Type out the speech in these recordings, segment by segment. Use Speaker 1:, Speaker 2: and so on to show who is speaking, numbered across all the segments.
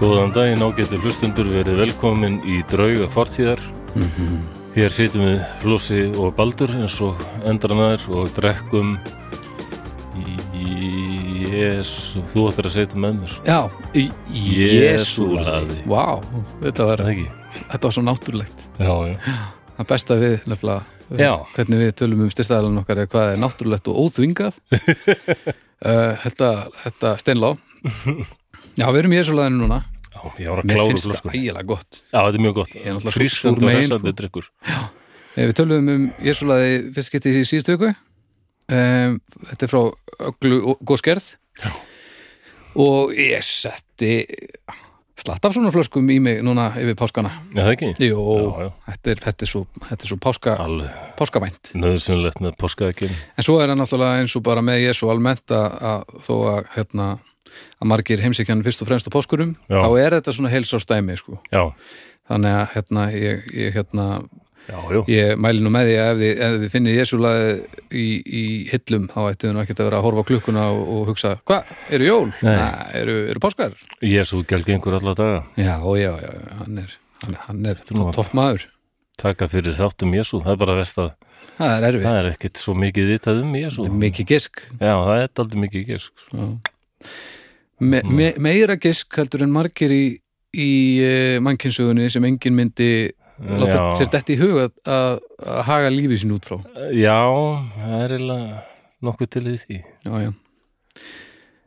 Speaker 1: Góðan daginn ágættu hlustundur, verið velkomin í drauga fortíðar. Hér sitjum við Flossi og Baldur eins og endranar og drekkum í Jésu, þú ættir að setja með mér.
Speaker 2: Já, í
Speaker 1: Jesúlaði.
Speaker 2: Vá, þetta var,
Speaker 1: Er það ekki?
Speaker 2: þetta var svo náttúrulegt
Speaker 1: Já, já.
Speaker 2: Það besta við, nefnilega
Speaker 1: Já.
Speaker 2: Hvernig við tölum um styrstaðalan okkar er hvað er náttúrulegt og óþvingað uh, Þetta, þetta steinlá Já, við erum í Jesúlaðinu núna
Speaker 1: Já, ég var að
Speaker 2: Mér
Speaker 1: klára
Speaker 2: finnst það
Speaker 1: flöskunni.
Speaker 2: ægilega gott
Speaker 1: Já, þetta er mjög gott.
Speaker 2: Ég er náttúrulega
Speaker 1: Frískur og
Speaker 2: súkkulaði megin,
Speaker 1: hressandi
Speaker 2: sko.
Speaker 1: drikkur.
Speaker 2: Eh, Við tölum um Jesúlaði fyrst getið í síðustu viku um, Þetta er frá Öglu og- Gósgerð Og ég setti slatt af svona flöskum í mig núna yfir páskana
Speaker 1: Já, það ekki?
Speaker 2: Jó,
Speaker 1: Já, já.
Speaker 2: Þetta, er, þetta er svo, þetta er svo páska,
Speaker 1: Alveg
Speaker 2: páskavænt.
Speaker 1: nöðsynlegt með poskaðekinn.
Speaker 2: En svo er það náttúrulega eins og bara með Jésu almennt að, að þó að, hérna, að margir heimsækjan fyrst og fremst á páskurum,
Speaker 1: Já.
Speaker 2: þá er þetta svona heilsárstæmi, sko.
Speaker 1: Já,
Speaker 2: Þannig að hérna, ég, ég, hérna,
Speaker 1: já, já.
Speaker 2: ég mæli nú með því að ef þið, ef þið finnir Jésu laðið í, í hillum, þá ættu þið nú ekkert að vera að horfa á klukkuna og, og hugsa, hvað, eru jól?
Speaker 1: Nei.
Speaker 2: eru, eru páskar?
Speaker 1: Jésu gælgengur alla daga.
Speaker 2: Já, ó, já, já, já, hann er, hann, hann er
Speaker 1: nú að-
Speaker 2: topp maður.
Speaker 1: Taka fyrir þáttum Jésu, það er bara vest að
Speaker 2: Það er erfitt.
Speaker 1: það er ekkit svo mikið vitað um Jésu.
Speaker 2: Þetta er mikið gisk.
Speaker 1: Já, það er aldrei mikið gersk. sko.
Speaker 2: me,
Speaker 1: Mm.
Speaker 2: me, meira gisk heldur en margir í, í uh, mannkynnsugunni sem enginn myndi láta
Speaker 1: Já.
Speaker 2: sér detti í hug að, að, að haga lífi sín út frá
Speaker 1: Já, það er eiginlega nokkuð til í því.
Speaker 2: já, já.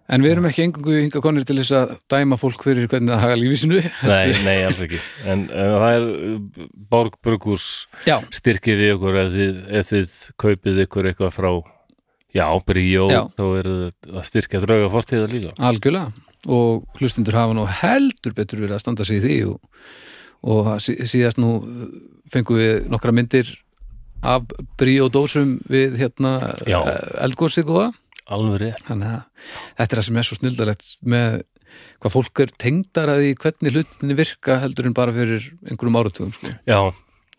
Speaker 2: en við erum ekki engungu hinga konir til þess að dæma fólk fyrir hvernig það haga lífi sínu
Speaker 1: Nei, nei, alls ekki. En, en það er borgbrukus
Speaker 2: já,
Speaker 1: styrkið við ykkur ef þið, ef þið kaupið ykkur eitthvað frá já, bríó,
Speaker 2: Já.
Speaker 1: þá eru þið að styrkja drauga fortíða líka.
Speaker 2: algjörlega og hlustundur hafa nú heldur betur verið að standa sig í því og, og sí, síðast nú fengum við nokkra myndir af bríódósum við hérna
Speaker 1: Já.
Speaker 2: eh, eldgosið góða
Speaker 1: Alveg rétt.
Speaker 2: þannig að þetta er það sem er svo snildalegt með hvað fólk er tengdara því hvernig hlutinni virka heldur en bara fyrir einhverjum áratugum sko.
Speaker 1: Já,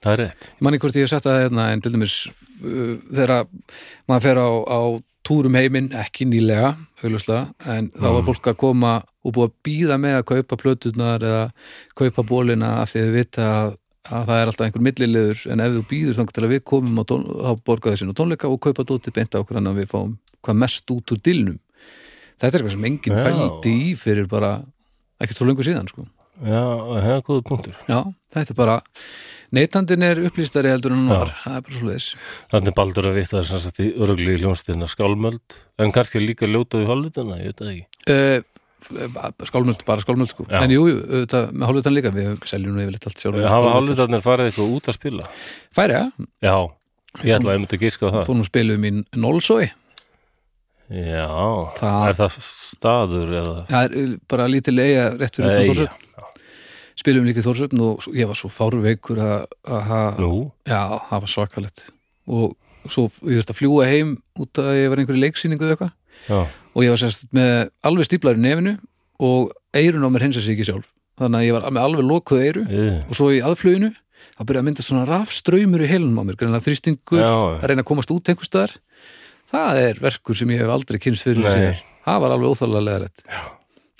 Speaker 1: það er rétt.
Speaker 2: ég manni hvort ég hef sagt það hérna en til dæmis uh, þegar að maður fer á, á túrum heiminn, ekki nýlega augljóslega, en þá var fólk að koma og búið að býða með að kaupa plöturnar eða kaupa bólina af því að þau vita að, að það er alltaf einhver milliliður en ef þú býður þangar til að við komum á, tón, á borgaðisinn og tónleika og kaupa dótið beint á okkur annan við fáum hvað mest út úr dilnum þetta er eitthvað sem enginn
Speaker 1: Já.
Speaker 2: pældi í fyrir bara ekkert svo löngu síðan sko.
Speaker 1: Já, það er góða punktur.
Speaker 2: Já, þetta er bara neytandin er upplýstari heldur en hún
Speaker 1: Já.
Speaker 2: var það er bara svo leiðis
Speaker 1: Þannig baldur að vita þess að þið örugli í hljónstina skálmöld, en kannski líka ljótaði hálfutina, ég veit það ekki.
Speaker 2: Eh, skálmöld, bara skálmöld sko
Speaker 1: Já.
Speaker 2: en jú, jú, auðvitað, með hálfutan líka við seljum nú yfirleitt allt sjálf
Speaker 1: Hafa hálfutarnir farið eitthvað út að spila?
Speaker 2: Færi, ja,
Speaker 1: Já, ég ætla að ég myndi að gíska á það.
Speaker 2: fórum spilum í Nólsói
Speaker 1: Já,
Speaker 2: Það-
Speaker 1: er það staður eða...
Speaker 2: það er eh, bara lítið leiða rétt fyrir utan
Speaker 1: Nei,
Speaker 2: Þórsöfn, spilum líka í Þórsöfn og s- ég var svo fárveikur að að ha-
Speaker 1: Nú,
Speaker 2: já, það var svakalett og svo f- ég þurfti að fljúga heim út að ég var í einhverju leiksýningu eða eitthvað
Speaker 1: já,
Speaker 2: og ég var sérst með alveg stíplar í nefinu og eirun á mér hinsa sig ekki sjálf þannig að ég var með alveg lokuð eiru
Speaker 1: yður.
Speaker 2: og svo í aðfluginu þá byrjaði að mynda svona rafstraumur í heilum á mér greinlega þrýstingur,
Speaker 1: Já.
Speaker 2: að reyna að komast út einhvers staðar, það er verkur sem ég hef aldrei kynst fyrir
Speaker 1: Nei.
Speaker 2: sér það var alveg óþálega leðalegt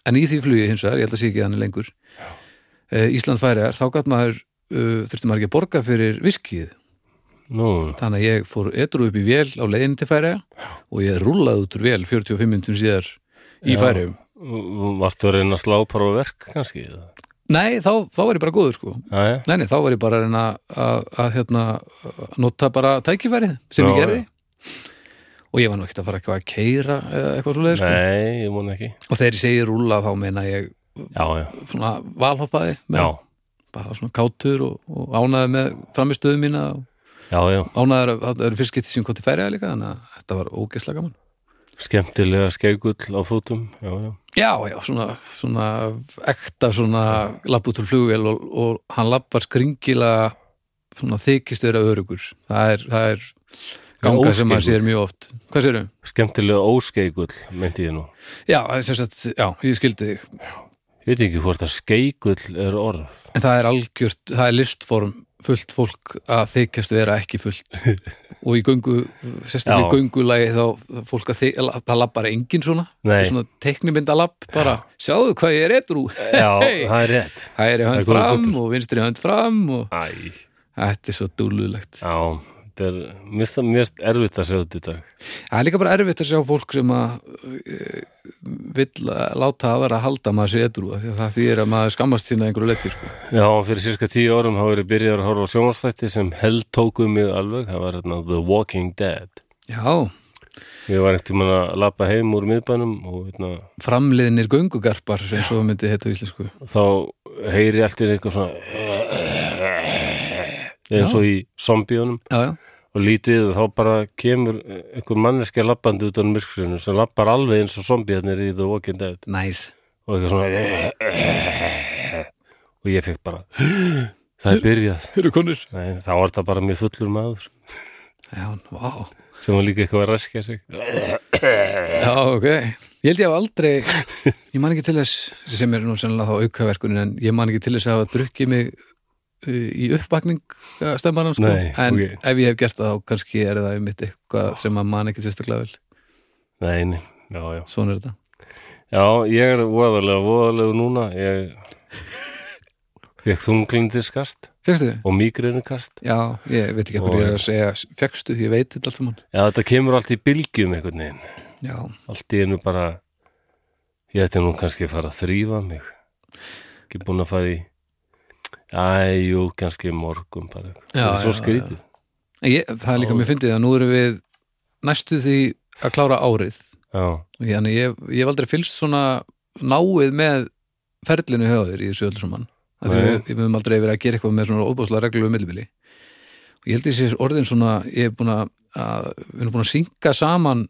Speaker 2: en í því flugi hins vegar, ég held að sé ekki þannig lengur uh, Ísland færiðar, þá gat maður uh, þurfti maður ekki að borga fyrir viskið
Speaker 1: Nú,
Speaker 2: þannig að ég fór etru upp í vél á leiðin til færiða og ég rúllaði út úr vél 45 minntum síðar í
Speaker 1: Já.
Speaker 2: færiðum
Speaker 1: varstu að reyna að slá bara á verk kannski? eða?
Speaker 2: nei, þá, þá var ég bara góður sko
Speaker 1: Jæja,
Speaker 2: Nei, nei, þá var ég bara að reyna að, að hérna, að nota bara tækifærið sem ég
Speaker 1: Já,
Speaker 2: gerði og ég var nú ekkert að fara eitthvað að keira eitthvað svo leiðis sko.
Speaker 1: Nei, ég mun ekki.
Speaker 2: og þegar ég segi rúlla þá meina ég
Speaker 1: Já, já,
Speaker 2: svona valhoppaði
Speaker 1: já,
Speaker 2: með, bara svona kátur og, og ánaði með framistöðu mína og
Speaker 1: já, já.
Speaker 2: ánaði að það eru fyrst getið sem kom til færiða líka þannig að þetta var ógeðslega gaman
Speaker 1: Skemmtilega skegull á fótum, já, já.
Speaker 2: Já, já, svona, svona ekta svona lapp út úr flugvél og, og hann lappar skringilega svona þykist vera örugur það er, það er ganga sem maður
Speaker 1: óskilgur.
Speaker 2: sér mjög oft Hvað sérum?
Speaker 1: Skemmtilega óskegull, meinti ég nú.
Speaker 2: Já, það er sem sagt, já, ég skildi þig
Speaker 1: Ég veit ekki hvort að skegull er orð.
Speaker 2: en það er algjört, það er listform fullt fólk að þykjast vera ekki fullt og í göngu,
Speaker 1: Já.
Speaker 2: sérstaklega í göngulagi þá þá fólk að þykja, það lappar enginn svona,
Speaker 1: Nei.
Speaker 2: Þetta er svona teiknimyndalapp bara, sjáðu hvað ég er edru
Speaker 1: Já, það er rétt
Speaker 2: hægri hönd
Speaker 1: Það er góður
Speaker 2: fram
Speaker 1: punktur.
Speaker 2: og vinstri hönd fram og
Speaker 1: Æ,
Speaker 2: þetta er svo dúlulegt
Speaker 1: já, þetta er mér finnst það mjög erfitt að segja þetta í dag
Speaker 2: það er líka bara erfitt að sjá fólk sem að eh, vill að láta að vera að halda að maður sé edru því að það þýðir að maður skammast sína að einhverju leti sko.
Speaker 1: Já, fyrir cirka tíu árum hafa verið byrjar að horfa á sjónvarsþætti sem held tókuð mig alveg, það var hérna The Walking Dead
Speaker 2: já,
Speaker 1: Ég var ekkert um að lappa heim úr miðbænum og hérna,
Speaker 2: framliðinir göngugarpar sem svo myndi heita á íslensku
Speaker 1: þá heyri allt í einu eitthvað svona eins og í zombíunum
Speaker 2: já, já,
Speaker 1: og lítið og þá bara kemur einhver manneskja lappandi út á myrkrinu sem lappar alveg eins og zombiðarnir í The Walking Dead
Speaker 2: næs
Speaker 1: og eitthvað svona og ég fekk bara það er byrjað
Speaker 2: eru konur
Speaker 1: Nei, þá var það bara mjög fullur maður
Speaker 2: já, vá
Speaker 1: sem var líka eitthvað að raskja sig
Speaker 2: Já, ok. Ég held ég hafa aldrei, ég man ekki til þess sem er nú sennilega þá aukaverkunin en ég man ekki til þess að hafa drukkið mig uh, í uppvakning stemmanum sko.
Speaker 1: Nei,
Speaker 2: en
Speaker 1: ok.
Speaker 2: ef ég hef gert það þá kannski er það um mitt eitthvað sem maður man ekki sérstaklega vel.
Speaker 1: Nei, nei, já, já
Speaker 2: Svona er þetta.
Speaker 1: Já, ég er voðalega, voðalega núna ég fekk þunglindiskast
Speaker 2: Fekstu?
Speaker 1: og migrinikast
Speaker 2: Já, ég veit ekki hvað
Speaker 1: Og-
Speaker 2: ég er að segja. Fekstu? Ég veit þetta allt saman.
Speaker 1: Já, þetta kemur allt í bylgjum einhvern veginn
Speaker 2: Já,
Speaker 1: allt í einu bara ég ætti nú kannski að fara að þrýfa mig ekki búin að fara í æjú, kannski í morgun bara eitthvað,
Speaker 2: Já,
Speaker 1: þetta er svo
Speaker 2: já,
Speaker 1: skrítið
Speaker 2: en ég, það er líka mér fyndið að nú erum við næstu því að klára árið.
Speaker 1: já,
Speaker 2: Ég, ég, ég hef aldrei fylgst svona náið með ferlinu hjá þér í þessu öllu saman Af því
Speaker 1: Nei.
Speaker 2: við, við höfum aldrei verið að gera eitthvað með svona óbáslega reglulegu millibili og ég held ég sé orðin svona ég hef búin að, að við erum búin að synga saman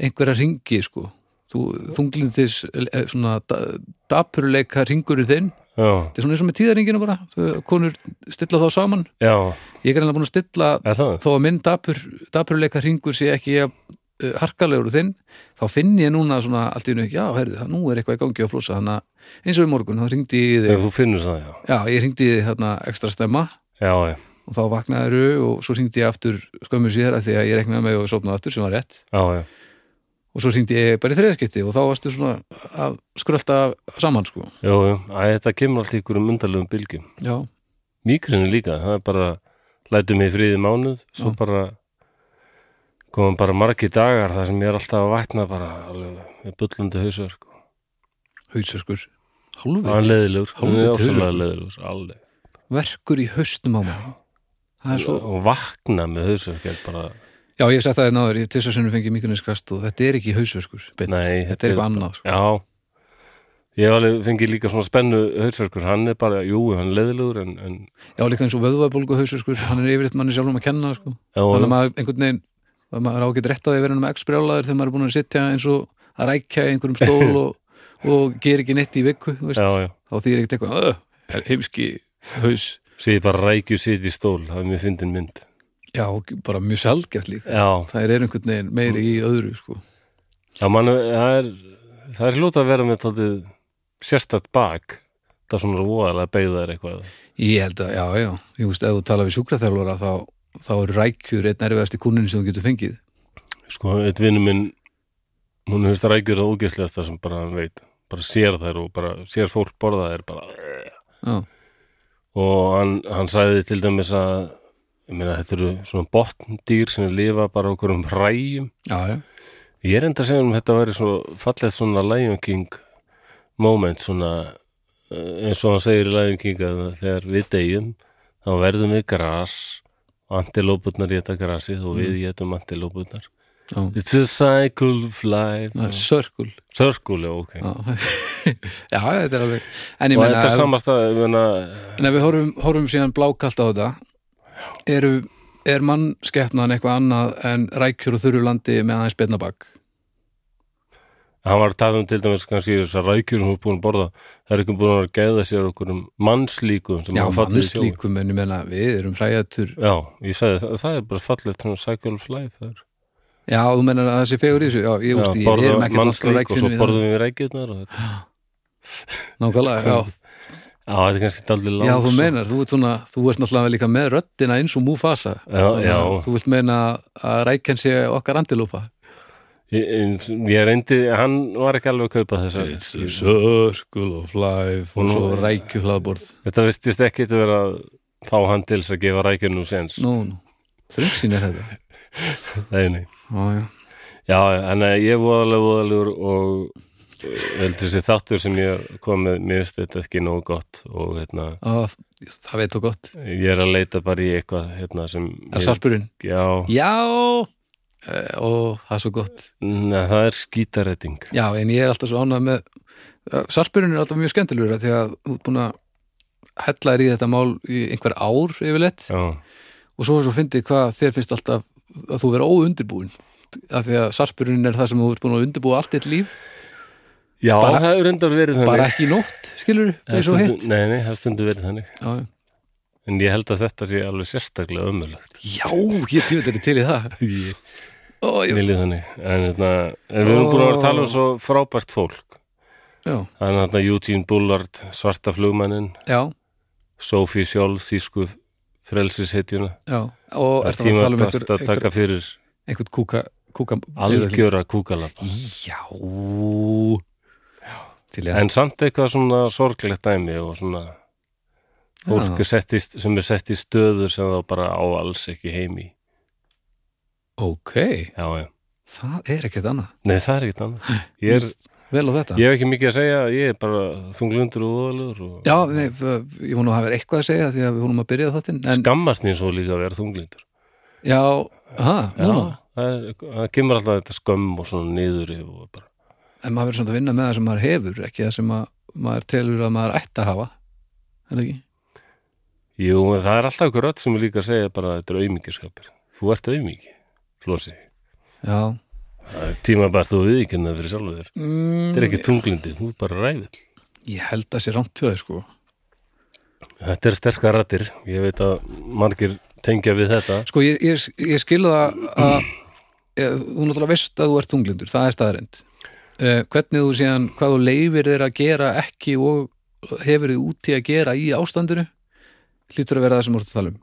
Speaker 2: einhverja ringi sko Þú, þunglindis eh, svona da- dapurleika ringurinn þinn þetta
Speaker 1: já,
Speaker 2: er svona eins og með tíðaringina bara Þú, konur stilla þá saman
Speaker 1: já
Speaker 2: ég er ennig búin að stilla
Speaker 1: er það?
Speaker 2: þó að minn dapur, dapurleika hringur sé ekki að uh, harkalegur og þinn þá finn ég núna svona allt í einu já, herði, það nú er eitthvað í gangi á flosa þannig að eins og í morgun, þá hringdi ég í
Speaker 1: Ef
Speaker 2: þig
Speaker 1: þú finnur það, já
Speaker 2: já, ég hringdi í þig þarna ekstra stemma
Speaker 1: já, já,
Speaker 2: og þá vaknaði þau og svo hringdi ég aftur skömmu síðar að því að ég reknaði með og sopnaði aftur sem var rétt
Speaker 1: já, já,
Speaker 2: og svo hringdi ég bara í þriðaskipti og þá varstu svona að skrölda saman sko
Speaker 1: já, já. Æ, þetta kemur allt í ykkur um undarlegum bylgjum
Speaker 2: já,
Speaker 1: migrini líka, það er bara lætu mig í friði mánuð, svo
Speaker 2: Já.
Speaker 1: bara komum bara margi dagar þar sem ég er alltaf að vakna bara alveg með bullandi hausverk sko.
Speaker 2: hausverkur
Speaker 1: hann
Speaker 2: hálfveit,
Speaker 1: leðilegur, hann er
Speaker 2: Hálfviti
Speaker 1: ofsalega
Speaker 2: hausverkur.
Speaker 1: leðilegur alveg
Speaker 2: verkur í haustum á mig það er svo
Speaker 1: og vakna með hausverk er bara,
Speaker 2: Já, ég hef sagt það þér náður, ég hef tvisvar sinnum fengið mikroninskast og þetta er ekki hausverkur beint.
Speaker 1: Nei,
Speaker 2: þetta
Speaker 1: þetta
Speaker 2: er
Speaker 1: er-
Speaker 2: eitthvað annað sko.
Speaker 1: já ég hef alveg fengið líka svona spennu hausverkur, hann er bara, jú, hann er leðilegur en, en
Speaker 2: Já, líka eins og vöðvabólgu hausverkur, hann er yfirleitt manni sjálfum að kenna sko.
Speaker 1: já,
Speaker 2: Þannig að maður einhvern veginn, að maður ágætt rétt á því að vera með x-brjálaður þegar maður er búin að sitja eins og að rækja í einhverjum stól og, og ger ekki neitt í viku, þú veist.
Speaker 1: já, já,
Speaker 2: Þá þýr ekkert eitthvað, "Ugh, heimski haus.
Speaker 1: sé ég bara rækju sit í stól, það er mjög fyndin mynd
Speaker 2: Já, og bara mjög sjálfgætt líka.
Speaker 1: já,
Speaker 2: Það er einhvern veginn meiri í öðru sko.
Speaker 1: já man, það er það er hljóta að vera með tóttið sérstætt bak það er svona voðalega beigðar eitthvað
Speaker 2: Ég held að, já, já, ég veist, ef þú tala við sjúkraþjálfara þá, þá er rækjur einn erfiðasti kúnin sem þú getur fengið.
Speaker 1: sko, eitt vinnu minn hún hefist rækjur það ógeðslegasta sem bara hann veit bara sér þær og bara sér fólk borða þær bara
Speaker 2: Já.
Speaker 1: og hann, hann sagði til dæmis að ég meina, þetta eru svona botndýr sem lifa bara okkur um ræjum
Speaker 2: Já, já,
Speaker 1: ég er enda að segja um þetta væri svo fallið svona Lion King moment svona eh, eins og hann segir í Lion King að þegar við deyjum þá verðum við gras og antilóputnar geta grasið og við getum antilóputnar
Speaker 2: Mm. já.
Speaker 1: It's a cycle of life
Speaker 2: Það er Circle
Speaker 1: Circle, já, ok
Speaker 2: Já, já þetta er alveg En ég
Speaker 1: og
Speaker 2: meina,
Speaker 1: þetta er
Speaker 2: ef,
Speaker 1: samasta ég meina,
Speaker 2: en ef við horfum, horfum síðan blákalt á þetta eru, er mannskeppnan eitthvað annað en rækjur og þurru landi með aðeins betnabak
Speaker 1: hann var að tala um til dæmis kannski þessar rækjur sem hún búin að borða það er ekki búin að geða sér okkur um mannslíkum sem
Speaker 2: Já,
Speaker 1: hafa fallið í sjóinn.
Speaker 2: mannslíkum, en ég meina við erum hræjatur
Speaker 1: Já, ég sagði það, það er bara fallið svona cycle of life það er.
Speaker 2: Já, þú meina að það sé fegur í þessu Já, ég veist,
Speaker 1: Já,
Speaker 2: ég, við erum
Speaker 1: borða
Speaker 2: ekkert alltaf
Speaker 1: mannslík og svo
Speaker 2: rækjunum
Speaker 1: borðum við rækjurnar og þetta
Speaker 2: Nákvæmlega, já,
Speaker 1: Já, þetta er kannski daldið langt sko.
Speaker 2: Já, þú meinar, þú ert, svona, þú ert náttúrulega líka með röddina eins og Mufasa
Speaker 1: Já,
Speaker 2: Þannig að
Speaker 1: já.
Speaker 2: Þú vilt meina að rækjan sé okkar andilópa
Speaker 1: Ég, ég reyndi, hann var ekki alveg að kaupa þess að
Speaker 2: circle of life
Speaker 1: Og
Speaker 2: og
Speaker 1: nú-
Speaker 2: svo rækju hlaðborð
Speaker 1: Þetta virtist ekki að vera að fá hann til þess að gefa rækjunum sens
Speaker 2: Nú, nú, þröngsýn er þetta
Speaker 1: Nei, nei.
Speaker 2: Já, já
Speaker 1: Já, en eh, ég er voðalega voðalegur og eh, heldur þessi þáttur sem ég er komið, mér finnst þetta ekki nógu gott og hérna,
Speaker 2: Á, það veit þú gott
Speaker 1: ég er að leita bara í eitthvað hérna sem
Speaker 2: Það er sarpurinn
Speaker 1: Já,
Speaker 2: Já, Eh, ó, það er svo gott
Speaker 1: neð, það er skítaretting
Speaker 2: Já, en ég er alltaf svo ánað með Eh, Sarpurinn er alltaf mjög skemmtilegur af Því að þú ert búin að hella þér í þetta mál í einhver ár yfirleitt
Speaker 1: Já,
Speaker 2: og svo er svo fyndið hvað þér finnst alltaf að þú vera óundirbúin af því að sarpurinn er það sem þú ert búin að undirbúa allt eitt líf,
Speaker 1: Já
Speaker 2: Bara-
Speaker 1: það er reyndar verið þannig
Speaker 2: bara ekki í nótt skilur,
Speaker 1: Það er
Speaker 2: eins og
Speaker 1: stundum-
Speaker 2: hitt
Speaker 1: Nei, nei, það er stundu verið þannig
Speaker 2: já, já.
Speaker 1: En ég held að þetta sé alveg sérstaklega ömulegt
Speaker 2: já, ég tíma þetta til í það
Speaker 1: Ég
Speaker 2: Ó, ég,
Speaker 1: viljið þannig En, hérna, en við erum búin að vera að tala um svo frábært fólk
Speaker 2: já,
Speaker 1: Hann er þarna Eugene Bullard, svarta flugmannin
Speaker 2: já,
Speaker 1: Sophie Scholl, þýsku frelsishetjuna
Speaker 2: já og
Speaker 1: Það er
Speaker 2: ert það að tala um einhver,
Speaker 1: tímabært að
Speaker 2: einhver,
Speaker 1: taka fyrir
Speaker 2: einhver kúka, kúka
Speaker 1: algjöra kúkalab
Speaker 2: já til í það
Speaker 1: En samt eitthvað svona sorglegt dæmi og svona fólk
Speaker 2: Já.
Speaker 1: er sett í, st- sem er sett í stöður sem þá bara á alls ekki heimi
Speaker 2: ok,
Speaker 1: Já, já,
Speaker 2: það er ekkert annað
Speaker 1: nei það er ekkert annað Ég er
Speaker 2: vel á þetta
Speaker 1: Ég hef ekki mikið að segja, ég er bara þunglundur og voðalegur og
Speaker 2: já, nei, f- ég vona að hafa eitthvað að segja því að við vonum að byrja þáttinn en
Speaker 1: skammast mér svo líka að vera þunglundur.
Speaker 2: já, ha, núna
Speaker 1: það, er- það kemur alltaf þetta skömm og svona niður yfir og bara.
Speaker 2: en maður verður samt að vinna með það sem maður hefur ekki það sem að, maður telur að maður ætti að hafa en ekki
Speaker 1: Jú, en það er alltaf ykkur öll sem er líka að segja bara að þetta er aumingiskapir. Þú ert aumingi, Flósi.
Speaker 2: já,
Speaker 1: Tíma bara þú viðkynna fyrir sjálfur þér.
Speaker 2: mm,
Speaker 1: Þetta er ekki þunglundi, þú er bara ræfill.
Speaker 2: ég held að sé rámt tjóði sko
Speaker 1: Þetta er sterkar rættir, ég veit að margir tengja við þetta.
Speaker 2: sko ég, ég, ég skilu það að ég, þú náttúrulega veist að þú ert tunglindur það er staðarind uh, hvernig þú séðan, hvað þú leifir þér að gera ekki og hefur þið úti að gera í ástandinu hlýtur að vera það sem þú ert að tala um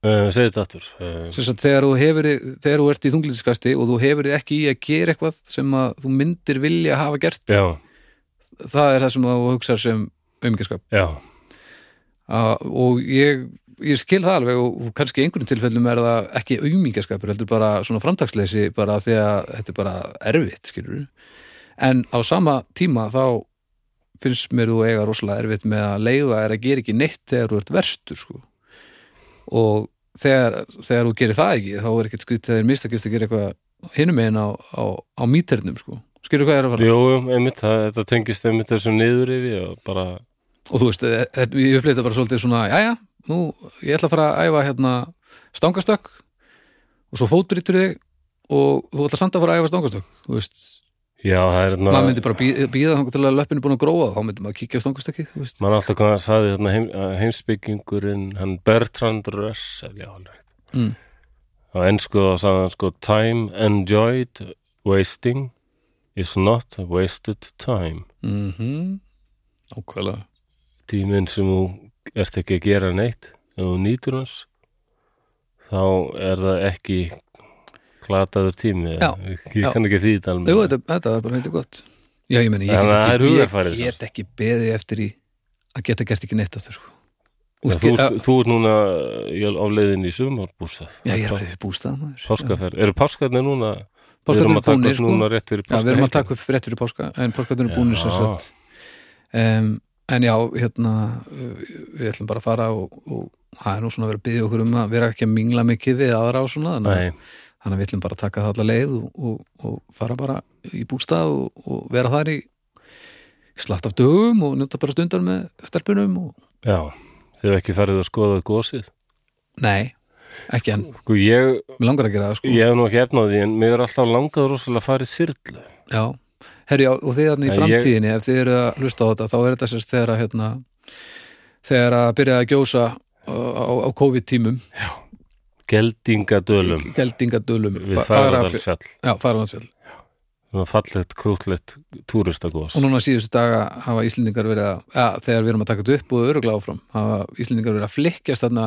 Speaker 1: Uh, segðu þetta aftur. Uh,
Speaker 2: Sem sagt, þegar, þú hefur, þegar þú ert í þunglindskasti og þú hefur þið ekki í að gera eitthvað sem að þú myndir vilja hafa gert
Speaker 1: já,
Speaker 2: það er það sem þú hugsar sem umgjörskap
Speaker 1: já,
Speaker 2: og ég, ég skil það alveg og og kannski í einhverjum tilfellum er það ekki aumingaskapur, heldur bara svona framtaksleysi bara af því að þetta er bara erfitt skilur en á sama tíma þá finnst mér þú eiga rosalega erfitt með að leifa er að gera ekki neitt þegar þú ert verstur sko. og þegar, þegar þú gerir það ekki þá er ekkert skrýtt þegar mistakist að gera eitthvað hinum einn á, á, á míternum sko. skilur hvað ég er að fara
Speaker 1: jú, einmitt, það, þetta tengist einmitt þessu niður yfir og bara,
Speaker 2: og þú veist, eh, eh, ég uppleið þetta bara svolítið svona, jæja, nú ég ætla að fara að æfa hérna stangastökk og svo fótbrytur þig og þú ætla samt að fara að æfa stangastökk þú veist,
Speaker 1: já, það er...
Speaker 2: maður myndi bara bí- bíða þangar til að löppin er búin að gróa þá myndi maður kíkja á stangastökki, þú veist
Speaker 1: Man alltaf hvað að saði þarna heim, að heimsbyggingurinn, hann Bertrand Russell, já alveg.
Speaker 2: Mm.
Speaker 1: Á ennsku þá saði hann sko time enjoyed wasting is not wasted time.
Speaker 2: mhm, ókvæðlega
Speaker 1: Tíminn sem þú ert ekki að gera neitt, ef þú nýtur hans, þá er það ekki glataður tími.
Speaker 2: Já,
Speaker 1: Ég,
Speaker 2: já.
Speaker 1: kann ekki því þetta
Speaker 2: Jú,
Speaker 1: alveg.
Speaker 2: þetta, þetta er bara heiti gott já, ég meni, ég
Speaker 1: Þannig að
Speaker 2: get
Speaker 1: það er sko.
Speaker 2: ekki,
Speaker 1: hugarfarið,
Speaker 2: ég get ekki beðið eftir í að geta gert ekki neitt aftur, sko
Speaker 1: Já,
Speaker 2: Úst,
Speaker 1: þú,
Speaker 2: ja,
Speaker 1: ert- þú ert núna í- á leiðin í sumarbústað.
Speaker 2: já, ég er að fyrir bústað maður.
Speaker 1: Páskaferð. Eru páskarnir núna?
Speaker 2: Páskarnir
Speaker 1: Við erum
Speaker 2: eru
Speaker 1: að taka
Speaker 2: búnir,
Speaker 1: upp
Speaker 2: sko.
Speaker 1: núna rétt fyrir
Speaker 2: Já, við erum að
Speaker 1: páskahelgina.
Speaker 2: taka upp rétt fyrir páska en páskatunum er búinir sem
Speaker 1: Já.
Speaker 2: sagt um, en já, hérna uh, við ætlum bara að fara og, og það er nú svona að vera að byggja okkur um að vera ekki að mingla mikið við aðra og svona þannig,
Speaker 1: Nei,
Speaker 2: að- þannig að við ætlum bara að taka það alla leið og, og, og fara bara í bústað og, og vera þar í slatt af dögum og njóta bara stundar með stelpunum og
Speaker 1: já, þau hefur ekki farið að skoða gósið.
Speaker 2: nei, ekki en
Speaker 1: Sko ég,
Speaker 2: mér langar að gera það sko
Speaker 1: ég hef nú ekki efnaði en mér er alltaf langað rosalega að fara í þyrlu.
Speaker 2: Já, herri, já, og þið þarna í
Speaker 1: Nei,
Speaker 2: framtíðinni ef þið eru að hlusta á þetta, þá er þetta sérst þegar að hérna, þegar að byrja að gjósa á, á, á COVID-tímum
Speaker 1: Geldingadölum
Speaker 2: geldingadölum
Speaker 1: við
Speaker 2: fa- Fagra-
Speaker 1: Fagradalsfjall.
Speaker 2: já, Fagradalsfjall
Speaker 1: svona fallegt, krútlegt túristagos
Speaker 2: og núna síðustu daga hafa Íslendingar verið að, ja, þegar við erum að taka þetta upp og öruglega áfram, hafa Íslendingar verið að flikkjast þarna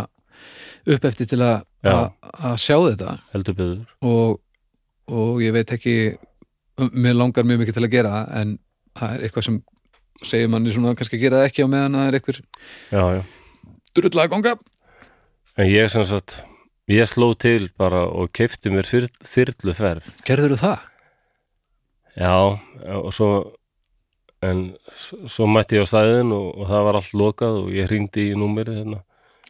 Speaker 2: upp eftir til að,
Speaker 1: Já.
Speaker 2: að, að sjá þetta
Speaker 1: heldur beður
Speaker 2: og, og ég veit ekki mér langar mjög mikið til að gera það en það er eitthvað sem segir manni svona kannski að gera það ekki á meðan það er einhver
Speaker 1: já, já.
Speaker 2: drulla að ganga
Speaker 1: en ég sem sagt ég sló til bara og keipti mér fyr, fyrluferð
Speaker 2: gerður það?
Speaker 1: já, og svo en s- svo mætti ég á staðin og, og það var allt lokað og ég hringdi í númerið hérna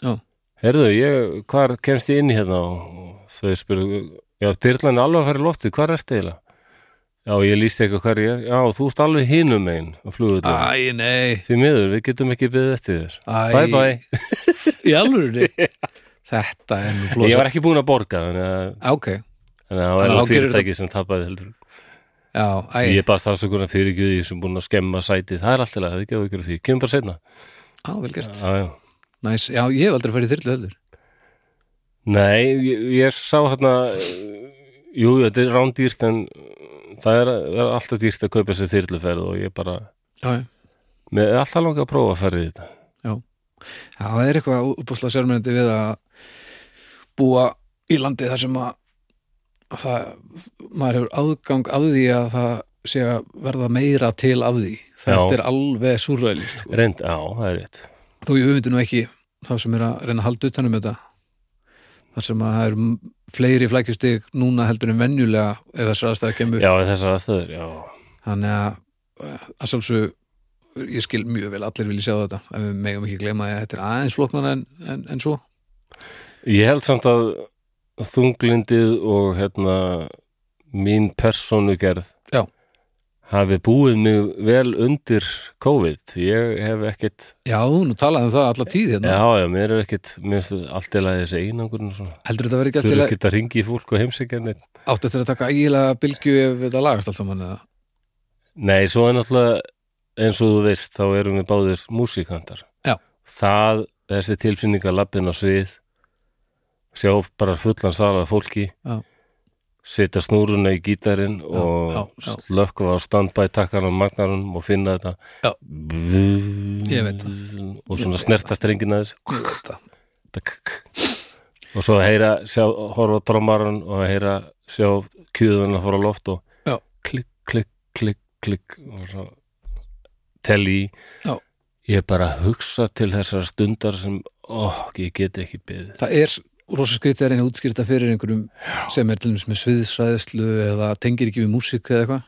Speaker 2: Já.
Speaker 1: herðu, ég, hvar kemst ég inn í hérna og, og þau spurðu já, dyrlan er alveg að fara í loftið, hvar ertu eiginlega já, ég lísti eitthvað hver ég er já, þú ert alveg hinum megin og flugðu þetta
Speaker 2: Æ, nei,
Speaker 1: því miður, við getum ekki byggðið eftir þér
Speaker 2: Æ.
Speaker 1: bye bye,
Speaker 2: í alvörunni þetta er nú
Speaker 1: ég
Speaker 2: flósa
Speaker 1: var ekki búin að borga þannig að,
Speaker 2: ok,
Speaker 1: þannig að það
Speaker 2: Þannig
Speaker 1: var
Speaker 2: að
Speaker 1: alveg
Speaker 2: þá gerir
Speaker 1: fyrirtæki sem tapaði heldur
Speaker 2: já, æ,
Speaker 1: Ég baðst afsökunar fyrir ekki því sem búin að skemma sætið. Það er allt í lagi, það er ekki að ykkur því. Kemur bara setna.
Speaker 2: á, vel gert
Speaker 1: Já, já.
Speaker 2: næs, já, ég hef aldrei farið í þyrlu heldur
Speaker 1: Nei, ég, ég sá hérna, eh, jú, þetta er rándýrt en það er, það er alltaf dýrt að kaupa sér þyrluferð og ég bara,
Speaker 2: já, já
Speaker 1: með alltaf langa að prófa að ferði þetta.
Speaker 2: Já, það er eitthvað uppúslega sérmyndi við að búa í landi þar sem að, að það, maður hefur aðgang að því að það sé að verða meira til af því. Þetta
Speaker 1: Já.
Speaker 2: er alveg súrælist. Sko.
Speaker 1: Reynd, já, það er rétt.
Speaker 2: Þó ég öfundi nú ekki þá sem er að reyna að halda utanum þetta. Þar sem að það eru m- fleiri flækjustig núna heldur en venjulega ef þessar aðstæða kemur.
Speaker 1: Já, í þessar aðstöður, já.
Speaker 2: Þannig að eh, að sjálfsög ég skil mjög vel allir vilja sjá þetta en við megum ekki gleyma því að þetta er aðeins flóknar en, en, en svo.
Speaker 1: Ég held samt að þunglindið og hérna mín persónugerð
Speaker 2: Já.
Speaker 1: hafi búið mig vel undir COVID. Ég hef ekkit
Speaker 2: Já, nú talaði um það alla tíð hérna.
Speaker 1: Já, já, mér er ekkit, mér finnst það allt í lagi þessi einangur og svona.
Speaker 2: Heldur þetta verið ekki
Speaker 1: Þurfa
Speaker 2: eftir að
Speaker 1: ekki að ringi í fólk og heimsækja neitt.
Speaker 2: áttu eftir að taka ægilega bylgju ef þetta lagast allt saman eða?
Speaker 1: Nei, svo er náttúrulega, eins og þú veist, þá erum við báðir músikantar.
Speaker 2: Já.
Speaker 1: Það, þessi tilfinning að labbin á svið, sjá bara fullan sala af fólki,
Speaker 2: Já.
Speaker 1: setja snúruna í gítarinn og
Speaker 2: já, já.
Speaker 1: slökkva á standbæ takkan á magnarum og finna þetta.
Speaker 2: Já. Ég
Speaker 1: Ég
Speaker 2: veit
Speaker 1: Og
Speaker 2: Ég
Speaker 1: svona
Speaker 2: veit
Speaker 1: snerta strengina þessi.
Speaker 2: Ég veit það.
Speaker 1: og svo heyra sjá, horfa á drömmarun og heyra sjá kjöðun að fara á loft og
Speaker 2: Já.
Speaker 1: klikk, klikk, klikk, klikk og svo tel í
Speaker 2: Já.
Speaker 1: ég bara hugsa til þessara stundar sem ó, ég get ekki beðið
Speaker 2: Það er rosa skrítið að reyna að útskýra þetta fyrir einhverjum sem er til dæmis með sviðsræðislu eða tengir ekki við músík eða eitthvað.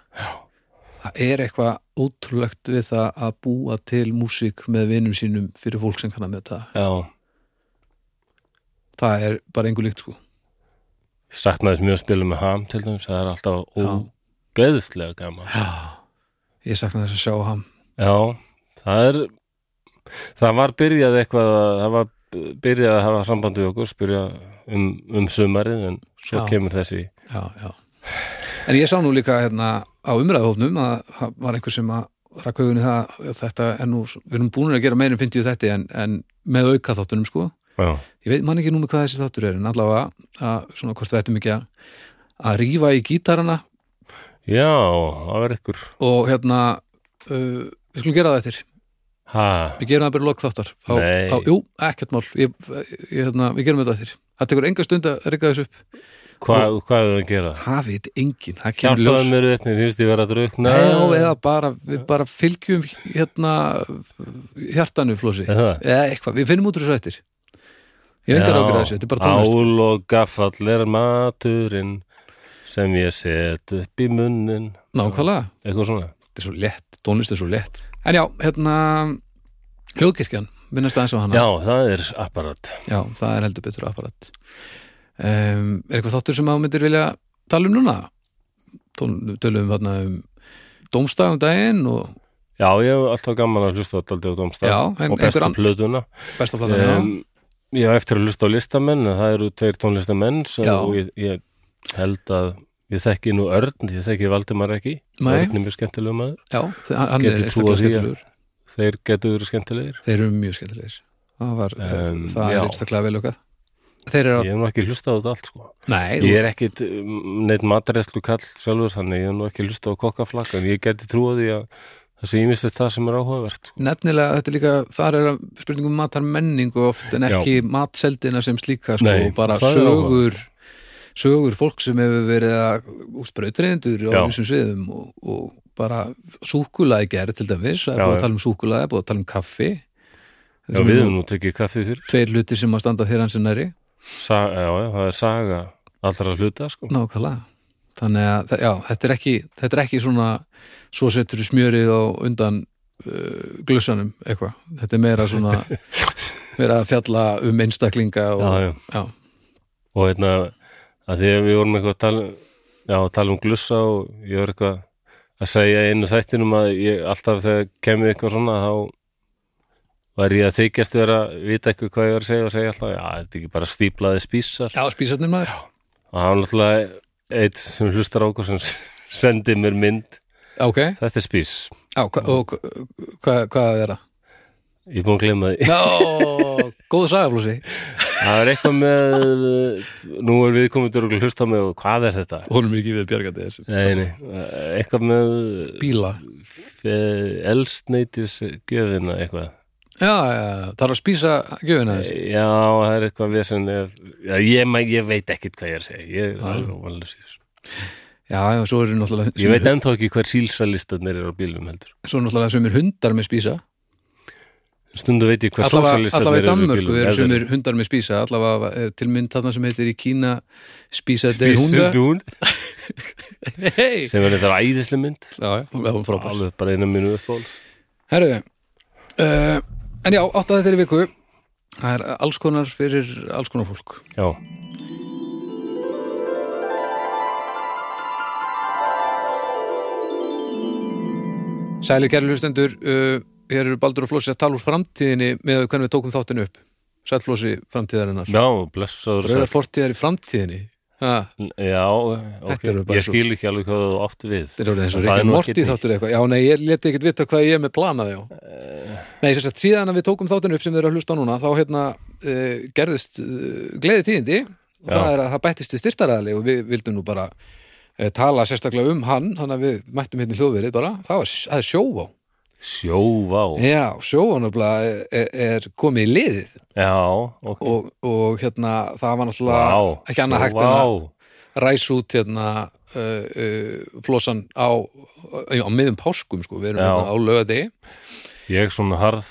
Speaker 2: Það er eitthvað ótrúlegt við það að búa til músík með vinum sínum fyrir fólk sem kann að með það.
Speaker 1: já,
Speaker 2: Það er bara einhver líkt sko.
Speaker 1: saknaðis mjög að spila með ham til dæmis, það er alltaf
Speaker 2: Já.
Speaker 1: ógeðslega gaman
Speaker 2: Já. Ég sakna þess að sjá ham.
Speaker 1: Já, það er það var byrjað eitthvað að- það var byrjað að hafa samband við okkur spyrja um, um sumarið en svo
Speaker 2: Já.
Speaker 1: kemur þessi
Speaker 2: já, já. En ég sá nú líka hérna á umræðhófnum að það var einhver sem að rakkaugunni það að þetta er nú, við erum búin að gera meir en 50 þetta en, en með auka þáttunum sko
Speaker 1: Já,
Speaker 2: ég veit man ekki númer hvað þessi þáttur er en allavega að svona hvort við ættum ekki að að rífa í gítarana
Speaker 1: Já það var ykkur
Speaker 2: og hérna uh, við skulum gera það eftir,
Speaker 1: Ha,
Speaker 2: við gerum það bara lok þáttar á,
Speaker 1: Nei.
Speaker 2: á, jú, ekkert mál ég, ég, hérna, við gerum þetta eftir, það tekur enga stund að reyka þessu upp,
Speaker 1: hvað, hvað er það að gera?
Speaker 2: það veit engin það kemur ljós
Speaker 1: Hjálpaðu mér upp, mér finnst ég vera að drukna
Speaker 2: Nei, já, eða bara, við bara fylgjum hérna hjartanu flósi
Speaker 1: Er það?
Speaker 2: eða eitthvað, við finnum út úr þessu eftir ég vengar ákveða þessu, þetta er bara tónlist
Speaker 1: Ál og gaffall er maturinn sem ég set upp í munnin
Speaker 2: nákvæmlega,
Speaker 1: eitthvað svona
Speaker 2: þetta er svo lett, tónlist er svo lett en já, hérna hljóðkirkjan, minnast aðeins á hana
Speaker 1: Já, það er apparat
Speaker 2: Já, það er heldur betur apparat um, er eitthvað þáttur sem að þú myndir vilja tala um núna Tón, tölum við þarna um dómstag um daginn og
Speaker 1: Já, ég hef alltaf gaman að hlusta alltaf á domstaf
Speaker 2: Já, en
Speaker 1: og bestu
Speaker 2: einhver ann-
Speaker 1: plötuna
Speaker 2: besta platan
Speaker 1: um,
Speaker 2: já.
Speaker 1: ég á eftir að lusta á listamenn en það eru tveir tónlistamenn sem
Speaker 2: Já.
Speaker 1: og ég, ég held að ég þekki nú Örn, ég þekki Valdimar ekki
Speaker 2: Nei.
Speaker 1: Örn er mjög skemmtilega maður
Speaker 2: já, hann er
Speaker 1: Getur trúað
Speaker 2: einstaklega
Speaker 1: því að-
Speaker 2: skemmtilegur
Speaker 1: þeir getur verið skemmtilegir
Speaker 2: Þeir eru mjög skemmtilegir Það, var,
Speaker 1: Em,
Speaker 2: það er
Speaker 1: já.
Speaker 2: einstaklega vel okkar þeir eru að,
Speaker 1: Ég hef nú ekki hlustað á þetta allt sko
Speaker 2: nei,
Speaker 1: Ég er ekkit um, neitt matreslu kall sjálfur þannig, ég hef nú ekki hlustað á kokkaflakka en ég geti trúið því að það sé ímist það sem er áhugavert sko.
Speaker 2: nefnilega þetta er líka, þar er að spurningum matar menningu oft en
Speaker 1: Já.
Speaker 2: ekki matseldina sem slíka sko,
Speaker 1: Nei,
Speaker 2: bara
Speaker 1: það er
Speaker 2: sögur sögur fólk sem hefur verið að sprautreindur
Speaker 1: Já.
Speaker 2: á þessum sviðum og, og bara súkulaði gerð til dæmis, það er
Speaker 1: Já,
Speaker 2: búið
Speaker 1: já.
Speaker 2: að tala um súkulaði búið að tala um kaffi
Speaker 1: Já, við hefum nú tekið kaffið fyrir
Speaker 2: tveir hlutir sem að standa þér hans næri
Speaker 1: Sa Já, já, það er saga allra hluta sko
Speaker 2: Nákvæmlega Þannig að þa- já, þetta, er ekki, þetta er ekki svona svo setur smjörið á undan uh, glussanum eitthvað Þetta er meira svona meira að fjalla um einstaklinga og,
Speaker 1: Já, já
Speaker 2: já.
Speaker 1: og hérna að því að við vorum eitthvað að tala já, að tala um glussa og ég var eitthvað að segja í einu þættinum að ég alltaf þegar kemur eitthvað svona þá var ég að þykjast vera vita eitthvað hvað ég var að segja og segja alltaf já, þetta er ekki bara stíplaði spísar
Speaker 2: já spísarnir maður já.
Speaker 1: og það var náttúrulega eitt sem hlustar á okkur sem sendi mér mynd
Speaker 2: Ok,
Speaker 1: þetta er spís,
Speaker 2: já, hva, og hvað hva er það?
Speaker 1: ég er búin að glemma því
Speaker 2: Nó, góð sagaflúsi
Speaker 1: það er eitthvað með nú er við komið til að hlusta með og hvað er þetta?
Speaker 2: Honum er ekki við bjargandi þessu
Speaker 1: Nei, nei, eitthvað með
Speaker 2: Bíla
Speaker 1: elstneitis gjöfina eh, eitthvað
Speaker 2: Já, já, það er að spísa gjöfina þessu
Speaker 1: já, það er eitthvað vesen ef, já, ég, ma- ég veit ekkit hvað ég er að segja ég, er alveg vonlaus í þessu.
Speaker 2: Já, já, svo eru náttúrulega
Speaker 1: ég veit
Speaker 2: sumir,
Speaker 1: ennþá ekki hver sílsalistarnir eru á bílum heldur
Speaker 2: svo eru náttúrulega sumir hundar með spísa
Speaker 1: stundu veit ég hvað
Speaker 2: allavega allavega í
Speaker 1: sósalistarnir eru á
Speaker 2: Danmörku
Speaker 1: bílum
Speaker 2: eru
Speaker 1: ef þeir-
Speaker 2: sumir hundar með spísa allavega er til mynd þarna sem heitir í Kína spísa þeir
Speaker 1: Spísu
Speaker 2: hunda
Speaker 1: dún,
Speaker 2: hey.
Speaker 1: um sem er þetta æðislega mynd
Speaker 2: já, já, hún er frábær
Speaker 1: alveg bara einu mínu uppból
Speaker 2: herru uh, en já, átt að þetta er í viku það er alls konar fyrir alls konar fólk
Speaker 1: já,
Speaker 2: sæli kæri hlustendur uh, hér eru Baldur og Flósi að tala úr framtíðinni með hvernig við tókum þáttinu upp sæl Flósi framtíðarinnar
Speaker 1: já, blessaður
Speaker 2: rauðar
Speaker 1: sæll.
Speaker 2: fortíðar í framtíðinni ha,
Speaker 1: já, ok,
Speaker 2: Þetta eru bara
Speaker 1: ég
Speaker 2: svo-
Speaker 1: skil ekki alveg hvað þú átt við
Speaker 2: Þetta er orðið eins og
Speaker 1: Það er
Speaker 2: Ríkjum
Speaker 1: nú
Speaker 2: Morti
Speaker 1: ekkert
Speaker 2: þáttur eða eitthvað. Já, nei, ég leti ekkert vita hvað ég er með planað, já.
Speaker 1: Eh.
Speaker 2: Nei, sem sagt, síðan að við tókum þáttunum upp sem við erum að hlusta á núna, þá hérna uh, gerðist uh, gleði tíðindi og
Speaker 1: Já.
Speaker 2: það er að það bættist við styrtaræðali og við vildum nú bara uh, tala sérstaklega um hann, þannig að við mættum hérna í hljóðverið bara, það var s- það er sjóvá.
Speaker 1: sjóvá,
Speaker 2: Já, sjóvá nefnilega er, er komið í liðið
Speaker 1: já, ok
Speaker 2: og, og hérna það var náttúrulega
Speaker 1: Vá,
Speaker 2: ekki annað hægt en að
Speaker 1: Sjóvá.
Speaker 2: ræs út hérna uh, uh, flossan á, á, á miðum páskum sko, við erum
Speaker 1: Já.
Speaker 2: hérna á löði
Speaker 1: Ég er svona harð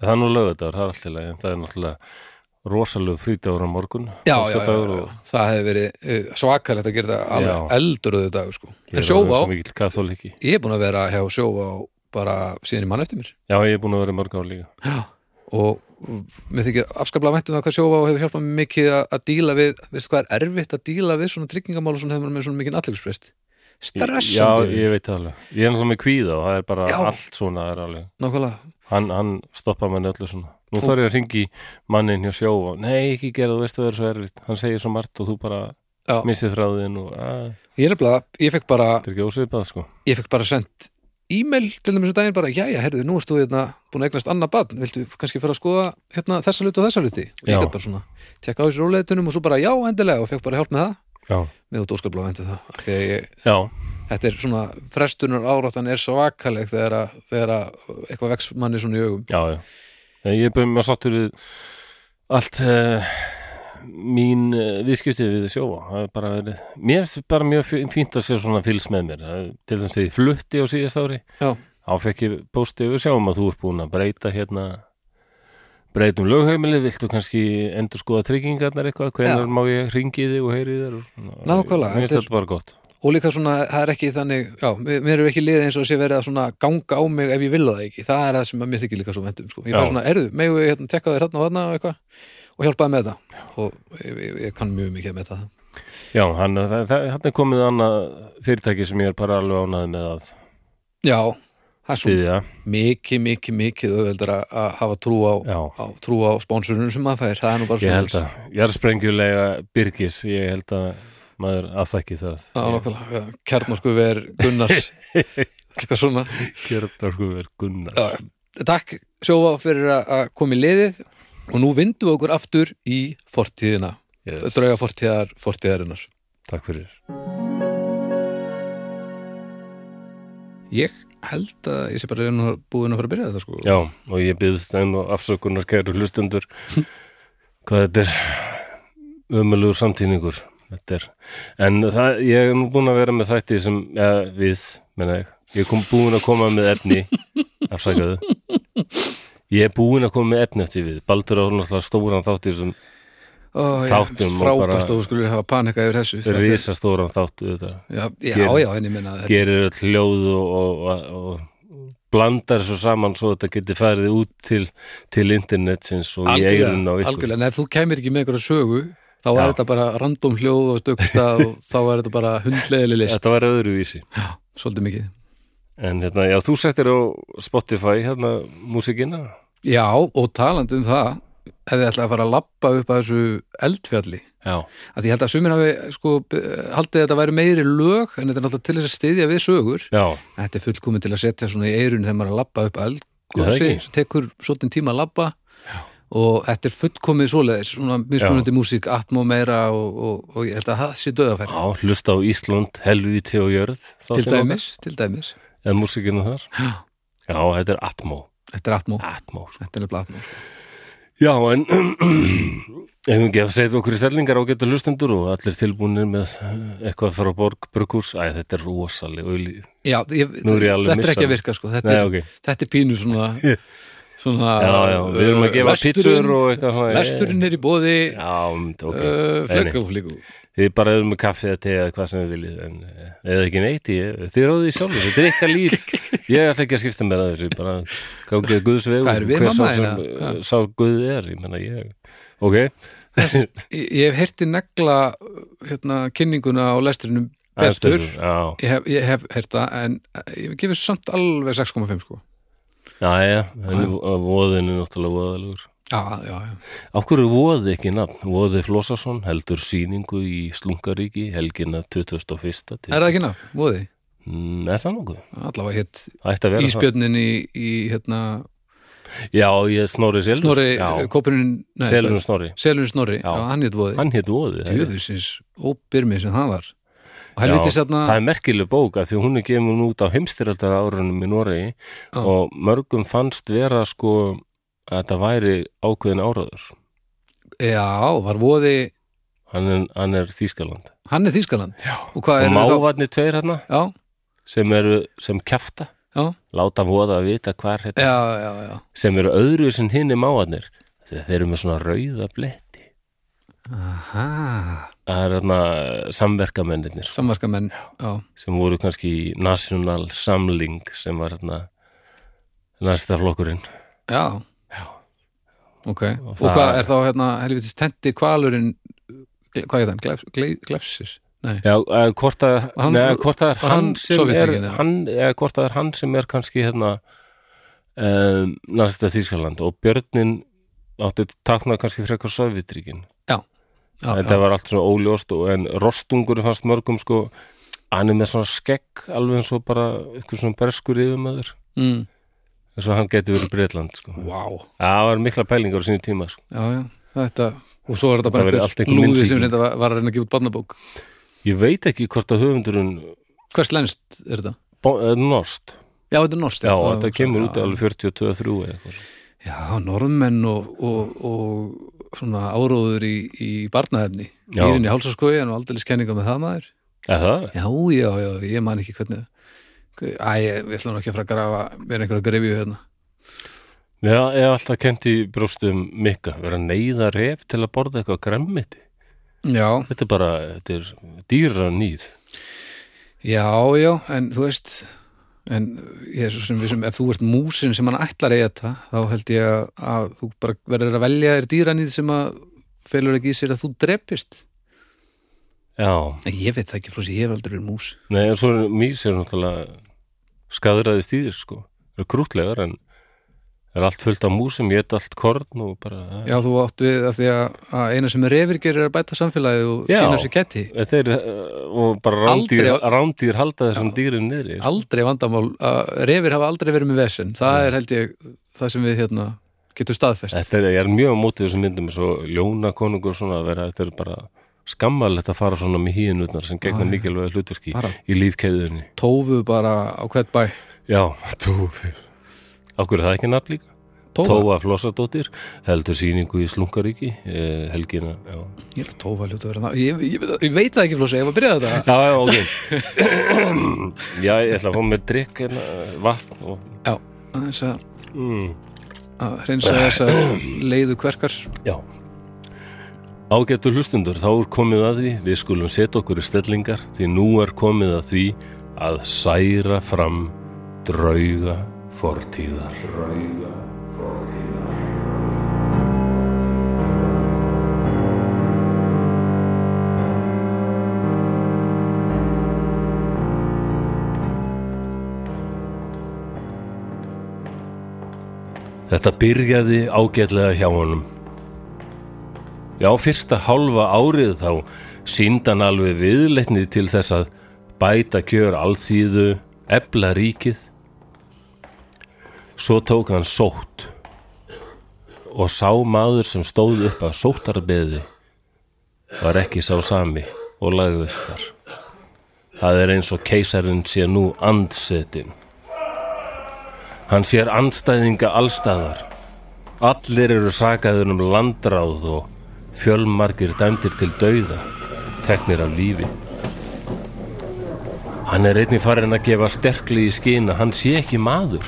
Speaker 1: Það er nú lögðar, það er allt í lagi en það er náttúrulega rosalegu frítagur á morgun
Speaker 2: já, já, já,
Speaker 1: föstudagur
Speaker 2: já,
Speaker 1: og-
Speaker 2: það hefði verið uh, svakalegt að gera þetta
Speaker 1: Já.
Speaker 2: alveg eldurðu dag sko.
Speaker 1: Ég er
Speaker 2: en sjóvá,
Speaker 1: orðinn svo mikill kaþólikki.
Speaker 2: ég er búin að vera hjá sjóvá bara síðan í mann eftir mér
Speaker 1: Já, ég er búin að vera í mörg ár líka
Speaker 2: já. og uh, mér þykir afskaplega væntum það hvað sjóvá hefur hjálpað mér mikið að, að díla við, veistu hvað er erfitt að díla við svona tryggingamál og svona hefur maður með svona mikið aðtækisprest stressandi
Speaker 1: Já, ég veit það alveg Ég er náttúrulega með kvíða og það er bara
Speaker 2: Já.
Speaker 1: allt svona það er alveg.
Speaker 2: nákvæmlega,
Speaker 1: Hann, hann stoppar manni öllu svona Nú þarf ég að ringi mannin hjá sjóvá Nei, ekki gera, þú veist það er svo erfitt Hann segir svo margt og þú bara
Speaker 2: Já.
Speaker 1: missið þráðin og að,
Speaker 2: ég er nefnilega ég fekk bara
Speaker 1: þetta er ekki ósvipað sko
Speaker 2: ég fekk bara sendt e-mail til þeim þessu daginn bara, jæja, herðu, nú erst þú hérna, búin að eignast annað badn, viltu kannski fara að skoða hérna, þessa hluti og þessa hluti og ég
Speaker 1: Já.
Speaker 2: gætt bara svona, tekka á þessu róleitunum og svo bara já, endilega, og fekk bara hjálp með það
Speaker 1: Já,
Speaker 2: með út óskaplega vendu það, af því að ég,
Speaker 1: já,
Speaker 2: þetta er svona, frestunar áráttan er svakaleg þegar að, þegar að eitthvað vex manni svona í augum
Speaker 1: Já, já. Nei, Ég er bara með sáttur við allt uh, mín uh, viðskipti við sjóa. Það er bara verið, mér finnst bara mjög fí- fínt að sér svona fylgst með mér. Það er Til þess að ég flutti á síðast ári,
Speaker 2: Já,
Speaker 1: þá fekk ég pósti við sjáum að þú ert búin að breyta hérna breytum lögheimilið, viltu kannski endur skoða tryggingarnar eitthvað,
Speaker 2: Já.
Speaker 1: hvenær má ég ringi þig og heyri þér og svona.
Speaker 2: Nákvæmlega,
Speaker 1: Mér finnst
Speaker 2: þetta er-
Speaker 1: þetta bara gott.
Speaker 2: og líka svona, það er ekki þannig já, mér, mér er ekki liðið eins og sé verið að svona ganga á mig ef ég vil það ekki, það er það sem að mér þykir líka svo vendum, sko, ég fæ
Speaker 1: Já.
Speaker 2: svona, erðu, megu ég hérna tekka þér hérna og hérna og eitthvað og hjálpaði með það og ég, ég, ég kann mjög mikið með það
Speaker 1: Já, hann, það, það, hann er komið annað fyrirtæki sem ég er bara alveg ánæði með að
Speaker 2: já, það er svo
Speaker 1: styðja.
Speaker 2: mikið, mikið, mikið auðveldar að að hafa trú á,
Speaker 1: Já.
Speaker 2: á trú á spónsurunum sem maður fær, það er nú bara
Speaker 1: Ég held
Speaker 2: svoleiðis.
Speaker 1: að, jarðsprengulega Byrgis, ég held að maður afþekki það.
Speaker 2: Já, nákvæmlega, kjarnorku ver Gunnars eitthvað svona
Speaker 1: Kjörðar sko verð Gunnar.
Speaker 2: Já, takk sjófa fyrir að- að koma í liðið og nú vindum við okkur aftur í fortíðina
Speaker 1: Yes.
Speaker 2: drauga fortíðar, fortíðarinnar
Speaker 1: Takk fyrir.
Speaker 2: ég held að ég sé bara reyna búin að fara að byrja þetta sko
Speaker 1: Já, og ég byggðist enn og afsökunar kæru hlustendur hvað þetta er ömulugur samtíningur. Þetta er, en það, ég er nú búin að vera með þætti sem, ja, við, menna ég, ég er kom, búin að koma með efni, afsakaðu. Ég er búin að koma með efni eftir við. Baldur á náttúrulega stóran þátti sem
Speaker 2: Ó, já,
Speaker 1: Þáttum og bara-
Speaker 2: frábært að þú skulle hafa panika yfir þessu Þetta er-
Speaker 1: risastóran þáttu þetta.
Speaker 2: já, já,
Speaker 1: gerir-
Speaker 2: já, en ég meina þetta-
Speaker 1: gerir öll hljóð og, og, og, og blandar svo saman svo þetta geti farið út til, til internetsins og í eirun á
Speaker 2: algjörlega,
Speaker 1: ykkur.
Speaker 2: algjörlega, en ef þú kemur ekki með einhverja sögu þá
Speaker 1: Já.
Speaker 2: er þetta bara random hljóð og stökkstað og þá er þetta bara hundleðileg list
Speaker 1: Þetta var öðruvísi.
Speaker 2: svolítið mikið.
Speaker 1: En hérna, já, þú settir á Spotify hérna músikina.
Speaker 2: Já, og talandi um það ef þið ætlaði að fara að lappa upp að þessu eldfjalli,
Speaker 1: Já.
Speaker 2: að ég held að sumir hafi sko, b- haldið að þetta væri meiri lög en þetta er náttúrulega til þess að styðja við sögur
Speaker 1: Já,
Speaker 2: þetta er fullkomin til að setja svona í eirun þegar maður er að lappa upp að
Speaker 1: Já,
Speaker 2: eldgósi
Speaker 1: það
Speaker 2: tekur svolítið tíma að lappa og þetta er fullkomið svoleiðis svona mismunandi músík, atmo meira og, og, og ég held að það sé döðafæri
Speaker 1: já hlusta á Ísland, helvíti og jörð.
Speaker 2: til dæmis, til dæmis
Speaker 1: En músikina þar. Já, þetta er Atmo.
Speaker 2: þetta er atmó,
Speaker 1: Atmo. sko.
Speaker 2: þetta er nefnilega atmó sko.
Speaker 1: Já, en ef við ekki að segja okkur í stellingar á getur hlustendur og allir tilbúinir með eh, eitthvað frá Borg Brukkús. Æ, þetta er rosaleg og
Speaker 2: já, ég,
Speaker 1: Nú er ég alveg
Speaker 2: þetta er ekki
Speaker 1: missað.
Speaker 2: að virka sko. þetta,
Speaker 1: Nei,
Speaker 2: er,
Speaker 1: ok.
Speaker 2: þetta er pínu svona svona uh,
Speaker 1: Já, já, við erum að gefa pítsur og eitthvað svona.
Speaker 2: vesturinn er í bóði
Speaker 1: Já, um, ok.
Speaker 2: uh,
Speaker 1: Nei, nei.
Speaker 2: flögg og flíku
Speaker 1: Þið bara erum með kaffi eða te eða hvað sem þið viljið, en eh, eða ekki neitt, ég, þið ráðu því sjálfur, þetta er eitthvað líf. Ég ætla ekki að skipta mér að þessu, ég bara gangið að guðs vegu.
Speaker 2: Hvað erum við,
Speaker 1: hver
Speaker 2: mamma
Speaker 1: sá sem,
Speaker 2: þín, eða?
Speaker 1: eh, Sá guðið er, ég menna ég. Ok,
Speaker 2: ég, ég hef heyrti negla hérna, kynninguna á lesturinnum
Speaker 1: aðeins
Speaker 2: betur
Speaker 1: betur, Já,
Speaker 2: ég hef, ég hef heyrt það en ég gefur samt alveg 6,5 sko
Speaker 1: já, já, en voðin er náttúrulega voðalegur.
Speaker 2: já, já, já,
Speaker 1: Af hverju voði ekki nafn? Voði Flósason heldur sýningu í Slungaríki helgina 2001.
Speaker 2: er það ekki ná, móði
Speaker 1: Mm, Er það nokkuð?
Speaker 2: allavega hétt
Speaker 1: Ætti að vera það.
Speaker 2: íspjörnin í, í hérna,
Speaker 1: Já, ég snorri Selur.
Speaker 2: Snorri eh,
Speaker 1: já,
Speaker 2: Kópurinn, nei,
Speaker 1: Selurinn Snorri.
Speaker 2: Selun Snorri, já,
Speaker 1: Já.
Speaker 2: hann hétt voði
Speaker 1: Hann hétt voði. það er-
Speaker 2: djöfusins, óbyrmi sem það var og helviti sérna
Speaker 1: það er merkileg bók að því að hún er gefin út á heimstyraldar árunum í Noregi
Speaker 2: Já.
Speaker 1: og mörgum fannst vera sko að þetta væri ákveðin áraður
Speaker 2: já, var voði,
Speaker 1: hann er, hann er Þýskaland
Speaker 2: hann er Þýskaland já. og hvað
Speaker 1: og
Speaker 2: er þá
Speaker 1: mávarnir tveir hérna
Speaker 2: já,
Speaker 1: sem eru sem kjafta
Speaker 2: já,
Speaker 1: láta voða að vita hvar
Speaker 2: já,
Speaker 1: hérna
Speaker 2: já, já.
Speaker 1: sem eru öðru sem hinn er mávarnir þegar þeir eru með svona rauða bletti
Speaker 2: Aha,
Speaker 1: það er hérna samverkamennir
Speaker 2: samverkamenn já,
Speaker 1: sem voru kannski í National Samling sem var hérna næsta flokkurinn
Speaker 2: já, ok, og,
Speaker 1: það-
Speaker 2: hvað er þá hérna helvitis tenti kvalurinn hvað er þann, Glef, gle, glefsir nei,
Speaker 1: Já, eða hvort að,
Speaker 2: hann-
Speaker 1: neða, hvort að er
Speaker 2: var
Speaker 1: hann
Speaker 2: hann
Speaker 1: sem er,
Speaker 2: Sovétríkin, eða?
Speaker 1: hann, eða hvort að er hann sem er kannski hérna um, næsta Þýskaland og Björnin átti taknað kannski frekar Sovjetríkin.
Speaker 2: já,
Speaker 1: Þetta var allt svona óljóst og en rostungur fannst mörgum sko, hann er með svona skegg alveg eins og bara eitthvað svona berskur yfirmaður,
Speaker 2: já mm,
Speaker 1: eins og hann geti verið Breitland sko.
Speaker 2: wow,
Speaker 1: Það var mikla pælingar á sínu tíma sko.
Speaker 2: já, já, þetta og svo er þetta
Speaker 1: Þetta verður
Speaker 2: bara
Speaker 1: allt
Speaker 2: einhver
Speaker 1: einhver
Speaker 2: lúði
Speaker 1: myndlíking.
Speaker 2: sem reynda var, var að reyna að gefa út barnabók
Speaker 1: Ég veit ekki hvort að höfundurinn
Speaker 2: hvers lenst er þetta?
Speaker 1: bo- eh, Ah, norskt.
Speaker 2: já, þetta er norskt
Speaker 1: Já, þetta
Speaker 2: hugsa,
Speaker 1: kemur
Speaker 2: já.
Speaker 1: út alveg 42-3 eða eitthvað.
Speaker 2: Já, norðmenn og, og, og svona áróður í, í barnaefni
Speaker 1: Já.
Speaker 2: Írinn í hálsaskoði en aldrei skenninga með það maður
Speaker 1: Eða það?
Speaker 2: Já, já, já, ég man ekki hvernig Æ, ég- við ætlum nú ekki að fara að grafa vera einhverja grefju hérna
Speaker 1: Mér er alltaf kent í brjóstum mikka, vera að neyða ref til að borða eitthvað gremmiti.
Speaker 2: Já,
Speaker 1: Þetta er bara, þetta er dýra nýð.
Speaker 2: já, já, en þú veist en ég er svo sem við sem ef þú ert músin sem hann ætlar að þetta þá held ég að, að þú bara verður að velja þér dýranýð sem að felur ekki í sér að þú drepist
Speaker 1: Já,
Speaker 2: Nei, ég veit það ekki flósi, ég hef aldrei verið mús
Speaker 1: nei, en svo er mís er náttúrulega skadraði stýðir, sko. Það er krútlegar, en það er allt fullt af músum, ég allt korn og bara...
Speaker 2: Já, þú átt við að því að, að eina sem er refir gerir er að bæta samfélagið og
Speaker 1: Já.
Speaker 2: sína sér ketti.
Speaker 1: Þetta er, uh, og bara rándýr,
Speaker 2: Aldrei-
Speaker 1: rándýr halda þessum dýrin niðri. sko.
Speaker 2: Aldrei vandamál, að refir hafa aldrei verið með vesen. Það er held ég það sem við hérna getur staðfest
Speaker 1: Þetta er, ég er mjög á mótið þessum myndum eins og ljónakonungur og svona að vera, þetta er bara skammalegt að fara svona með hýinutnar sem gegna
Speaker 2: Já, já.
Speaker 1: mikilvæg hlutverki
Speaker 2: Bara-
Speaker 1: í lífkeiðunni.
Speaker 2: tófu bara á hvert bæ
Speaker 1: Já, tófi. Akkur er það ekki nafn líka?
Speaker 2: tófa,
Speaker 1: Tófa Flossadóttir heldur sýningu í Slungaríki eh, helgina, já.
Speaker 2: ég held að tófa hljóta að vera það ég, ég, veit- ég veit það ekki flósi, ég var að byrja þetta
Speaker 1: Já, já, ok. já, ég ætla að fá með drikk, hérna, vatn og...
Speaker 2: já, þess að,
Speaker 1: Mm.
Speaker 2: að hreinsa þess að leiðu kverkar
Speaker 1: Já. Ágættu hlustundur, þá er komið að því, við skulum setja okkur í stellingar, því nú er komið að því að særa fram drauga fortíðar. Drauga fortíðar. Þetta byrjaði ágætlega hjá honum. Já, fyrsta hálfa árið þá síndan alveg viðleitnið til þess að bæta kjör alþýðu, ebla ríkið. Svo tók hann sótt og sá maður sem stóð upp að sóttarbeði var ekki sá sami og lagðist þar. Það er eins og keisarinn sé nú andsetin. Hann sér andstæðinga allstaðar Allir eru sakaður um landráð og fjölmargir dæmdir til dauða, teknir af lífi. Hann er einnig farinn að gefa sterkli í skina, hann sé ekki maður,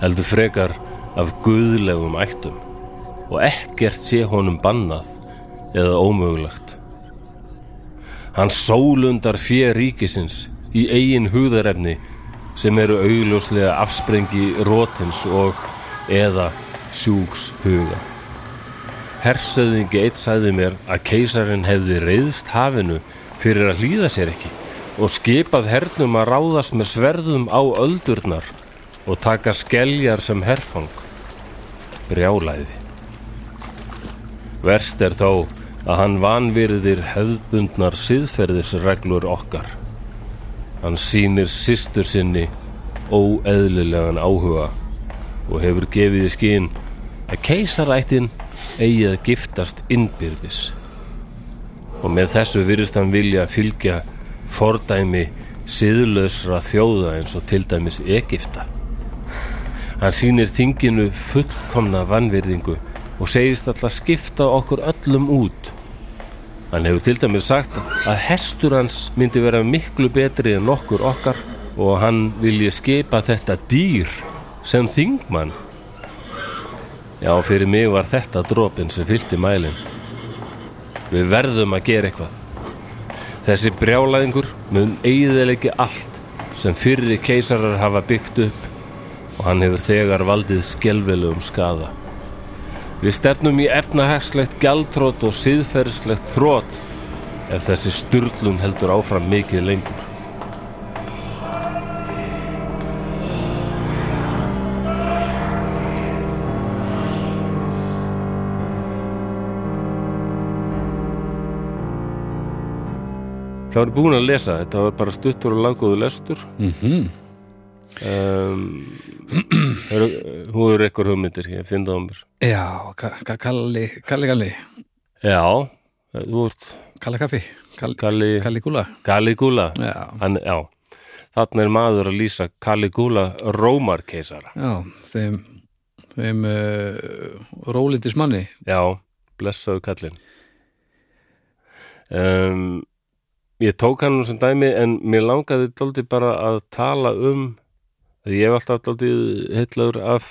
Speaker 1: heldur frekar af guðlegum ættum og ekkert sé honum bannað eða ómögulegt. Hann sólundar fjö ríkisins í eigin hugðarefni sem eru augljóslega afsprengi rótins og eða sjúks huga. Hersöðingi eitt sagði mér að keisarinn hefði reyðst hafinu fyrir að hlýða sér ekki og skipað hernum að ráðast með sverðum á öldurnar og taka skeljar sem herfang. Brjálæði. Verst er þó að hann vanvirðir hefðbundnar siðferðisreglur okkar. Hann sýnir systur sinni óeðlilegan áhuga og hefur gefið í skinn að keisarættin eigi að giftast innbyrðis. Og með þessu virðist hann vilja fylgja fordæmi siðlausra þjóða eins og til dæmis Egipta. Hann sýnir þinginu fullkomna vannvirðingu og segist alltaf skipta okkur öllum út. Hann hefur til dæmis sagt að hestur hans myndi vera miklu betri en nokkur okkar og hann vilji skipa þetta dýr sem þingmann. Já, fyrir mig var þetta dropin sem fyllti mælin. Við verðum að gera eitthvað. Þessi brjálæðingur mun eigiðilegi allt sem fyrri keisarar hafa byggt upp og hann hefur þegar valdið skelvelegum skada. Við stefnum í efnahagslegt gjaldtrót og siðferðslegt þrót ef þessi sturlun heldur áfram mikið lengur. Það var búin að lesa, þetta var bara stuttur og laggóðu lestur. Ehm, Mm um, Hú eru eitthvað hugmyndir, ég finn það á mér.
Speaker 2: já, ka ka kalli, kalli kalli
Speaker 1: Já, þú ert
Speaker 2: kalli kaffi, kalli,
Speaker 1: Kalli,
Speaker 2: kalli gula
Speaker 1: Kalligúla
Speaker 2: já,
Speaker 1: Hann, já, þarna er maður að lýsa Kalligúla Rómarkeisara
Speaker 2: já þeim þeim uh, rólindis manni
Speaker 1: Já, blessaðu kallinn um, Ég tók hann nú sem dæmi en mér langaði dálítið bara að tala um ég hef alltaf dálítið heitlaður af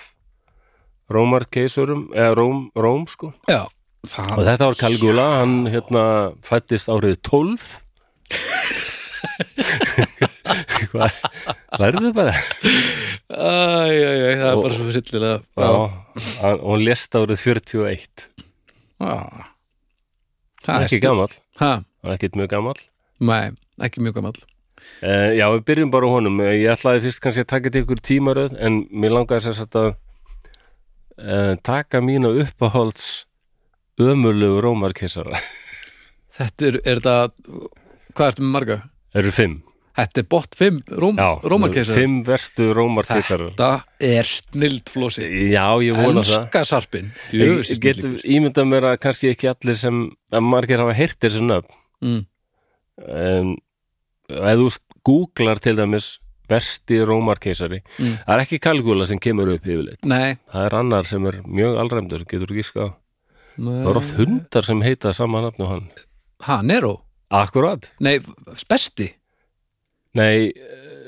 Speaker 1: Rómarkeisurum eða Róm, Róm sko
Speaker 2: já,
Speaker 1: og
Speaker 2: það,
Speaker 1: þetta var Kalligúla, hann hérna fættist árið 12 Hvað, lærðu bara
Speaker 2: æ, æ, æ, það er
Speaker 1: Og-
Speaker 2: bara svo sillilega já,
Speaker 1: Já, hann- og hún lést árið 41
Speaker 2: já.
Speaker 1: Hann
Speaker 2: það
Speaker 1: er ekki gamall,
Speaker 2: ha,
Speaker 1: hann er ekkit mjög gamall
Speaker 2: nei, ekki mjög gamall
Speaker 1: uh, Já, við byrjum bara á honum Eh, Ég ætlaði fyrst kannski að taka til ykkur tímaröð en mér langaði sér satt að uh, taka mína uppahólds ömurlegu rómarkessara
Speaker 2: Þetta er, er þetta, hvað ertu með marga?
Speaker 1: eru fimm
Speaker 2: Þetta er bótt 5 róm,
Speaker 1: Já,
Speaker 2: rómarkeisar
Speaker 1: Fimm verstu rómarkeisarar
Speaker 2: Þetta er snild flósi
Speaker 1: Já, ég vona það
Speaker 2: Elska sarpin
Speaker 1: Ég
Speaker 2: Djöfusins
Speaker 1: get
Speaker 2: líkur.
Speaker 1: ímyndað mér að kannski ekki allir sem að margir hafa heyrt þessu nöfn
Speaker 2: Mm.
Speaker 1: en ef þú googlar til dæmis versti rómarkeisari
Speaker 2: Mm.
Speaker 1: það er ekki kalkula sem kemur upp yfirleitt
Speaker 2: Nei,
Speaker 1: það er annar sem er mjög alræmdur getur ekki ská það
Speaker 2: nei.
Speaker 1: eru oft hundar sem heita sama nafn og hann
Speaker 2: Ha, Nero
Speaker 1: Akkurat
Speaker 2: Nei, besti,
Speaker 1: Nei,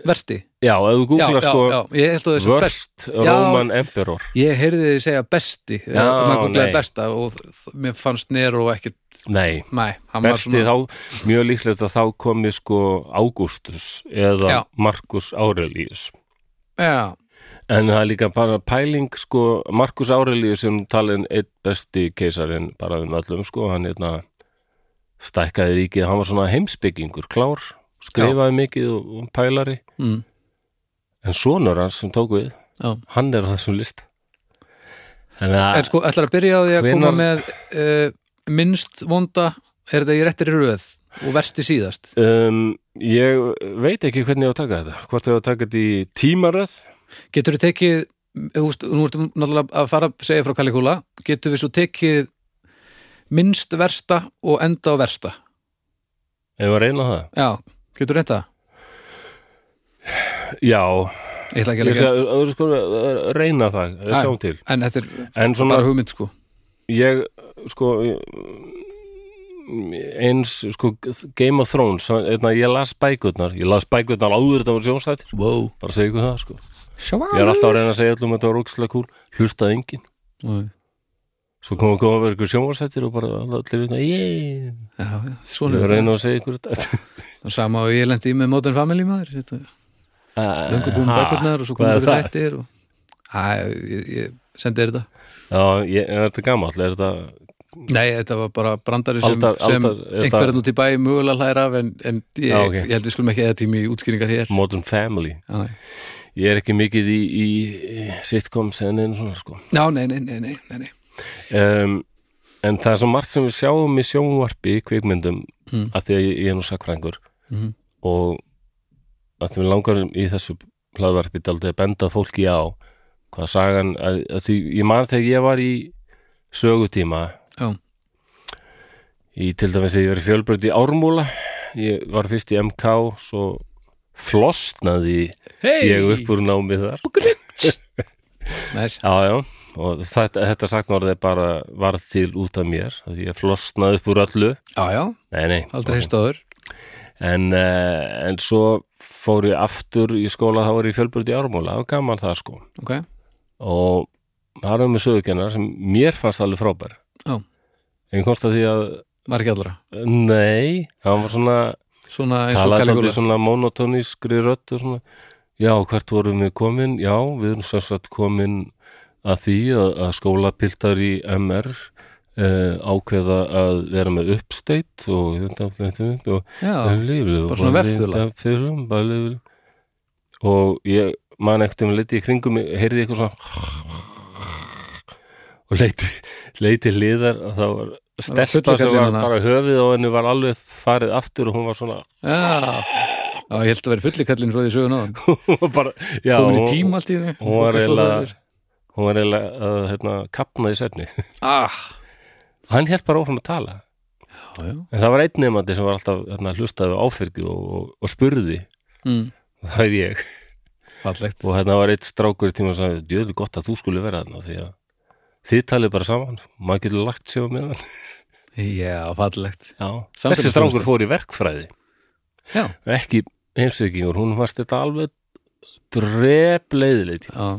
Speaker 2: versti
Speaker 1: já, ef þú
Speaker 2: já,
Speaker 1: googlar
Speaker 2: já,
Speaker 1: sko
Speaker 2: já, ég held að þessi
Speaker 1: Worst
Speaker 2: best
Speaker 1: Roman Emperor
Speaker 2: Ég heyrði þið segja besti já, maður googlaði
Speaker 1: nei.
Speaker 2: besta og þ- mér fannst Nero ekkert,
Speaker 1: Nei,
Speaker 2: nei, hann var
Speaker 1: besti
Speaker 2: svona
Speaker 1: þá mjög líklegt að þá komi sko Ágústus eða
Speaker 2: Já.
Speaker 1: Markus Aurelius
Speaker 2: Já,
Speaker 1: En það er líka bara pæling sko Markus Aurelius sem talin einn besti keisarinn bara um öllum sko hann hérna stækkaði ríkið, hann var svona heimsbyggingur klár, skrifaði mikið og, og pælari
Speaker 2: mm,
Speaker 1: en sonur hans sem tók við,
Speaker 2: já
Speaker 1: hann er á þessum list Þannig að
Speaker 2: En sko, ætlar að byrja á því að
Speaker 1: Ah. Hvenær-
Speaker 2: koma með uh, minnst vonda, er þetta í réttir röð og versti síðast
Speaker 1: Um, ég veit ekki hvernig ég á að taka þetta hvort ég á að taka þetta í tímaröð
Speaker 2: Getur við tekið, þú veist, nú ertum náttúrulega að fara að segja frá Kalikúla Getur við svo tekið minnst versta og enda á versta
Speaker 1: ef að reyna það
Speaker 2: Já, getur reynda?
Speaker 1: já,
Speaker 2: Ég ætla ekki
Speaker 1: ég
Speaker 2: að leggja
Speaker 1: skal uh, sko, uh, reyna það,
Speaker 2: Já.
Speaker 1: sjáum til
Speaker 2: En þetta er
Speaker 1: en svona,
Speaker 2: bara hugmynd sko
Speaker 1: ég sko eins, sko, Game of Thrones einna, ég las bækurnar, ég las bækurnar áður þetta var sjónstættir,
Speaker 2: Wow
Speaker 1: bara segja ykkur það sko
Speaker 2: Sjávar
Speaker 1: ég er alltaf að reyna að segja allum að þetta var rúkslega kúl hlustaði engin,
Speaker 2: Já,
Speaker 1: svo kom að koma að vera ykkur sjónstættir og bara allir við ég
Speaker 2: já, svona
Speaker 1: ég
Speaker 2: er
Speaker 1: reyna að segja ykkur þetta
Speaker 2: þetta Sama og ég lendi í með Modern Family maður þetta. Löngu búin
Speaker 1: Ha,
Speaker 2: bækurnar og svo komum
Speaker 1: hvað er
Speaker 2: við
Speaker 1: það?
Speaker 2: þættir og... Æ, ég, ég sendi þér þetta
Speaker 1: Já, ég, er þetta gamall, er þetta
Speaker 2: Nei, þetta var bara brandari sem,
Speaker 1: Aldar-
Speaker 2: sem
Speaker 1: aldar- þetta-
Speaker 2: einhverjarn út í bæ mögulega hlæðir af en, en ég,
Speaker 1: Já, ok. Mm.
Speaker 2: ég held við skulum ekki eða tími í útskýringar hér
Speaker 1: Modern Family?
Speaker 2: Já, nei.
Speaker 1: Ég er ekki mikið í, í sitcoms en einu svona sko.
Speaker 2: Já, nei, nei, nei, nei, nei, nei.
Speaker 1: Um, en það er svo margt sem við sjáum í sjónvarpi, í kvikmyndum,
Speaker 2: Mm.
Speaker 1: af því að ég, ég er nú sakfrængur
Speaker 2: Mhm.
Speaker 1: og að því við langarum í þessu hlaðvarpi daldið að benda fólki á hvað sagan, að, að því ég man þegar ég var í sögutíma
Speaker 2: Já.
Speaker 1: í til dæmis að ég verið fjölbröð í Ármúla ég var fyrst í MK svo flostnaði
Speaker 2: Hey!
Speaker 1: ég upp úr námið þar
Speaker 2: Næs,
Speaker 1: Já, já, og þetta, þetta sagnorðið bara varð til út af mér af því ég flosnaði upp úr öllu
Speaker 2: já, já,
Speaker 1: Nei, nei,
Speaker 2: aldrei heist áður
Speaker 1: en, uh, en svo fór ég aftur í skóla þá var ég fjölbyrði í ármóla, það var gaman það sko
Speaker 2: Ok,
Speaker 1: og það erum við sögukennar sem mér fannst alveg frábær
Speaker 2: Já.
Speaker 1: En ég komst að því að,
Speaker 2: var ekki allra
Speaker 1: nei, hann var svona
Speaker 2: Svona eins og
Speaker 1: talaði
Speaker 2: Kalikula
Speaker 1: alltaf svona monotónískri rödd og svona, já, hvert vorum við komin? Já, við erum sem sagt komin að því að, að skólapiltar í MR uh, ákveða að vera með uppsteitt og þetta og þetta og
Speaker 2: Já,
Speaker 1: lífið
Speaker 2: bara svona vefþula.
Speaker 1: vefðula bara lífið og ég man ekkert um leiti í kringum mig, heyrði eitthvað svona og leiti leiti hliðar og það var
Speaker 2: var hérna.
Speaker 1: stelpa sem var
Speaker 2: fullorðinna.
Speaker 1: bara höfið og henni var alveg farið aftur og hún var svona
Speaker 2: já Já, ég held að vera fulli kallinn frá því sögun á hann
Speaker 1: hún var bara, já,
Speaker 2: Komin í
Speaker 1: hún-
Speaker 2: tíma allt í henni
Speaker 1: hún var eiginlega hún var eiginlega að hérna, kapna í sefni
Speaker 2: Ah,
Speaker 1: hann hélt bara áfram að tala
Speaker 2: já, já
Speaker 1: en það var einn nefandi sem var alltaf hérna, hlustaði á áfyrgju og, og, og spurði
Speaker 2: mm,
Speaker 1: það er ég
Speaker 2: Fallegt
Speaker 1: og hérna var eitt strákur í tíma sem sagði, djöðu gott að þú skulle vera þarna því að þið talið bara saman maður getur lagt sér á meðan
Speaker 2: Já, fallegt
Speaker 1: já.
Speaker 2: Samfélagsþjónusta.
Speaker 1: þessi strákur fór í verkfræði
Speaker 2: Já,
Speaker 1: ekki heimsveikingur, hún varst þetta alveg drepleiðilegt
Speaker 2: já,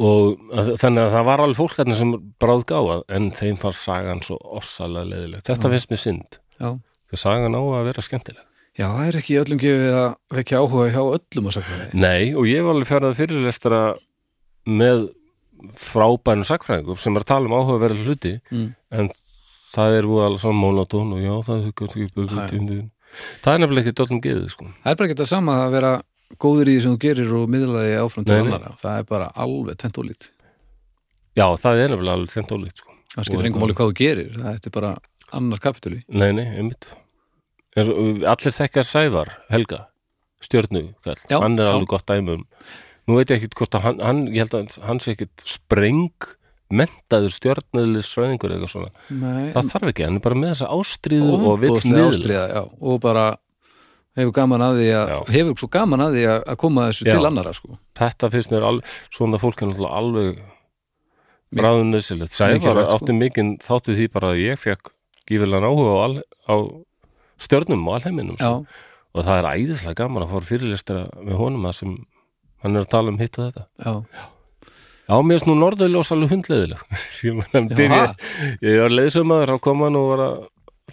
Speaker 1: og að- þannig að það var alveg fólk þarna sem bráð gáða en þeim fannst sagan svo ossalega leðileg þetta finnst mér synd,
Speaker 2: já
Speaker 1: því sagan á að vera skemmtileg
Speaker 2: Já, það er ekki í öllum gefið að vekja áhuga hjá öllum að sakna
Speaker 1: nei, og ég var alveg fjarað fyrirlestara með frábænum sakfræðingum sem er að tala um áhugaverða hluti
Speaker 2: Mm.
Speaker 1: en það er voða alveg svona monotón og já, það er
Speaker 2: Já, já.
Speaker 1: hugað það er nefnilega ekki dollum geðið sko
Speaker 2: Það er bara ekki það sama að vera góður í því sem þú gerir og miðlaði áfram til
Speaker 1: Nei, nei.
Speaker 2: annara. Það er bara alveg tvent ólít.
Speaker 1: já, það er nefnilega alveg þeim tólið sko
Speaker 2: Það skiptir
Speaker 1: Og-
Speaker 2: engum máli hvað þú gerir. Það þetta er bara annar kapitúli.
Speaker 1: nei, nei, einmitt En svo- Allir þekkar Sævar, Helga stjörnu, kall,
Speaker 2: Já,
Speaker 1: hann er
Speaker 2: já.
Speaker 1: alveg gott dæmum Nú veit ég ekkit hvort að hann, hann ég held að hann sé ekkit spreng mentaður stjörnuðlis fræðingur eða eitthvað svona,
Speaker 2: Nei,
Speaker 1: það þarf ekki hann er bara með þessa ástríðu og vill
Speaker 2: ofboðslega
Speaker 1: miðla.
Speaker 2: ástríða, já, og bara hefur gaman að því að
Speaker 1: Já.
Speaker 2: hefur svo gaman að því að að koma þessu
Speaker 1: Já.
Speaker 2: til annara sko.
Speaker 1: Þetta finnst mér alveg, svona fólk er náttúrulega alveg
Speaker 2: Mik-
Speaker 1: bráðum nöðsilegt Sævar
Speaker 2: mikilvægt, sko.
Speaker 1: átti mikinn þátti því bara að ég fekk gífilegan áhuga á, al, á stjörnum og alheiminum
Speaker 2: já,
Speaker 1: sko. og það er æðislega gaman að fóra fyrirlestra með honum að sem hann er að tala um hitt og þetta
Speaker 2: já,
Speaker 1: Já, mér finnst nú norðurljós alveg hundleðileg ég man hann byrja
Speaker 2: já,
Speaker 1: ég var leiðsömaður, hann kom hann og var að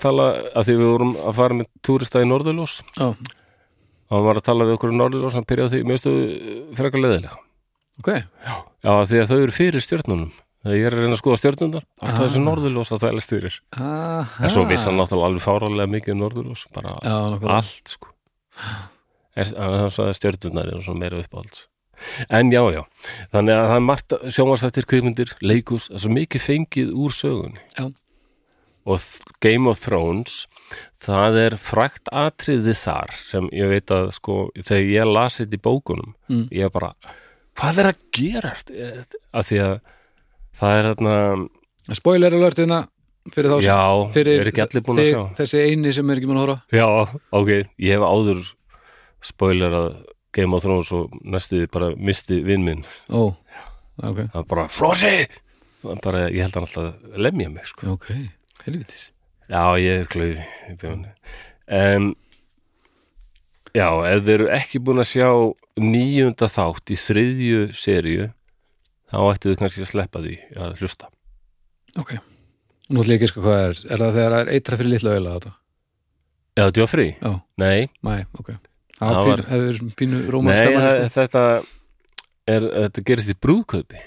Speaker 1: tala, að því við vorum að fara með túrista í norðurljós
Speaker 2: já
Speaker 1: og hann var að tala við okkur um norðurljós hann byrjaði á því, mér finnst þú frekar leðileg
Speaker 2: ok,
Speaker 1: Já, af því að þau eru fyrir stjörnunum þegar ég er að reyna að skoða stjörnundar alltaf
Speaker 2: Ah.
Speaker 1: þessu norðurljós að þælast fyrir
Speaker 2: aha
Speaker 1: en svo vissi hann náttúrulega alveg fáralega mikið um norðurljós bara
Speaker 2: Ah. já, nákvæmlega.
Speaker 1: allt sko Er- hann sagði stjörnurnar er svona meira uppáhalds en já, já, þannig að það er margt sjónvarsættir kvikmyndir, leikus það er svo mikið fengið úr sögunni
Speaker 2: Já.
Speaker 1: og Th- Game of Thrones það er frækt atriði þar sem ég veit að sko þegar ég las þetta í bókunum
Speaker 2: Mm.
Speaker 1: ég bara, hvað er að gerast Eh, af því að það er þarna,
Speaker 2: spoiler alertina fyrir þá sem-
Speaker 1: já
Speaker 2: fyrir
Speaker 1: er ekki allir búin að
Speaker 2: þig-
Speaker 1: sjá
Speaker 2: þessi eini sem er ekki búin að horfa
Speaker 1: Já, ok, ég hef áður spoilerað Game of Thrones og næstuði bara misti vinn minn
Speaker 2: ó, ok,
Speaker 1: það var bara, Flossi Það var bara, ég held hann alltaf að lemja mig sko.
Speaker 2: ok, helvitis
Speaker 1: Já, ég er klaufi í bjóðinni um, Já, ef þeir eru ekki búin að sjá nýjunda þátt í þriðju seríu þá ættu þau kannski að sleppa því að hlusta
Speaker 2: ok, nú ætlum ég ekki sko hvað er er það þegar það er eitra fyrir litla auðla þetta
Speaker 1: Já, þetta var frí?
Speaker 2: Já.
Speaker 1: Nei,
Speaker 2: mæ, ok,
Speaker 1: Það
Speaker 2: það
Speaker 1: var-
Speaker 2: var pínu, pínu sko. rómar
Speaker 1: Nei
Speaker 2: stemmar
Speaker 1: það, þetta er, þetta gerist í brúðkaupi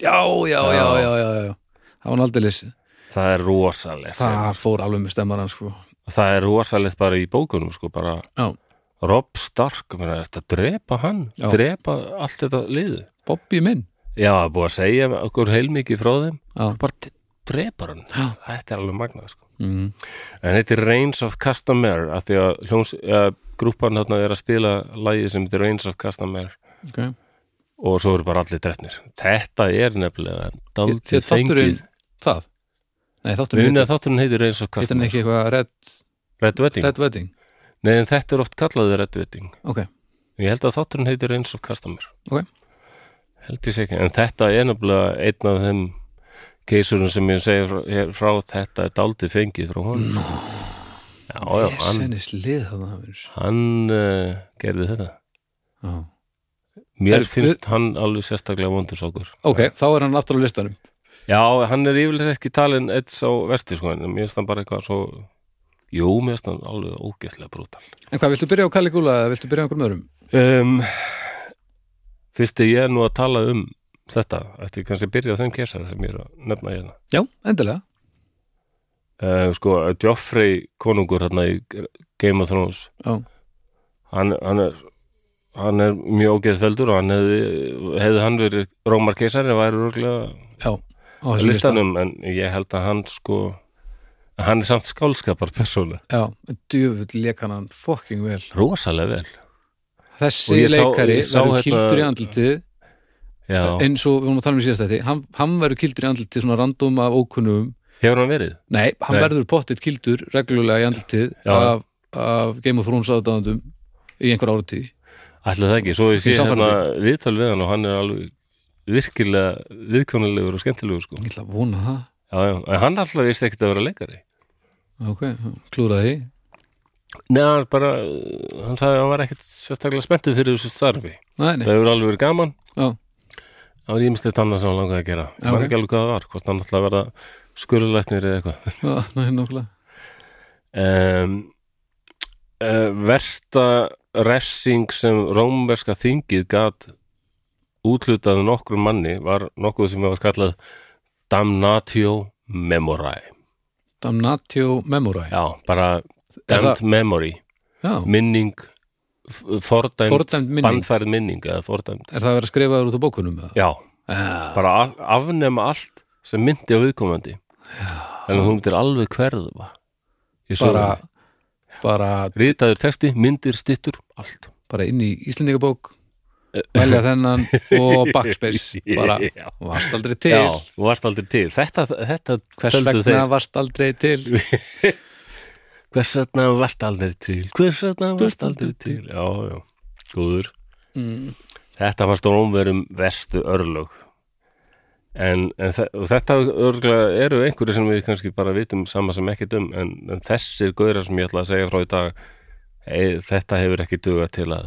Speaker 2: já, já, já,
Speaker 1: Já.
Speaker 2: já, já, já það var naldeilis,
Speaker 1: Það er rosalegt
Speaker 2: það fór alveg með stemmaran sko,
Speaker 1: það er rosalegt bara í bókunum sko, bara
Speaker 2: Já.
Speaker 1: Rob Stark meina, þetta drepa hann,
Speaker 2: Já.
Speaker 1: drepa allt þetta liðu
Speaker 2: Bobby minn
Speaker 1: já, það er búið að segja okkur heilmikið frá þeim
Speaker 2: já,
Speaker 1: bara d- drepar hann
Speaker 2: já,
Speaker 1: þetta er alveg magnað sko.
Speaker 2: mm,
Speaker 1: en þetta er Reigns of Customer af því að hljóns, ja, grúpan þarna er að spila lagið sem þetta er Reigns of Customer
Speaker 2: ok
Speaker 1: og svo eru bara allir drefnir þetta er nefnilega
Speaker 2: Þér
Speaker 1: daldið
Speaker 2: þátturinn
Speaker 1: fengið
Speaker 2: það? Nei, þátturinn
Speaker 1: Muna
Speaker 2: heitir,
Speaker 1: að þátturinn heitir Reigns of
Speaker 2: heitir hann
Speaker 1: Customer
Speaker 2: ekki eitthvað Red,
Speaker 1: Red Wedding,
Speaker 2: Red Wedding
Speaker 1: nei en þetta er oft kallaðið Red Wedding
Speaker 2: ok,
Speaker 1: Ég held að þátturinn heitir eins og Customer
Speaker 2: Ok.
Speaker 1: Held ég sé ekki, en þetta er nefnilega einn af þeim keisurum sem ég segi frá, hér frá þetta er daldið fengið frá honum no. Já, já,
Speaker 2: yes,
Speaker 1: hann,
Speaker 2: henni slið þarna það verður.
Speaker 1: hann uh, gerði þetta
Speaker 2: Já.
Speaker 1: Mér
Speaker 2: Er-
Speaker 1: finnst hann alveg sérstaklega vondur sákur
Speaker 2: ok, þá er hann aftur á listanum
Speaker 1: Já, hann er yfirlega ekki talin eitt sá vesti sko, en mér finnst hann bara eitthvað svo Jú, mér finnst hann alveg ógeðslega brútal
Speaker 2: en hvað, viltu byrja á Caligula eða viltu byrja á einhverjum öðrum?
Speaker 1: um, Fyrst er ég nú að tala um þetta, ætti ég kannski að byrja á þeim kesar sem ég er að nefna hérna
Speaker 2: já, endilega,
Speaker 1: uh, sko, Joffrey konungur hérna í Game of Thrones
Speaker 2: Já.
Speaker 1: hann, hann er hann er mjög ógeðfeldur og hann hefði, hefði hann verið Rómar keisari væri rúglega
Speaker 2: já á þessum
Speaker 1: listanum en ég held að hann sko hann er samt skálskapar persónu
Speaker 2: lista. já, djöfull leik hann hann fucking vel
Speaker 1: rosalega vel Og
Speaker 2: þessi
Speaker 1: ég sá-
Speaker 2: leikari
Speaker 1: ég sá
Speaker 2: verður
Speaker 1: þetta-
Speaker 2: kildur í andlitið
Speaker 1: Já.
Speaker 2: eins og við vorum að tala um í síðast þetta hann, hann verður kildur í andlitið svona random af ókunnum
Speaker 1: hefur hann verið?
Speaker 2: nei, hann
Speaker 1: Nei.
Speaker 2: verður pottitt kildur reglulega í andlitið
Speaker 1: Já.
Speaker 2: af, af Game of Thrones aðdáðandum í einhver áratí
Speaker 1: Ætli það ekki, svo ég sé
Speaker 2: Fucking
Speaker 1: hérna viðtal við hann og hann er alveg virkilega viðkonulegur og skemmtilegur sko
Speaker 2: ég ætla að vona það
Speaker 1: já, já. en hann alltaf vist ekkert að vera leikari
Speaker 2: Ok, klúraði því
Speaker 1: Nei, hann bara, uh, hann sagði að hann var ekkert sérstaklega spenntur fyrir þessu starfi.
Speaker 2: Nei, nei,
Speaker 1: Það hefur alveg verið gaman.
Speaker 2: Já.
Speaker 1: Það var ímislegt annað sem hann langaði að gera. Ég
Speaker 2: Já,
Speaker 1: var
Speaker 2: ok.
Speaker 1: ekki alveg hvað það var, hvort hann ætlaði að verða skurulætnir eða eitthvað.
Speaker 2: já, nei, nokkulega
Speaker 1: Um, uh, versta refsing sem rómverska þingið gat útlutað nokkrum manni var nokkuð sem var kallað damnatio memorae.
Speaker 2: Damnatio Memorae Já,
Speaker 1: Já, bara
Speaker 2: Er
Speaker 1: damned memory. Minning, f- fordæmd,
Speaker 2: Fordæmd minning.
Speaker 1: bannfærð minning eða fordæmd.
Speaker 2: er það að vera skrifaður út á bókunum? eða?
Speaker 1: Já,
Speaker 2: Já,
Speaker 1: bara af, afnema allt sem myndi á viðkomandi Já. en hún myndir alveg hverða í sögunni.
Speaker 2: bara bara,
Speaker 1: Ritaður texti, myndir, stittur, allt
Speaker 2: bara inn í Íslendingabók
Speaker 1: Eh.
Speaker 2: velja þennan og backspace bara,
Speaker 1: Já.
Speaker 2: varst aldrei til
Speaker 1: Já, þú varst aldrei til Þetta, þetta
Speaker 2: hvers
Speaker 1: töldu
Speaker 2: vegna
Speaker 1: þeir.
Speaker 2: varst aldrei til
Speaker 1: Hvers vegna varst aldrei til Hvers vegna varst aldrei til Já, já, góður
Speaker 2: mm,
Speaker 1: Þetta fannst Rómverjum vestu örlög en, en þe- og þetta örgla eru einhverju sem við kannski bara vitum sama sem ekkert um en, en þessir gauðra sem ég ætla að segja frá í dag e, þetta hefur ekki duga til að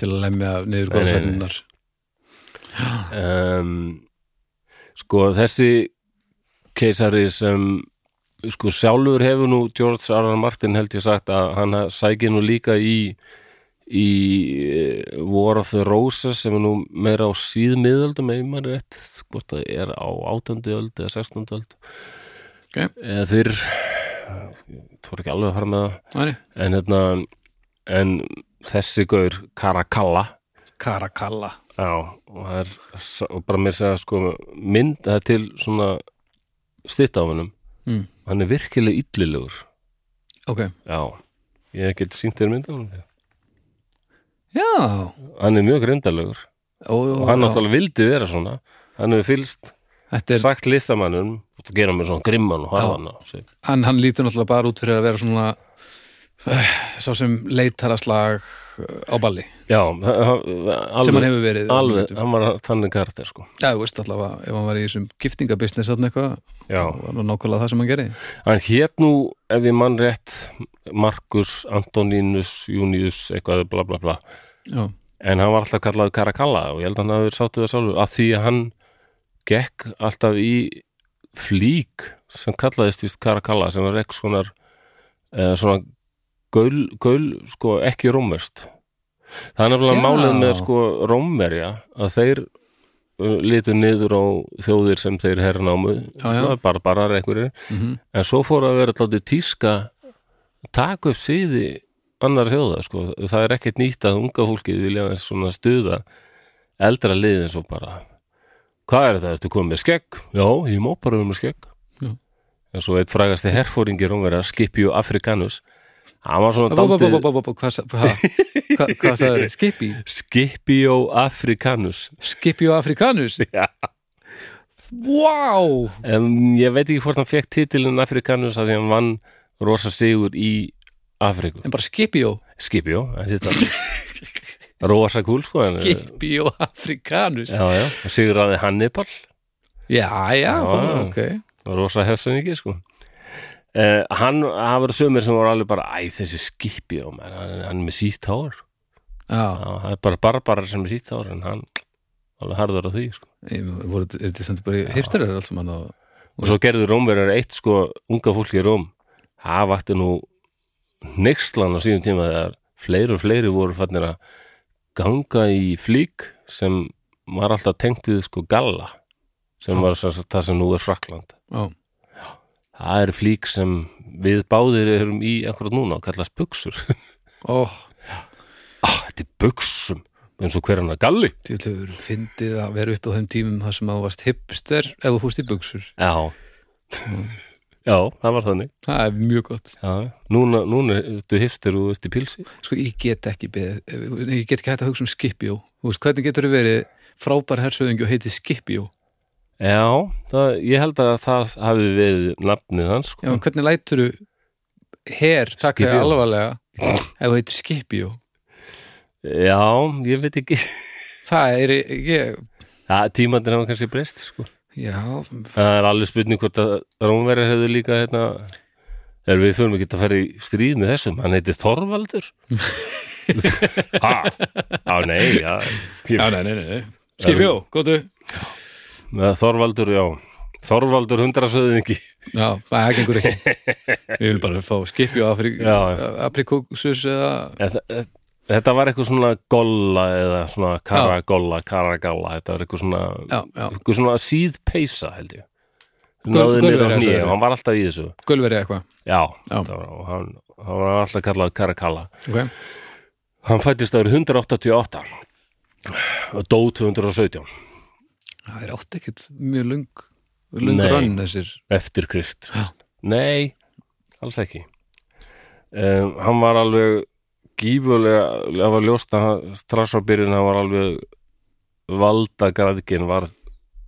Speaker 2: til að lemja niður
Speaker 1: Nei, nei, nei.
Speaker 2: góðsvegnunar
Speaker 1: um, sko þessi keisari sem sko sjálfur hefur nú George R. R. Martin held ég sagt að hann sæki nú líka í í eh, War of the Roses sem er nú meira á síðmiðöldum ef maður er rétt, hvort það er á 18. öld eða 16. öld
Speaker 2: Ok.
Speaker 1: eða fyrr þú er ekki alveg að fara með það en, hérna, en þessi gaur Karakalla
Speaker 2: Karakalla
Speaker 1: Já, og það er og bara mér segja sko mynd það er til svona stitt á hennum,
Speaker 2: mm,
Speaker 1: hann er virkilega illilegur,
Speaker 2: ok,
Speaker 1: já ég hef ekki sínt þér mynd á hennum
Speaker 2: já
Speaker 1: hann er mjög grindalegur
Speaker 2: ó, ó,
Speaker 1: og hann
Speaker 2: já.
Speaker 1: náttúrulega vildi vera svona hann hefur fylst
Speaker 2: þetta er,
Speaker 1: sagt listamannum og það gera mér svona grimman og
Speaker 2: Já.
Speaker 1: hafa hann á sig
Speaker 2: hann, hann lítur náttúrulega bara út fyrir að vera svona uh, sá sem leitar að slag eh, á balli,
Speaker 1: Já, það- það-
Speaker 2: sem hann
Speaker 1: alveg,
Speaker 2: hefur verið
Speaker 1: alveg hann var þannig karakter sko
Speaker 2: já, þú veist allavega, ef hann var í þessum giftingabusiness þarna eitthvað,
Speaker 1: Já,
Speaker 2: það var nú nákvæmlega það sem hann gerði
Speaker 1: hann hét nú ef ég mann rétt Markus Antoninus Junius eitthvað bla bla bla
Speaker 2: já,
Speaker 1: en hann var alltaf kallaður Karakalla og ég held að hann hafi verið sáttu það sjálfur að því að hann gekk alltaf í flík sem kallaðist vist Karakalla sem var ekki svona eh, svona gaul, gaul sko ekki rómverst það er nefnilega
Speaker 2: Já.
Speaker 1: málið með sko rómverja að þeir uh, litu niður á þjóðir sem þeir herrnámu
Speaker 2: Já, já.
Speaker 1: barbarar einhverjir
Speaker 2: mm
Speaker 1: en svo fór að vera alltaf tíska taka upp síði annar þjóða sko. það er ekkert nýtt að unga fólkið vilja aðeins svona stuða eldra liðin svo bara hvað er þetta, ertu komið með skegg? Já, ég má bara vera með skegg
Speaker 2: Já.
Speaker 1: en svo eitt frægasti herfóringi rómverja Scipio Africanus hann var svona
Speaker 2: Bá, bá, bá, bá,
Speaker 1: dándið
Speaker 2: bá, bá, bá, hvað, sa- hva, hva, hvað sagður þið? Skipi?
Speaker 1: Scipio Africanus
Speaker 2: Skipi og Afrikanus?
Speaker 1: Já.
Speaker 2: Wow!
Speaker 1: um, ég veit ekki hvort hann fekk titilin Africanus að því hann vann rosa sigur í Afriku
Speaker 2: En bara Skipi og
Speaker 1: Skipjó, þetta Rósa kúl sko en,
Speaker 2: Skipi og Afrikanus?
Speaker 1: Já, já, og sigraði Hannibal
Speaker 2: Já, já,
Speaker 1: Já.
Speaker 2: það, ok
Speaker 1: Rósa hefstöðingi sko Uh, hann hafa verið sömur sem voru alveg bara æ, þessi skipi á mér, hann, hann er með sítt hár
Speaker 2: Já,
Speaker 1: Já, það er bara barbarar sem er sítt hár en hann alveg harður á því sko.
Speaker 2: ég meina, voru þetta- er þetta samt bara hipsterar alls mann og
Speaker 1: og svo gerðu Rómverjar eitt sko unga fólki í Róm það vakti nú nexlan á síðum tíma þegar fleiri og fleiri voru fannir að ganga í flík sem var alltaf tengt við sko galla sem var svo, það sem nú er Frakland
Speaker 2: Já.
Speaker 1: það er flík sem við báðir erum í akkurat núna og kallast buksur
Speaker 2: Ó,
Speaker 1: ah, þetta er buksum eins og hver hann að galli
Speaker 2: þú hefur fyndið að vera upp á þeim tímum þar sem að þú varst hipster ef þú fúst í buksur
Speaker 1: já, já það var þannig
Speaker 2: Það er mjög gott
Speaker 1: já. núna, núna ertu hifstir og ertu í pilsi
Speaker 2: Sko, ég get ekki beð, ég get ekki hægt að hugsa um Skipjó Þú veist, hvernig getur þú verið frábær hersöðingi og heiti Skipjó
Speaker 1: Já, það, ég held að það hafi verið nafnið hans
Speaker 2: Já,
Speaker 1: sko.
Speaker 2: en hvernig lætur þú her taka þig
Speaker 1: Scipio.
Speaker 2: alvarlega ef þú heitir Skipjó
Speaker 1: Já, ég veit ekki
Speaker 2: Það er, ég,
Speaker 1: ja, Tímandir hafa kannski breyst sko.
Speaker 2: já,
Speaker 1: Það er alveg spurning hvort að Rómverjar hefðu líka hérna, er við förum ekki að fara í stríð með þessum, hann heiti Þorvaldur Ha, á nei já,
Speaker 2: já,
Speaker 1: ég,
Speaker 2: nei, nei, nei, nei. Skipjó, góðu
Speaker 1: já. Þorvaldur, já Þorvaldur hundrasöðingi
Speaker 2: Já, nei, það gengur ekki Við viljum bara fá skipi og afrik
Speaker 1: Já, já.
Speaker 2: aprikóksus eða
Speaker 1: En þa- þa- Þetta var eitthvað svona golla eða svona karagolla, karagalla þetta var eitthvað svona,
Speaker 2: Já, já.
Speaker 1: eitthvað svona síðpeisa held ég
Speaker 2: Gul-
Speaker 1: Náði niður á
Speaker 2: gulverja,
Speaker 1: hnýja
Speaker 2: sagðirðu?
Speaker 1: og hann var alltaf í þessu
Speaker 2: gulveri eitthvað
Speaker 1: Já,
Speaker 2: Já.
Speaker 1: það Var, og hann, hann var alltaf kallað karakalla
Speaker 2: okay.
Speaker 1: Hann fættist árið 188 og dó 217
Speaker 2: Það er átt ekkert mjög lung lung
Speaker 1: Nei.
Speaker 2: rann þessir
Speaker 1: eftir Krist
Speaker 2: Já.
Speaker 1: Nei, alls ekki um, hann var alveg gífulega, það var ljóst að hann- strax á byrjun hann var alveg valda græðgin var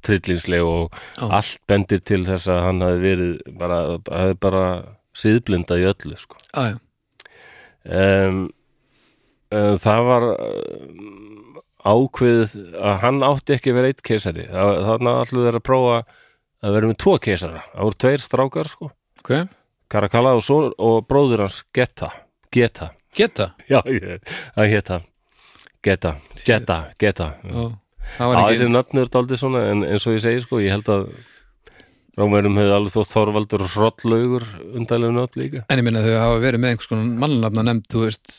Speaker 1: trillingsleg og
Speaker 2: Já.
Speaker 1: allt bendir til þess að hann hafi verið bara, hafi bara síðblindað í öllu sko
Speaker 2: já, já,
Speaker 1: um, uh, það var um, ákveðið að hann átti ekki að vera eitt keisari Það- þannig að allir þeir að prófa að vera með tvo keisara, það voru tveir strákar sko,
Speaker 2: ok,
Speaker 1: Karakala og, son, og bróður hans Geta Geta,
Speaker 2: geta
Speaker 1: já, ég- hann hétta Geta, Geta, Geta
Speaker 2: já, það
Speaker 1: Já,
Speaker 2: var ekki
Speaker 1: þessi nöfn eru daldið svona en eins og ég segi sko, ég held að Rómverjum hefði alveg þó Þorvaldur og Hrolllaugur undanlega nöfn líka
Speaker 2: En ég minna þau hafa verið með einhvers konar mannlafna nefnd, þú veist,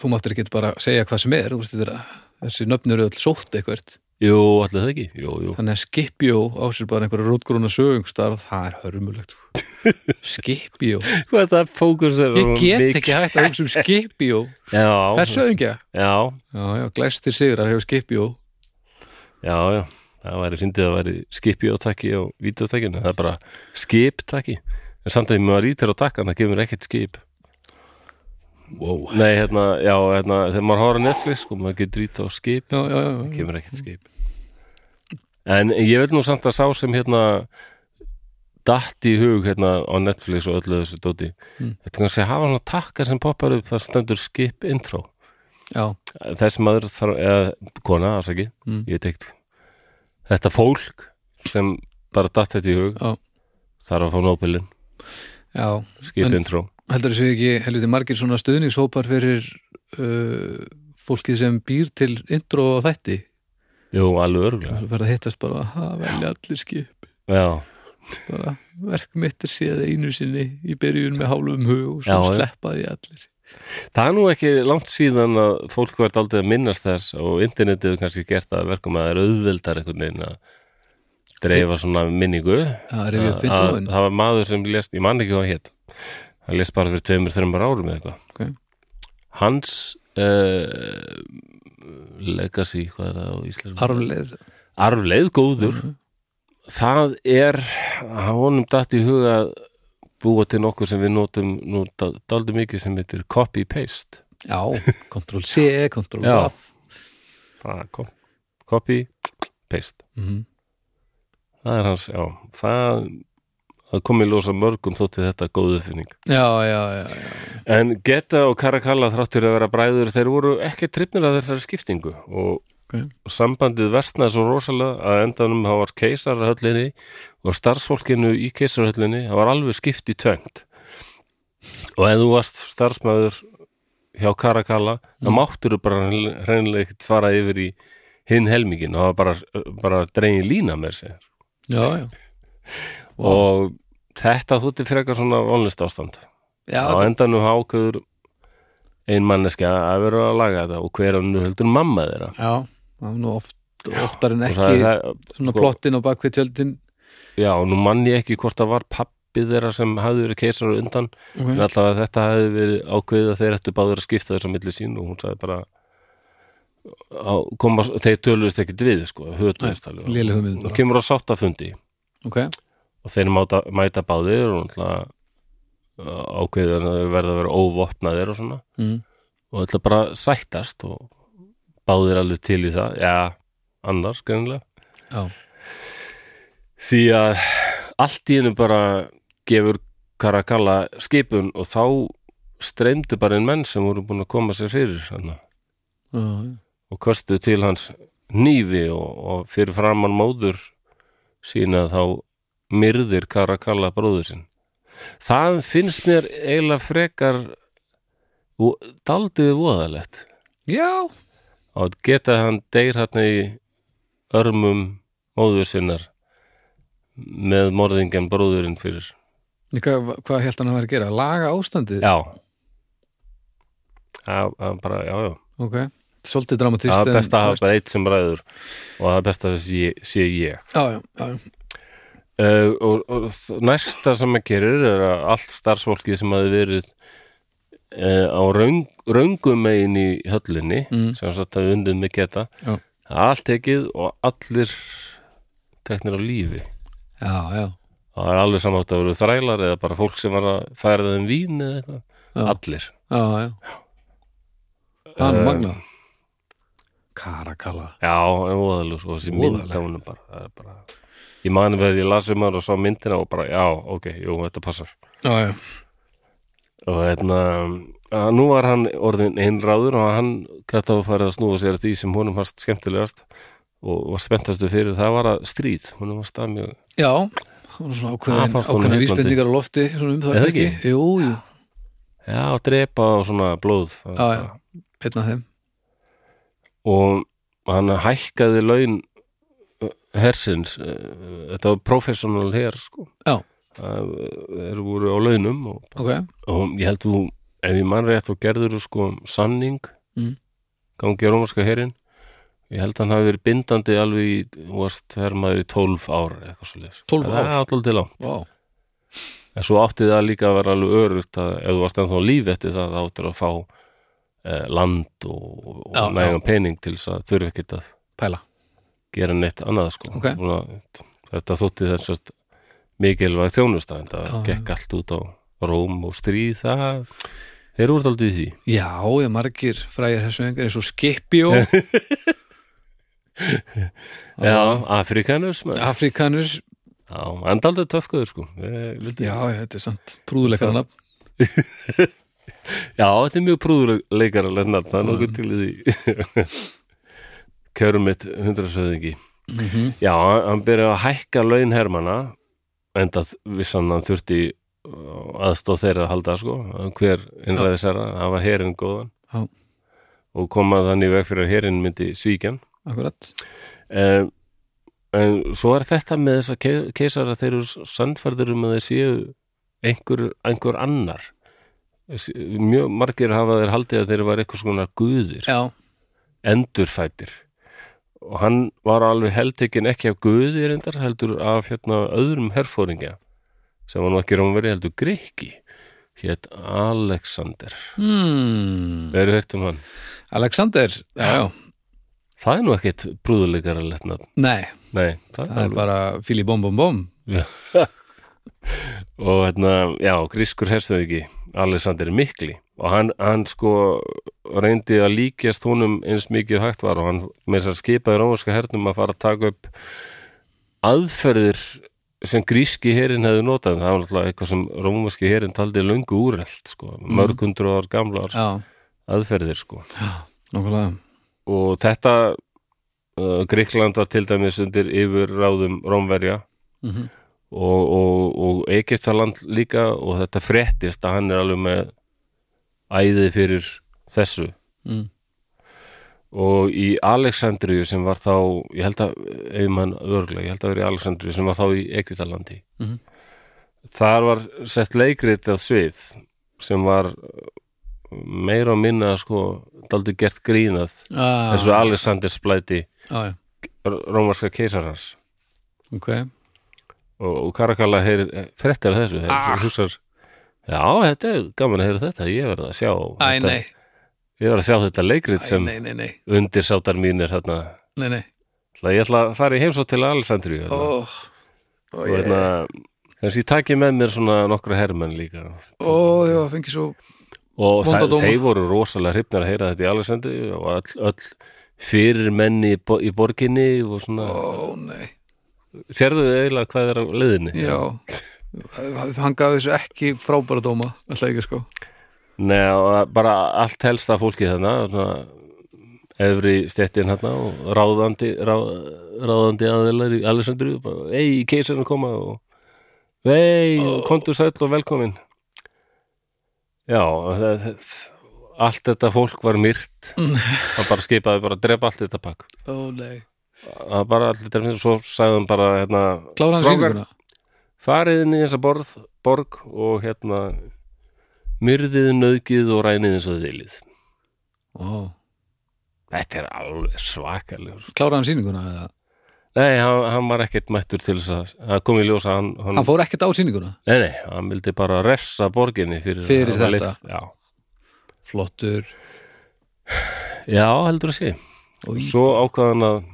Speaker 2: þú máttir ekki bara segja hvað sem er, þú veist, þetta, þessi nöfn eru öll sótt eitthvert.
Speaker 1: Jú, allir það ekki, jú, jú
Speaker 2: Þannig að Skipjó á sér bara einhverja rótgrúna sögungstarð, það er hörmulegt. sko. Skipjó.
Speaker 1: Hvað það fókus er
Speaker 2: Ég get ekki hægt að hugsa um Skipjó.
Speaker 1: Já,
Speaker 2: Það er sögungja.
Speaker 1: já,
Speaker 2: Já, já, glæstir sigrar hefur Skipjó.
Speaker 1: já, já Það væri fyndið að væri skipi á takki á vídeotakinu, það er bara skip takki en samt að maður ítir á takkan það kemur ekkert skip
Speaker 2: Wow.
Speaker 1: Nei, hérna, já, hérna, þegar maður horfður á Netflix sko, maður getur ít á skip
Speaker 2: Já, já, já.
Speaker 1: kemur ekkert skip En ég vil nú samt að sá sem hérna datt í hug hérna á Netflix og öllu þessu dóti
Speaker 2: Mm.
Speaker 1: Þetta kannski að hafa svona takkar sem poppar upp þar stendur skip intro
Speaker 2: Já,
Speaker 1: þessi maður þarf, eða kona, afsaki,
Speaker 2: Mm.
Speaker 1: ég teikt þetta fólk sem bara datt þetta í hug
Speaker 2: Já.
Speaker 1: þarf að fá nópilin,
Speaker 2: já. En-
Speaker 1: skip intro
Speaker 2: Heldur þessu ekki, heldur þið margir svona stuðningshópar fyrir uh, fólkið sem býr til intro og þætti?
Speaker 1: Jú, alveg örgulega
Speaker 2: Það verða að hittast bara að velja allir skip.
Speaker 1: Já,
Speaker 2: bara verk mitt er séð einu sinni í byrjun með hálfum hug og
Speaker 1: Já,
Speaker 2: svo
Speaker 1: já.
Speaker 2: sleppa því allir
Speaker 1: það er nú ekki langt síðan að fólk verð aldrei að minnast þess og internetið er kannski gert að verka með að það er auðveldar einhvern veginn að dreifa svona minningu
Speaker 2: að
Speaker 1: að,
Speaker 2: rifja upp
Speaker 1: að,
Speaker 2: vindóin
Speaker 1: það var maður sem lést, ég man ekki hvað hann hétt hann lést bara fyrir tveimur, þreimur árum eða eitthvað
Speaker 2: Ok.
Speaker 1: hans uh, legacy, hvað er það á íslensku?
Speaker 2: arfleð
Speaker 1: Arfleið góður það er að honum datt í huga að búa til nokkur sem við notum nú daldi mikið sem heitir copy-paste
Speaker 2: já, Ctrl C, Ctrl
Speaker 1: Já.
Speaker 2: F
Speaker 1: Bara kom- copy-paste
Speaker 2: mhm,
Speaker 1: það er hans, já það, það kom í ljósa mörgum þótti þetta góðu finning
Speaker 2: já, já, já, já,
Speaker 1: En Geta og Karakalla þráttur að vera bræður, þeir voru ekki trippnir að þessari skiptingu og
Speaker 2: Ok.
Speaker 1: sambandið vestnaði svo rosalega að endanum það var keisarhöllinni og starfsfólkinu í keisarhöllinni, það var alveg skipt í tönd. Og ef þú varst starfsmæður hjá Karakalla,
Speaker 2: Mm.
Speaker 1: þá máttur þú bara hreinlega ekkert fara yfir í hinn helmingin og það var bara, bara dregin lína með sér.
Speaker 2: já, já. Vá.
Speaker 1: Og þetta þútti frekar svona vonlist ástand
Speaker 2: já
Speaker 1: á endanum hákuður ein manneskja að vera að laga þetta og hver hann heldur mamma þeirra
Speaker 2: það- já, það er nú oft oftar en
Speaker 1: Og sagði
Speaker 2: ekki
Speaker 1: það,
Speaker 2: svona
Speaker 1: sko-
Speaker 2: plottin á bakvið tjöldin
Speaker 1: já, nú mann ég ekki hvort það var pappi þeirra sem hafði verið keisar og undan en
Speaker 2: okay.
Speaker 1: allavega þetta hafði verið ákveðið að þeir ættu báður að skipta þessu á milli sín og hún sagði bara á, koma, þeir töluðist ekkit við sko, hötuðist alveg.
Speaker 2: léleg hugmynd bara.
Speaker 1: og kemur á sáttafundi
Speaker 2: ok,
Speaker 1: og þeir máta, mæta báðir og náttúrulega, uh, ákveðið að þeir verða að vera óvopnaðir og svona
Speaker 2: mhm,
Speaker 1: og ætla bara að sættast og báðir alveg til í það já, annars greinlega
Speaker 2: já,
Speaker 1: því að allt í hennu bara gefur Karakalla skipun og þá streymdu bara einn menn sem voru búin að koma sér fyrir hana,
Speaker 2: já,
Speaker 1: og köstuðu til hans nýfi og, og fyrir framann móður sína þá myrðir Karakalla bróður sinn það finnst mér eiginlega frekar og daldið voðalegt
Speaker 2: já,
Speaker 1: og geta hann deyr hérna í örmum móður sinnar með morðingjan bróðurinn fyrir
Speaker 2: Líka, hva- hvað held hann að vera að gera laga ástandið,
Speaker 1: já það það er bara, já, já
Speaker 2: ok svolítið dramatist
Speaker 1: það er best að hafa
Speaker 2: já,
Speaker 1: bara eitt sem ræður og það er best að sé, sé ég
Speaker 2: já, já, já.
Speaker 1: uh, og, og þ- næsta sem að gerir er að allt starfsfólkið sem hafi verið uh, á raung, raungum megin í höllinni
Speaker 2: Mm.
Speaker 1: sem sagt að undið með geta
Speaker 2: Já.
Speaker 1: það er allt tekið og allir teknir á lífi
Speaker 2: já, já
Speaker 1: það er alveg samátt að vera þrælar eða bara fólk sem var að færa þeim vín eða eitthvað
Speaker 2: Já.
Speaker 1: allir
Speaker 2: já, já, það er
Speaker 1: Eh,
Speaker 2: magna Karakalla
Speaker 1: Já, en voðalug sko, þessi mynd
Speaker 2: Voðaleg.
Speaker 1: af honum bara, það er bara Ég mani verið, ég las um hann og sá myndina og bara, já, ok, jú, þetta passar
Speaker 2: já, já,
Speaker 1: og hérna að nú var hann orðin einráður og hann gæti að fara að snúa sér að því sem honum fannst skemmtilegast og var spenntastu fyrir það var að stríð honum var stað mjög
Speaker 2: já það var svona
Speaker 1: Það
Speaker 2: ákveðin,
Speaker 1: fannst honum
Speaker 2: ákveðin
Speaker 1: heillandi.
Speaker 2: vísbendingar á lofti svona um það
Speaker 1: Er það ekki?
Speaker 2: kannski. Jú, jú,
Speaker 1: já, að drepa og svona blóð
Speaker 2: já, já, einn af þeim
Speaker 1: og hann hækkaði laun uh, hersins uh, þetta var professional her sko
Speaker 2: Já.
Speaker 1: það eru voru á launum og
Speaker 2: Ok,
Speaker 1: og ég held þú ef ég mann rétt og gerður þú sko sanning
Speaker 2: Mm.
Speaker 1: gangi á rómarska herin ég held hann hafi verið bindandi alveg í vorst hermaður í 12 ár eða eitthvað svo leis
Speaker 2: 12 ár?
Speaker 1: Það er alltaf til á
Speaker 2: vá,
Speaker 1: en svo átti það líka að vera alveg örugt að ef þú varst ennþá á lífi eftir það þá áttir að fá eh, land og,
Speaker 2: Já,
Speaker 1: og nægum pening til þess að þurfi ekkert að
Speaker 2: pæla
Speaker 1: gera neitt annað sko
Speaker 2: Ok.
Speaker 1: Búna, þetta þótti þess að mikilvæg þjónusta en það
Speaker 2: Já, já.
Speaker 1: gekk allt út á róm og stríð það þeir eru úr daldið í því
Speaker 2: Já, ég margir frægir hessu engar eins og Skipjó
Speaker 1: Já, Afrikanus maður.
Speaker 2: Afrikanus
Speaker 1: Já, en daldið töfkuður sko Eh, lítið-
Speaker 2: Já, já, þetta er sant, prúðuleikara nafn
Speaker 1: Já, þetta er mjög prúðuleikar að lefna það er nokkuð til í því Kjörum mitt hundrasöðingi
Speaker 2: Mhm.
Speaker 1: Já, hann byrjaði að hækka laun hermana enda vissan hann þurfti uh, aðstóð þeirra að halda sko hver innræðisara, það var herin góðan
Speaker 2: Já.
Speaker 1: og koma þannig í veg fyrir að herin myndi svíkjan
Speaker 2: Akkurat,
Speaker 1: Eh, en svo er þetta með þess að keisara þeir eru sannfærður um að þeir séu einhver, einhver annar Þessi- mjög margir hafa þeir haldið að þeir var eitthvað svona guðir
Speaker 2: já,
Speaker 1: endurfættir og hann var alveg heldtekin ekki af guði reyndar heldur af hérna öðrum herfóringja sem var nú ekki rómveri heldur Grikki hétt Alexander
Speaker 2: hmm.
Speaker 1: eru hægt um hann
Speaker 2: Alexander Já, já,
Speaker 1: það er nú ekkit prúðuleikara letna
Speaker 2: nei,
Speaker 1: nei, það,
Speaker 2: það er bara fíli bom bom bom
Speaker 1: og hérna, já, grískur herstöðingi Alexander Mikli og hann, hann sko reyndi að líkjast honum eins mikið og hægt var og hann með þess að skipaði rómarska hernum að fara að taka upp aðferðir sem gríski herin hefði notað það var alltaf eitthvað sem rómarski herin taldi löngu úrelt sko, mörg hundru ár gamlar
Speaker 2: Já,
Speaker 1: aðferðir sko
Speaker 2: nokkulega
Speaker 1: og þetta uh, Gríkland var til dæmis undir yfir ráðum Rómverja
Speaker 2: Mhm.
Speaker 1: og, og, og Egyptaland líka og þetta fréttist að hann er alveg með æði fyrir þessu
Speaker 2: Mm.
Speaker 1: og í Alexandriu sem var þá ég held að, ef mann örglega ég held að vera í Alexandriu sem var þá í Egyptalandi
Speaker 2: Mhm.
Speaker 1: þar var sett leikrit á svið sem var uh, meira og minna sko, daldi gert grínað
Speaker 2: ah,
Speaker 1: þessu Alexander splæti
Speaker 2: Já, já,
Speaker 1: rómarska keisarans
Speaker 2: ok
Speaker 1: og, og Karakalla heyrir frettir af þessu
Speaker 2: Ah.
Speaker 1: ah. húsar, já, þetta er gaman að heyra þetta ég verð að sjá
Speaker 2: Æ,
Speaker 1: þetta,
Speaker 2: nei,
Speaker 1: ég verð að sjá þetta leikrit
Speaker 2: æ,
Speaker 1: sem
Speaker 2: nei, nei, nei,
Speaker 1: undirsáttar mínir þarna
Speaker 2: nei, nei
Speaker 1: Það ég ætla að fara í heimsótt til hérna. Alessandri og
Speaker 2: Ó, ó, ég
Speaker 1: þarna kannski hérna, ég taki með mér svona nokkra hermenn líka
Speaker 2: Ó, já, fengi svo
Speaker 1: og
Speaker 2: Vonda
Speaker 1: það,
Speaker 2: dóma.
Speaker 1: þeir voru rosalega hrifnar að heyra þetta í Alessandri og öll, öll fyrir menni í, bo í borginni og svona,
Speaker 2: Ó, nei,
Speaker 1: sérðu eiginlega hvað er á leiðinni
Speaker 2: já Hann gaf þessu ekki frábæra dóma Alltaf ekki sko
Speaker 1: Nei, og bara allt helsta fólkið þarna svona, efri stettin hérna og ráðandi ráð, ráðandi aðeinar í Alessandru bara, ei, keisarinn að koma og vei, oh. kontu sæll og velkomin Já það, það, allt þetta fólk var myrt það bara skipaði bara að drepa allt þetta pakk
Speaker 2: Ó, nei
Speaker 1: það bara allir drepa, svo sagði hann bara hérna,
Speaker 2: Klára hann
Speaker 1: "Strákar,
Speaker 2: sýninguna
Speaker 1: farið inn í þessa borð, borg og hérna myrðið, nöðgið og rænið eins og þið viljið.
Speaker 2: Ó,
Speaker 1: Þetta er alveg svakalegur.
Speaker 2: klára hann sýninguna eða
Speaker 1: Nei, hann, hann var ekkert mættur til þess að, að koma í ljósa hann, hann,
Speaker 2: Hann fór ekkert á sýninguna
Speaker 1: nei, nei, hann vildi bara refsa borginni fyrir,
Speaker 2: Fyrir
Speaker 1: hann var
Speaker 2: þetta.
Speaker 1: lyft- já.
Speaker 2: Flottur
Speaker 1: já, heldur að sé.
Speaker 2: og í
Speaker 1: Svo ákvaðan að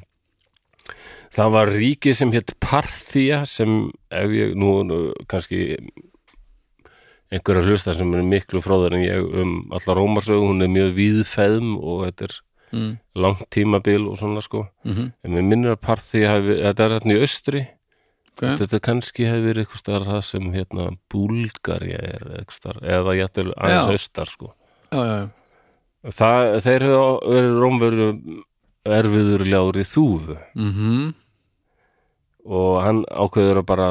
Speaker 1: það var ríki sem hétt Parthia sem ef ég nú, nú kannski einhverja hlusta sem er miklu fróðar en ég um alla rómarsögu, hún er mjög víðfeðm og þetta er
Speaker 2: mm.
Speaker 1: langt tímabil og svona sko
Speaker 2: Mm
Speaker 1: en mér minnir að part því hafi, þetta er hérna í austri
Speaker 2: okay.
Speaker 1: þetta kannski hefur verið eitthvað staðar það sem hérna Búlgarja er eitthvað staðar eða jættil aðeins
Speaker 2: Já.
Speaker 1: austar sko
Speaker 2: já, já, já.
Speaker 1: það, þeir hefur verið rómveru erfiður ljári þúfu
Speaker 2: Mm
Speaker 1: og hann ákveður að bara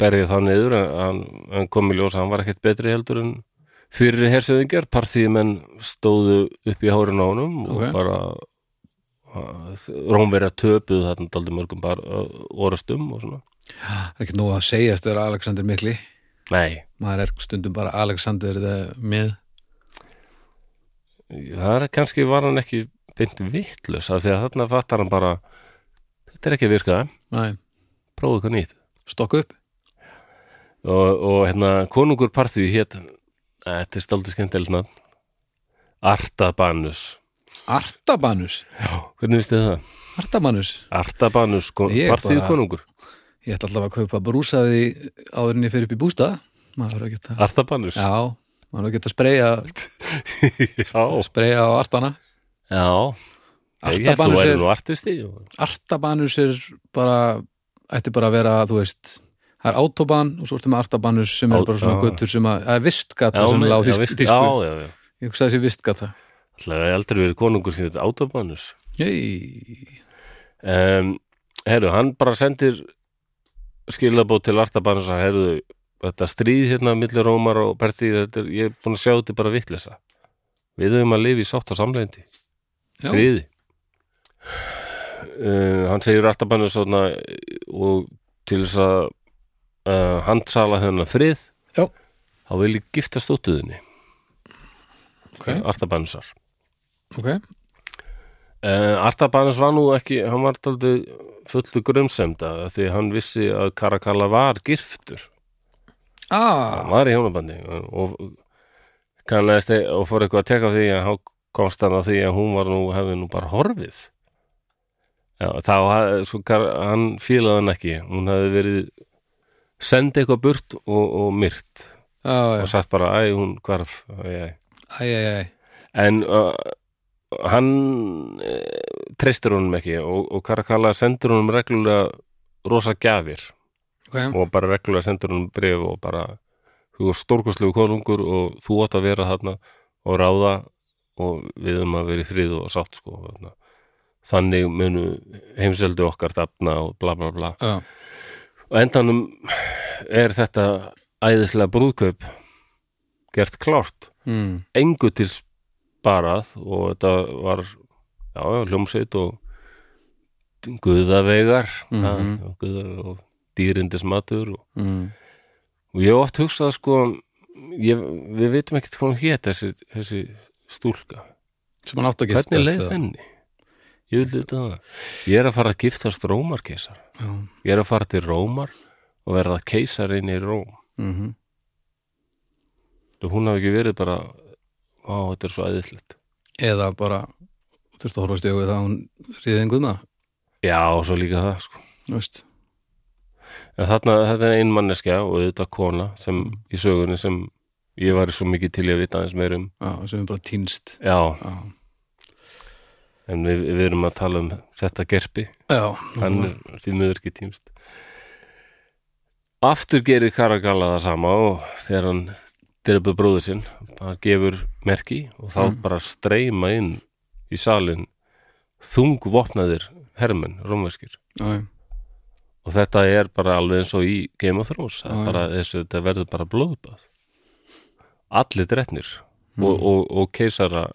Speaker 1: berja það niður en hann, hann kom í ljós að hann var ekkert betri heldur en fyrir hersöðingjar partíumenn stóðu upp í hárun á honum
Speaker 2: Ok.
Speaker 1: og bara Rómverja töpuð þarna daldi mörgum bara orastum og svona
Speaker 2: það er ekki nóg að segjast vera Alexander Mikli
Speaker 1: nei,
Speaker 2: maður er stundum bara Alexander the með
Speaker 1: það er kannski var hann ekki beint vittlus af því að þarna fattar hann bara þetta er ekki að virka,
Speaker 2: Nei.
Speaker 1: prófa eitthvað nýtt
Speaker 2: stokk upp
Speaker 1: og, og hérna konungur parþjú hét þetta er stáldi skemmtilegt nafn Artabanus
Speaker 2: Artabanus,
Speaker 1: hvernig vistu það?
Speaker 2: Artabanus
Speaker 1: Artabanus, kon,
Speaker 2: Ég
Speaker 1: parþjú
Speaker 2: bara-
Speaker 1: konungur
Speaker 2: ég ætla allavega að kaupa brúsaði áðurinni fyrir upp í bústað maður er að geta
Speaker 1: Artabanus
Speaker 2: já, maður er að geta spreyja
Speaker 1: já,
Speaker 2: spreyja á artana
Speaker 1: já. Ég held þú
Speaker 2: Artabanus
Speaker 1: væri
Speaker 2: er,
Speaker 1: nú artisti
Speaker 2: Artabanus er bara ætti bara að vera, þú veist það er autoban og svo ertu með Artabanus sem
Speaker 1: Á-
Speaker 2: er bara svona
Speaker 1: já.
Speaker 2: göttur sem að, að vistgata
Speaker 1: já,
Speaker 2: sem
Speaker 1: með-
Speaker 2: lág
Speaker 1: já, veist-
Speaker 2: þýsku
Speaker 1: já, já, já
Speaker 2: ég hugsaði þessi vistgata
Speaker 1: Ætli að ég aldrei verið konungur sem þetta Artabanus
Speaker 2: Jæj.
Speaker 1: um, herru, hann bara sendir skilabót til Artabanus að herru, þetta stríð hérna millir Rómar og Berti, þetta er, ég er búin að sjá þetta er bara vitlesa við höfum að lifa í sátt og samlendi
Speaker 2: Já.
Speaker 1: friði uh, hann segir Artabanus svona og til þess að uh, handsala þennan frið
Speaker 2: Já.
Speaker 1: þá vil ég giftast stóttuðinni
Speaker 2: ok,
Speaker 1: Artabanusar
Speaker 2: ok
Speaker 1: uh, Artabanus var nú ekki hann var aldrei fullu grömsemda því hann vissi að Karakalla var giftur
Speaker 2: ah,
Speaker 1: hann var í hjónabandi og kannaðist þe- og fór eitthvað að teka á því að hann komst hann að því að hún var nú hefði nú bara horfið já, þá ha- sko, kar- hann fílaði hann ekki hún hefði verið send eitthvað burt og, og myrt
Speaker 2: já, já,
Speaker 1: og sagt bara, æ, hún hvarf æ, æ.
Speaker 2: æj, æj, æj
Speaker 1: en uh, hann uh, treystir honum ekki og, og Karakalla sendur honum reglulega rosa gjafir
Speaker 2: ok,
Speaker 1: og bara reglulega sendur hún bref og bara þú er stórkostlegu konungur og þú átt að vera þarna og ráða og við um að vera í frið og sátt sko þarna. þannig munu heimseldu okkar dafna og bla bla bla
Speaker 2: já,
Speaker 1: og endanum er þetta æðislega brúðkaup gert klárt
Speaker 2: mm.
Speaker 1: engu til sparað og þetta var já, já, hljómsveit og guðavegar mm
Speaker 2: Mhm.
Speaker 1: guða, og dýrindismatur og
Speaker 2: Mm.
Speaker 1: og ég hef oft hugsað sko ég, við vitum ekkert hvað hún hét þessi, þessi stúlka
Speaker 2: sem hann átt að geta
Speaker 1: hvernig leið henni ég vil þetta það ég er að fara að giftast rómarkeisar ég er að fara til rómar og verða keisarinn í róm
Speaker 2: Mhm.
Speaker 1: og hún hafi ekki verið bara á þetta er svo æðislegt
Speaker 2: eða bara þurfti að horfa stjóðu það að hún ríðið en guðma
Speaker 1: já og svo líka það sko
Speaker 2: þú veist
Speaker 1: en þarna þetta er ein manneskja og þetta kona sem í sögunni sem ég var svo mikið til í að vita aðeins meir um
Speaker 2: já, sem er bara týnst
Speaker 1: já
Speaker 2: já,
Speaker 1: en við, við erum að tala um þetta gerpi
Speaker 2: já,
Speaker 1: hann er því miður ekki týmst aftur gerir Karagalla það sama og þegar hann drepa bróður sinn hann gefur merki og þá bara streyma inn í salin þungvopnaðir hermenn, rómverskir
Speaker 2: já, já.
Speaker 1: og þetta er bara alveg eins og í Game of Thrones það
Speaker 2: Já,
Speaker 1: er
Speaker 2: já.
Speaker 1: bara, þessu, þetta verður bara blóðbað allir dretnir
Speaker 2: Hmm.
Speaker 1: og, og, og keisara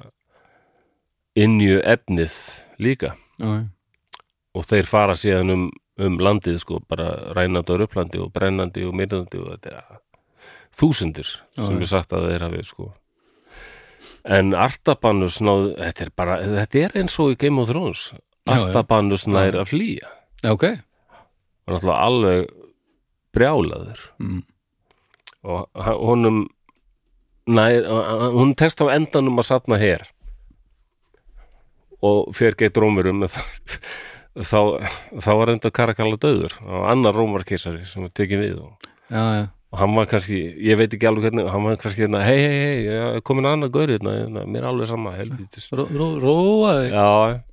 Speaker 1: innju efnið líka
Speaker 2: Mm. já, já.
Speaker 1: og þeir fara síðan um, um landið sko, bara rænandi og röplandi og brennandi og myrðandi og þetta er þúsundir sem
Speaker 2: já.
Speaker 1: er sagt að þeir hafi sko en Artabanus náð, þetta er bara þetta er eins og í Game of Thrones
Speaker 2: Já, já.
Speaker 1: Artabanus nær að flýja
Speaker 2: Já, ok
Speaker 1: var náttúrulega alveg brjálaður
Speaker 2: Mm.
Speaker 1: og h- honum nær, hún tekst á endanum að sapna her og fer geitt rómurum þá, þá, þá var enda karakalla döður og annar rómarkisari sem er tekið við og,
Speaker 2: já, já,
Speaker 1: og og hann var kannski, ég veit ekki alveg hvernig hann var kannski hérna, hei, hei, hei, ég er komin annað gaur hérna, hérna, mér er alveg sama helvítis,
Speaker 2: Ró, ró, róaði já,
Speaker 1: já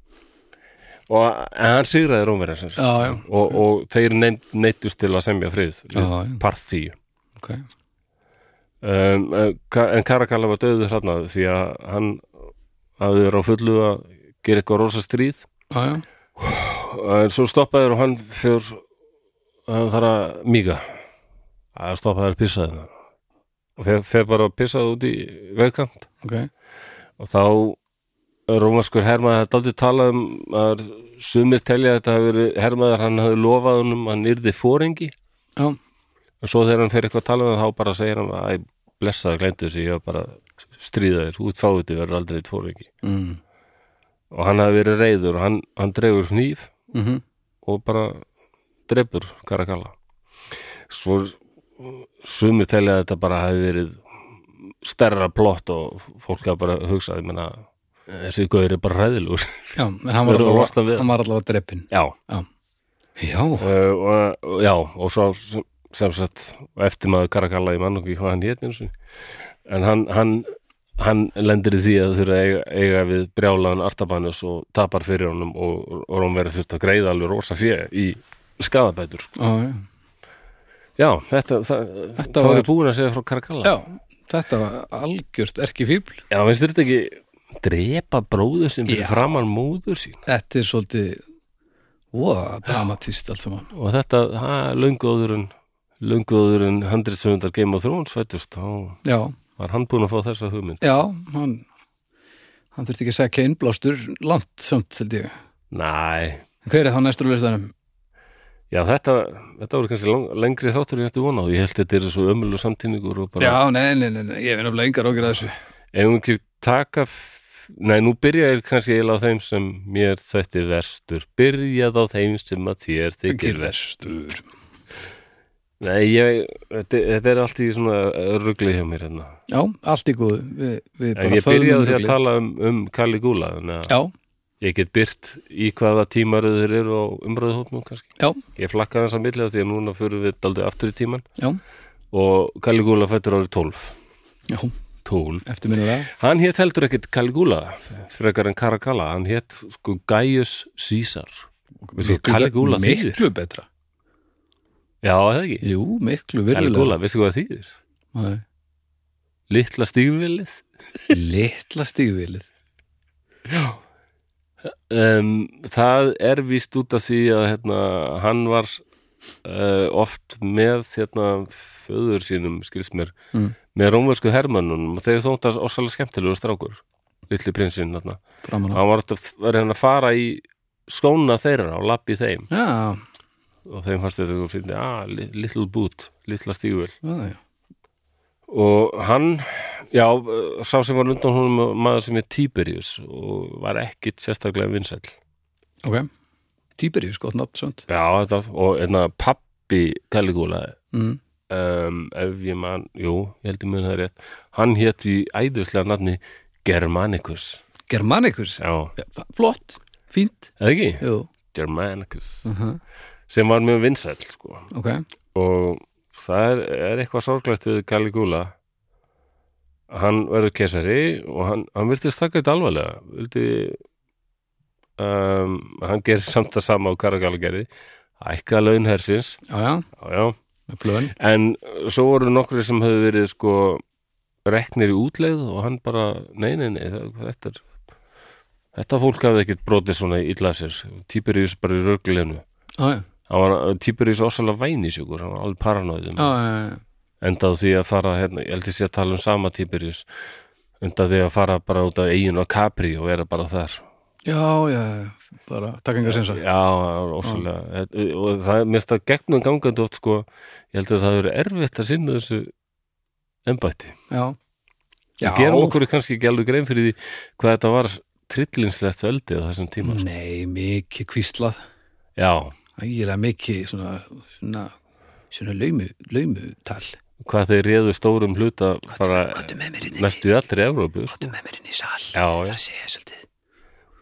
Speaker 1: og en hann sigraði Rómverja sem sagt.
Speaker 2: já,
Speaker 1: og, og þeir neitt, neittust til að semja frið
Speaker 2: Já, já.
Speaker 1: parþíu
Speaker 2: ok
Speaker 1: um, en Ka- en Karakalla var döður hrann því að hann hafði verið á fullu að gera eitthvað rosa stríð
Speaker 2: já, já,
Speaker 1: en svo stoppaður og hann fjór hann þarf að míga að stoppaður pissaði hann og fer, fer bara að pissaði út í vegkant
Speaker 2: ok
Speaker 1: og þá rómaskur hermaður hafði aldrei talað um að sumir telja að þetta hafi verið hermaður hann hafði lofað honum að hann yrði fóringi
Speaker 2: já,
Speaker 1: en svo þegar hann fer eitthvað að tala um það þá bara segir hann að blessaði glændu þessu ég var bara að stríða þér útfáðið verður aldrei fóringi
Speaker 2: mm.
Speaker 1: og hann hafði verið reyður og hann, hann dregur hníf
Speaker 2: Mm
Speaker 1: og bara drefur Karakalla svo sumir telja að þetta bara hafi verið stærra plott og fólk að bara hugsa ég meina, þessi gauður er bara hræðilugur
Speaker 2: já, en hann var
Speaker 1: Verður að losna við
Speaker 2: allavega
Speaker 1: hann.
Speaker 2: hann var allavega dreppin
Speaker 1: já,
Speaker 2: já,
Speaker 1: uh, og, og- já og svo sem, sem sagt eftir maður Karakalla í mann og ekki hvað hann hétni en hann, hann hann lendir í því að þurfa að eiga, eiga við brjálaðan Artabanus og tapar fyrir honum og, og hann verið þurft að greiða alveg rosa fjö í skadabætur
Speaker 2: já, já
Speaker 1: Já, þetta, það, þetta
Speaker 2: var-
Speaker 1: var ég búin að segja frá Karakalla
Speaker 2: Já, þetta var algjört erki fíbl
Speaker 1: Já, finnst þetta ekki drepa bróður sem fyrir
Speaker 2: Já.
Speaker 1: framann móður sín
Speaker 2: Þetta er svolítið voða dramatist allt saman
Speaker 1: og þetta, það, lönguður en lönguður en handriðsöfundar Game of Thrones fættust, þá
Speaker 2: Já,
Speaker 1: var hann búin að fá þessa hugmynd
Speaker 2: já, hann hann þurfti ekki að segja innblástur langt samt, held ég
Speaker 1: Næ,
Speaker 2: En Hver er þá næstur á listanum?
Speaker 1: já, þetta þetta voru kannski lang, lengri þáttur en ég ætti vona og ég held þetta er svo ömulegu samtíningur og bara,
Speaker 2: Já, nei, nei, nei, nei, ég er nefnilega engar ágjur að þessu
Speaker 1: ef hún ekki taka f- Nei, nú byrja ég kannski eiginlega á þeim sem mér þætti verstur byrjað á þeim sem að þér þykir verstur
Speaker 2: verstur
Speaker 1: Nei, ég, þetta, þetta er allt í svona ruggli hjá mér hérna.
Speaker 2: Já, allt í góðu Við, við
Speaker 1: En
Speaker 2: bara
Speaker 1: ég byrjaði því að
Speaker 2: ruglið.
Speaker 1: tala um, um Caligula, þannig að
Speaker 2: Já,
Speaker 1: ég get byrt í hvaða tímaröður eru á umröðuhópnum kannski.
Speaker 2: já,
Speaker 1: Ég flakkaði hans að millið því að núna fyrir við daldið aftur í tíman
Speaker 2: já,
Speaker 1: og Caligula fættur árið 12.
Speaker 2: já
Speaker 1: 12.
Speaker 2: Eftir minna það
Speaker 1: Hann hétt heldur ekkit Caligula, frekar en Caracalla, hann hétt sko Gaius Caesar. Veistu hvað Caligula þýðir?
Speaker 2: Miklu betra
Speaker 1: Já, það ekki.
Speaker 2: Jú, miklu virðulega
Speaker 1: Caligula, veistu hvað það þýðir?
Speaker 2: Nei.
Speaker 1: Litla stígvilið.
Speaker 2: Litla stígvilið
Speaker 1: um, það er víst út af því að hérna, hann var uh, oft með hérna, föður sínum skilst mér,
Speaker 2: Mm.
Speaker 1: með rómversku hermönnunum og þegar þótt að orsalega skemmtilegu strákur litli prinsinn hérna.
Speaker 2: Framan á
Speaker 1: hann var alltaf að reyna að fara í skóna þeirra og lappi þeim
Speaker 2: Já,
Speaker 1: og þeim fannst þetta og fyndi, ah, li- little boot, litla stígvel
Speaker 2: já, já
Speaker 1: og hann já, uh, sá sem var undan honum maður sem er Tiberius og var ekkit sérstaklega vinsæll
Speaker 2: Ok, Tiberius, gott nafn svönd
Speaker 1: Já, þetta, og einna pappi Caligula
Speaker 2: mm.
Speaker 1: um, ef ég man, jú, ég held ég mun það rétt hann hétt í æðislega nafni Germanicus
Speaker 2: Germanicus,
Speaker 1: Já,
Speaker 2: ja, fa- flott, fínt
Speaker 1: eða ekki?
Speaker 2: Jú,
Speaker 1: Germanicus
Speaker 2: uh
Speaker 1: sem var mjög vinsæll sko.
Speaker 2: ok
Speaker 1: og það er, er eitthvað sorglegt við Caligula hann verður kesari og hann, hann virtist taka þetta alvarlega vildi um, hann gerir samt að sama á Caracalla gerði ækka laun hersins
Speaker 2: Já, já,
Speaker 1: já, já
Speaker 2: með plön
Speaker 1: En uh, svo voru nokkri sem höfðu verið sko reknir í útleið og hann bara, nei, nei, nei, það- þetta er þetta fólk hafði ekkert brotið svona illa af sér, Tiberius bara í rögleinu
Speaker 2: Já, já,
Speaker 1: hann var, Tiberius ósala vænisjúkur hann var alveg um paranóðum,
Speaker 2: já, já, já.
Speaker 1: endað því að fara hérna, ég held ég sé að tala um sama Tiberius endað því að fara bara út af eigin og Capri og vera bara þar
Speaker 2: já, já, já, bara takk engar sensa
Speaker 1: Já, það var ósælega og það er mest að gegnum gangandi oft sko, ég held að það eru erfitt að sinna þessu embætti
Speaker 2: Já, já
Speaker 1: Við gerum okkur kannski ekki alveg grein fyrir því hvað þetta var trillinslegt veldi á þessum tíma. Mm.
Speaker 2: Nei, mikið kvíslað
Speaker 1: Já,
Speaker 2: Ægilega mikið svona, svona, svona laumu, laumutal
Speaker 1: hvað þeir réðu stórum hluta bara
Speaker 2: Kottu með mér inn í,
Speaker 1: mestu í allri Evrópu. sko.
Speaker 2: kottu með mér inn í sal
Speaker 1: Já, já.
Speaker 2: Það er að segja svolítið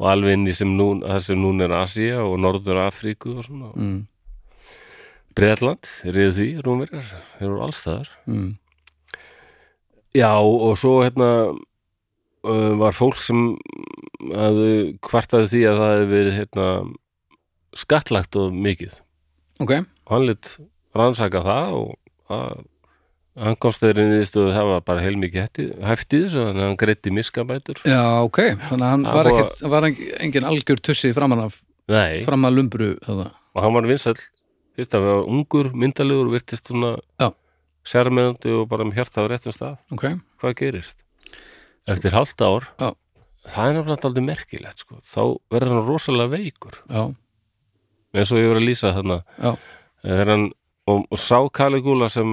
Speaker 1: og alveg inn í sem nú, þar sem núna er Asía og Norður Afríku og svona.
Speaker 2: mm.
Speaker 1: Breitland, reyðu því, rúmverjar þeir eru allstæðar
Speaker 2: mm.
Speaker 1: Já, og svo hérna uh, var fólk sem mm, hafði kvartaði því að það hefði verið hérna skattlagt og mikið
Speaker 2: ok,
Speaker 1: og hann lit rannsaka það og að, hann komst þeirri niðurstöðu að það var bara heilmikið hætti- hæft í þessu þannig að hann greiddi miskabætur
Speaker 2: já ok þannig að hann
Speaker 1: Það
Speaker 2: var,
Speaker 1: var-
Speaker 2: ekkit, var engin- engin algjör tussi framan af
Speaker 1: Nei,
Speaker 2: fram að lumbru þarna.
Speaker 1: og hann var vinsæll fyrst að við var ungur, myndalegur og virtist svona
Speaker 2: Já.
Speaker 1: sérmennandi og bara með hjarta á réttum stað
Speaker 2: ok,
Speaker 1: hvað gerist eftir halvt ár
Speaker 2: Já.
Speaker 1: það er náttúrulega aldrei merkilegt sko. þá verður hann rosalega veikur
Speaker 2: já,
Speaker 1: eins og ég var að lýsa þarna
Speaker 2: já
Speaker 1: þegar hann og, og sá Caligula sem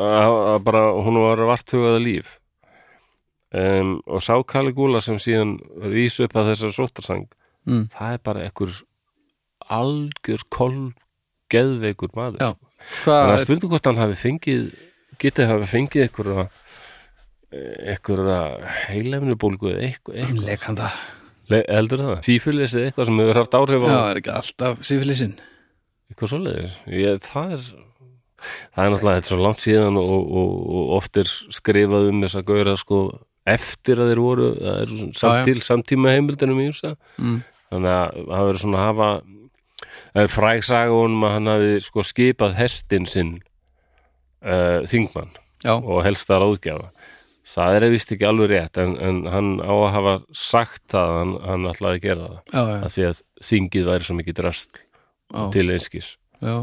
Speaker 1: að, að bara hún var varthugaða líf um, og sá Caligula sem síðan rís upp að þessar sóttarsang
Speaker 2: mm.
Speaker 1: það er bara ekkur algjör koll geðveikur maður
Speaker 2: Já.
Speaker 1: sko.
Speaker 2: hvað
Speaker 1: Það er
Speaker 2: er,
Speaker 1: spurning hvort hann hafi fengið getið hafi fengið einhverja eh, einhverja heilefnubólgu eða eitthvað, eitthvað.
Speaker 2: leikanda
Speaker 1: Le- heldur það? Sífylis eða eitthvað sem hefur haft áhrif á
Speaker 2: já, er ekki alltaf sífilisinn
Speaker 1: eitthvað svoleiðis Ég, það er það er náttúrulega þetta er svo langt síðan og, og, og oft er skrifað um þess að gauðra sko eftir að þeir voru það er samt
Speaker 2: Já, já.
Speaker 1: til samtíma heimildinum í þess
Speaker 2: mm.
Speaker 1: þannig að það verður svona að hafa það er fræg saga honum að hann hafi sko skipað hestin sinn uh, þingmann
Speaker 2: já,
Speaker 1: og helsta ráðgjafa það er vist ekki alveg rétt en, en hann á að hafa sagt það að hann, hann ætlaði að gera það
Speaker 2: já, já,
Speaker 1: að því að þingið væri svo mikið drast
Speaker 2: já,
Speaker 1: til einskis
Speaker 2: já.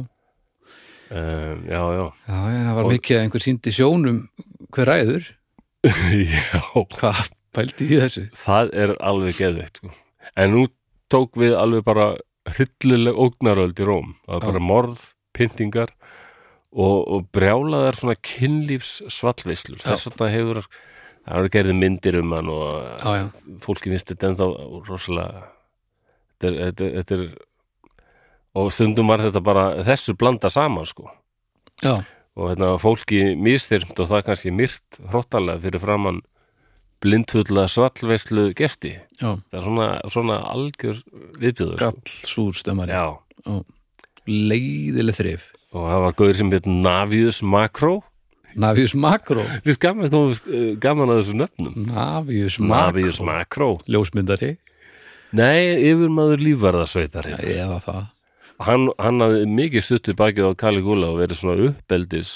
Speaker 1: um, já, já
Speaker 2: Já, en það var mikið að einhver síndi sjónum hver ræður,
Speaker 1: já,
Speaker 2: hvað pældi í þessu
Speaker 1: það er alveg geðveikt sko. en nú tók við alveg bara hryllileg ógnaröld í Róm það var
Speaker 2: Já.
Speaker 1: bara morð, pyntingar og, og brjálaðar svona kynlífs svallveislur
Speaker 2: Já.
Speaker 1: þess vegna hefur það eru gerði myndir um hann og
Speaker 2: já, já,
Speaker 1: fólki finnst þetta ennþá rosalega þetta er, þetta, er- þetta er og stundum var þetta bara þessu blanda saman sko
Speaker 2: já,
Speaker 1: og hérna fólki mistyrmt og það kannski myrt hróttalega fyrir framann blindfulla svallveislu gesti
Speaker 2: já
Speaker 1: það er svona, svona algjör viðbjöður sko.
Speaker 2: gallsúr stömmari,
Speaker 1: já,
Speaker 2: leiðileg þrif
Speaker 1: og það var gauður sem heit Navius Makro
Speaker 2: Navius Makro
Speaker 1: við gaman, kom, eh, gaman að þessu nöfnum
Speaker 2: Navius
Speaker 1: Navius
Speaker 2: Makro,
Speaker 1: Makro
Speaker 2: ljósmyndari
Speaker 1: nei, yfirmaður lífvarðasveitar hérna.
Speaker 2: eða það,
Speaker 1: hann, hann hafði mikið stuttu bakið á Caligula og verið svona uppeldis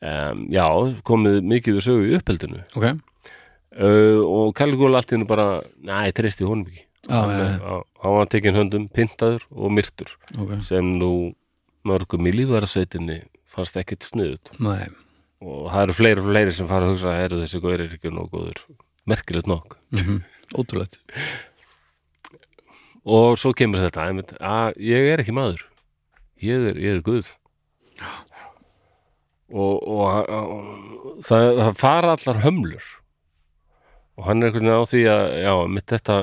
Speaker 1: um, já, komið mikið við sögu í uppeldinu
Speaker 2: ok
Speaker 1: uh, og Caligula allt í hennu bara næ, treysti honum ekki
Speaker 2: Já,
Speaker 1: hann,
Speaker 2: já, já.
Speaker 1: á, hann var tekinn höndum, pyntaður og myrtur
Speaker 2: ok,
Speaker 1: sem nú mörgum í lífverðarsveitinni fannst ekkit sniðut
Speaker 2: nei,
Speaker 1: og það eru fleiri og fleiri sem fara að hugsa eru þessi góður er ekki nóg góður merkilegt nokk
Speaker 2: ótrúlegt
Speaker 1: og svo kemur þetta einmitt, að ég er ekki maður ég er, ég er guð og, og, og það, það fara allar hömlur og hann er einhvern veginn á því að já, mitt þetta,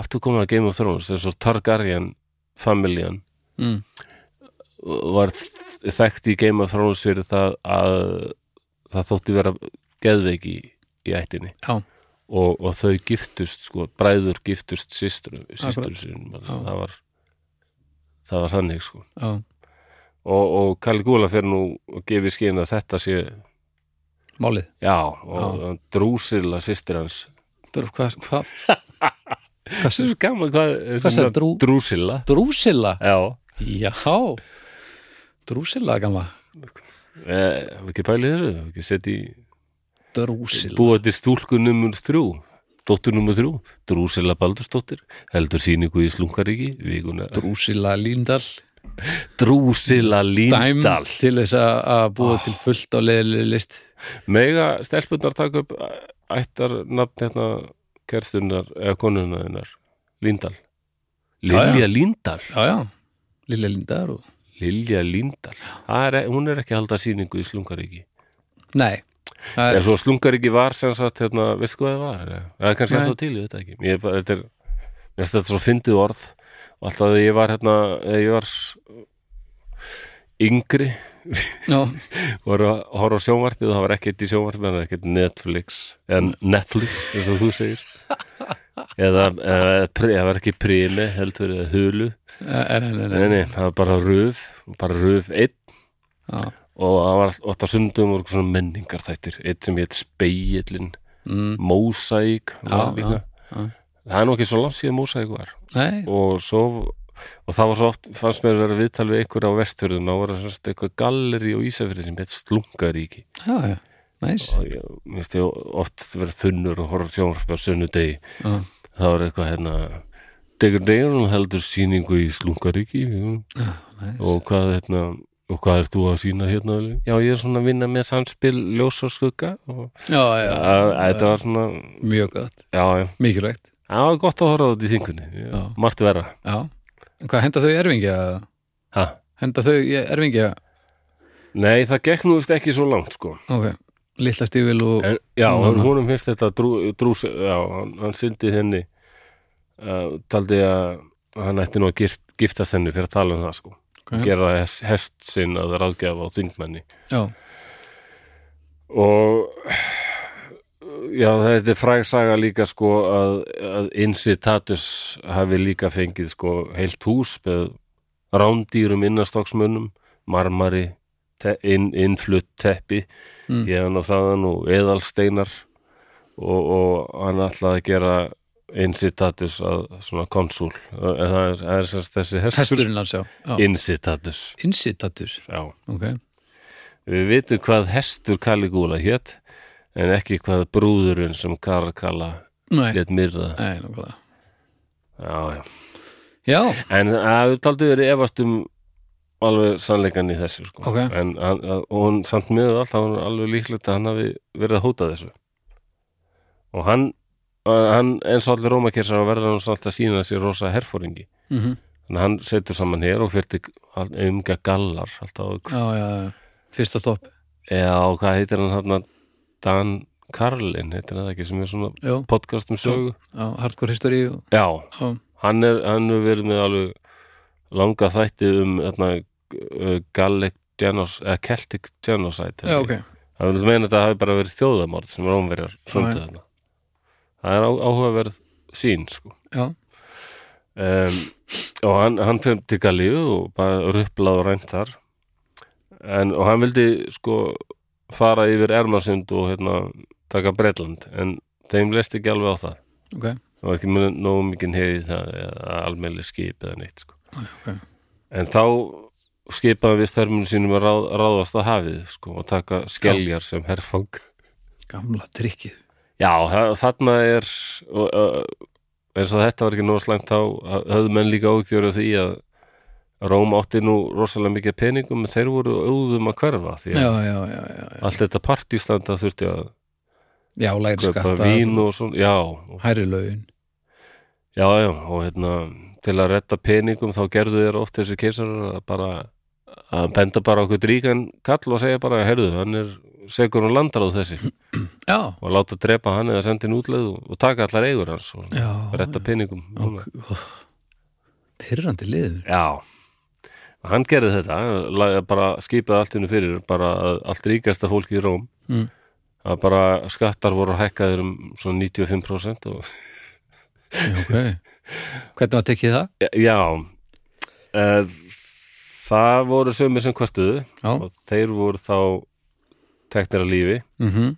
Speaker 1: aftur komið að Game of Thrones þess að Targaryen familjan
Speaker 2: mm.
Speaker 1: var þekkt í Game of Thrones fyrir það að það þótti vera geðveiki í ættinni
Speaker 2: Já.
Speaker 1: og, og þau giftust sko, bræður giftust systru, systru
Speaker 2: Akkurat.
Speaker 1: sinum
Speaker 2: Já.
Speaker 1: það var það var þannig sko
Speaker 2: já,
Speaker 1: og, og Caligula fyrir nú og gefið skinn að þetta sé
Speaker 2: málið
Speaker 1: já, og já. drúsilla systir hans
Speaker 2: Dörf, hvað, hvað,
Speaker 1: þessu gaman hvað,
Speaker 2: Hvað sagði, Drú-
Speaker 1: drúsilla
Speaker 2: Drúsilla
Speaker 1: já,
Speaker 2: já, Drúsilla gamla
Speaker 1: e, ekki pælið þessu hefur ekki setja í
Speaker 2: Drúsilla,
Speaker 1: búa til stúlku numur þrjú dóttur numur þrjú, Drúsilla Baldursdóttir heldur síningu í Slungaríki vikuna,
Speaker 2: Drúsilla Líndal
Speaker 1: Drúsilla
Speaker 2: dæm
Speaker 1: Líndal Ah.
Speaker 2: til þess að að búa til fullt á leiðileg list
Speaker 1: mega stelpunnar taka upp æ- ættar nafn hérna kerstunnar, eða konunnaðinnar Líndal
Speaker 2: já.
Speaker 1: Lilja Líndal
Speaker 2: já, já, Lilja Líndar og...
Speaker 1: Lilja Líndal, Það er, e- hún er ekki að halda síningu í Slungaríki
Speaker 2: nei, það
Speaker 1: eða
Speaker 2: er
Speaker 1: svo Slungaríki var sem sagt hérna, veistu hvað það var, eða? það er kannski
Speaker 2: Nei.
Speaker 1: ennþá til ég veit það ekki, ég er bara, þetta er mér finnst þetta svo fyndið orð og alltaf þegar ég var hérna, eða ég var yngri
Speaker 2: já,
Speaker 1: voru að horfa á sjónvarpið og það var ekkert í sjónvarpið en ekkert Netflix, en Netflix eins og þú segir eða, eða, pri- það var ekki prími heldur eða hulu
Speaker 2: nei, nei, nei,
Speaker 1: nei, nei, það var bara röf bara röf einn
Speaker 2: Já.
Speaker 1: og það var ótt á sundum og svona menningar þættir eitt sem hétt speillin
Speaker 2: Mm,
Speaker 1: mósæk
Speaker 2: Já,
Speaker 1: var líka
Speaker 2: já, já.
Speaker 1: það er nú ekki svo langt síðan mósæk var
Speaker 2: nei,
Speaker 1: og svo og það var svo oft, fannst mér vera viðtal við einhver á vesturðum, þá var það svona eitthvað galleri og ísafyrir sem hétt slungaríki
Speaker 2: já, já, næs
Speaker 1: og ég mér finnst ég oft verið þunnur og horf sjónvarpi á sunnudegi
Speaker 2: Já.
Speaker 1: það var eitthvað hérna Degur Degur heldur sýningu í Slungaríki
Speaker 2: Já, næs.
Speaker 1: og hvað hérna og hvað ert þú að sína hérna Óli? já ég er svona að vinna með samspil ljós og skugga og
Speaker 2: já, já,
Speaker 1: Æ, þetta var svona
Speaker 2: mjög gott,
Speaker 1: já, já,
Speaker 2: mikilvægt
Speaker 1: það var gott að horfa á þetta í þingunni
Speaker 2: Já.
Speaker 1: margt verra
Speaker 2: já. En hvað, henda þau í erfingja?
Speaker 1: ha.
Speaker 2: Henda þau í erfingja?
Speaker 1: nei það gekk nú veist ekki svo langt sko
Speaker 2: Ok, litla stífil og
Speaker 1: en, já,
Speaker 2: Nú,
Speaker 1: hún,
Speaker 2: nú.
Speaker 1: húnum finnst þetta drú, drús, já, hann, hann syndi henni uh, taldi að hann ætti nú að gift, giftast henni fyrir að tala um það sko
Speaker 2: Ok.
Speaker 1: gera hest, hest sinn að ráðgjafa á þingmenni
Speaker 2: já,
Speaker 1: og já, þetta er fræg saga líka sko að, að Incitatus hafi líka fengið sko heilt hús með rándýrum innastokksmunum marmari, te, inn, innflutt teppi
Speaker 2: Mm.
Speaker 1: hérna og þaðan og eðalsteinar og, og hann ætlaði að gera Incitatus að svona konsúl það er, það er, það er sem sagt þessi hestur
Speaker 2: hesturinn hans, já, já.
Speaker 1: Incitatus,
Speaker 2: Incitatus,
Speaker 1: já
Speaker 2: ok
Speaker 1: Við vitum hvað hestur Caligula hétt en ekki hvað brúðurinn sem Caracalla
Speaker 2: Nei,
Speaker 1: létt myrða.
Speaker 2: nei, nákvæmlega
Speaker 1: Já, já.
Speaker 2: Já,
Speaker 1: En það hefur aldrei verið efast um alveg sannleikan í þessu sko.
Speaker 2: Ok.
Speaker 1: En hann, að- og hann samt miður allt, hann er alveg líklegt að hann hafi verið að hóta þessu. Og hann, að- hann eins og allir rómakersar verður hann samt að sína sér rosa herfóringi.
Speaker 2: mm
Speaker 1: Þannig að hann setur saman hér og fyrir umga gallar alltaf.
Speaker 2: já, já, já Fyrsta stopp,
Speaker 1: Já, og hvað heitir hann hann Dan Karlin, heitir hann það ekki sem er svona
Speaker 2: já,
Speaker 1: podcast um sögu
Speaker 2: já hardcore history og,
Speaker 1: Já,
Speaker 2: já,
Speaker 1: hann er hann er verið með alveg langa þætti um þarna, uh, Gallic Genocide eða Celtic Genocide
Speaker 2: já, ok
Speaker 1: hann vil meina að þetta hafi bara verið þjóðamord sem rómverjar fröndu
Speaker 2: Já,
Speaker 1: þarna það er á, áhugaverð sín sko
Speaker 2: Já,
Speaker 1: um, og hann, hann fyrir til Galíu og bara ruplað og rænt þar en, og hann vildi sko fara yfir Ermasund og hérna taka Bretland en þeim leist ekki alveg á það
Speaker 2: ok,
Speaker 1: það var ekki mjög nógu mikið heiði það eða almennlega skip eða neitt sko.
Speaker 2: ok
Speaker 1: en þá skipaði við störmunum sínum að ráð, ráðast að hafið sko, og taka skeljar sem herfang
Speaker 2: Gamla trikkið
Speaker 1: já, þa- þarna er og, uh, eins og þetta var ekki nógu slæmt þá höfðu menn líka ágjöru því að Róm átti nú rosalega mikið peningum en þeir voru auðum að hverfa því
Speaker 2: Já,
Speaker 1: að
Speaker 2: já, já, já, já, já.
Speaker 1: allt þetta partistanda þurfti að
Speaker 2: já lægri
Speaker 1: köpa
Speaker 2: skatta
Speaker 1: vín og svona, já, og
Speaker 2: Hærri laun
Speaker 1: Já, já, og hérna til að retta peningum þá gerðu þér oft þessi keisarar að bara að benda bara okkur dríkan kall og segja bara, heyrðu, hann er segur og landar á þessi
Speaker 2: Já,
Speaker 1: og láta drepa hann eða senda inn útleið og, og taka allar eigur hans og
Speaker 2: já
Speaker 1: retta peningum
Speaker 2: ok, ó, Pirrandi liður
Speaker 1: Já, hann gerði þetta lagði bara skipaði allt innu fyrir bara að allt ríkasta fólki í Róm
Speaker 2: Mm.
Speaker 1: að bara skattar voru hækkaðir um svona 95% og
Speaker 2: Já, ok Hvernig var tekið það?
Speaker 1: Já uh, Það voru sömur sem kvartuðu
Speaker 2: Já,
Speaker 1: og þeir voru þá teknir að lífi
Speaker 2: mhm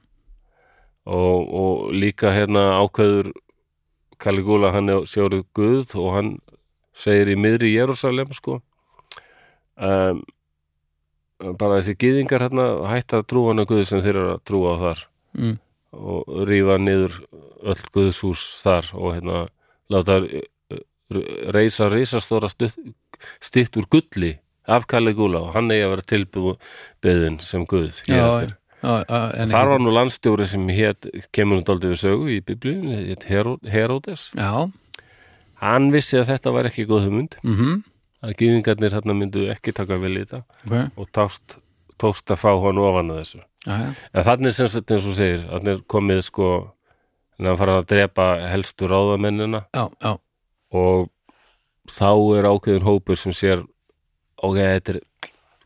Speaker 1: og, og líka hérna ákveður Caligula hann er sjóruð Guð og hann segir í miðri Jérúsalem sko um, bara þessi gyðingar hérna hætta að trúa hann að Guð sem þeir eru að trúa á þar
Speaker 2: Mm.
Speaker 1: og rífa niður öll Guðshús þar og hérna láta r- r- reisa reisastóra stitt úr gulli af Caligula og hann eigi að vera tilbyðin sem Guð
Speaker 2: Já,
Speaker 1: hér eftir.
Speaker 2: já, já, en
Speaker 1: Þar
Speaker 2: ekki-
Speaker 1: var nú landstjóri sem hét, kemur hún daldið við sögu í biblíunni, hét Heró- Heródes.
Speaker 2: Já,
Speaker 1: Hann vissi að þetta var ekki góð hugmynd,
Speaker 2: mhm
Speaker 1: að gyðingarnir þarna myndu ekki taka vel í þetta
Speaker 2: Ok,
Speaker 1: og tást, tókst að fá hann ofan að þessu.
Speaker 2: já, já,
Speaker 1: En þannig sem sett eins og þú segir, þannig er komið sko, en hann farið að drepa helstu ráðamennina
Speaker 2: já, já
Speaker 1: og þá er ákveðin hópur sem sér, ok, þetta er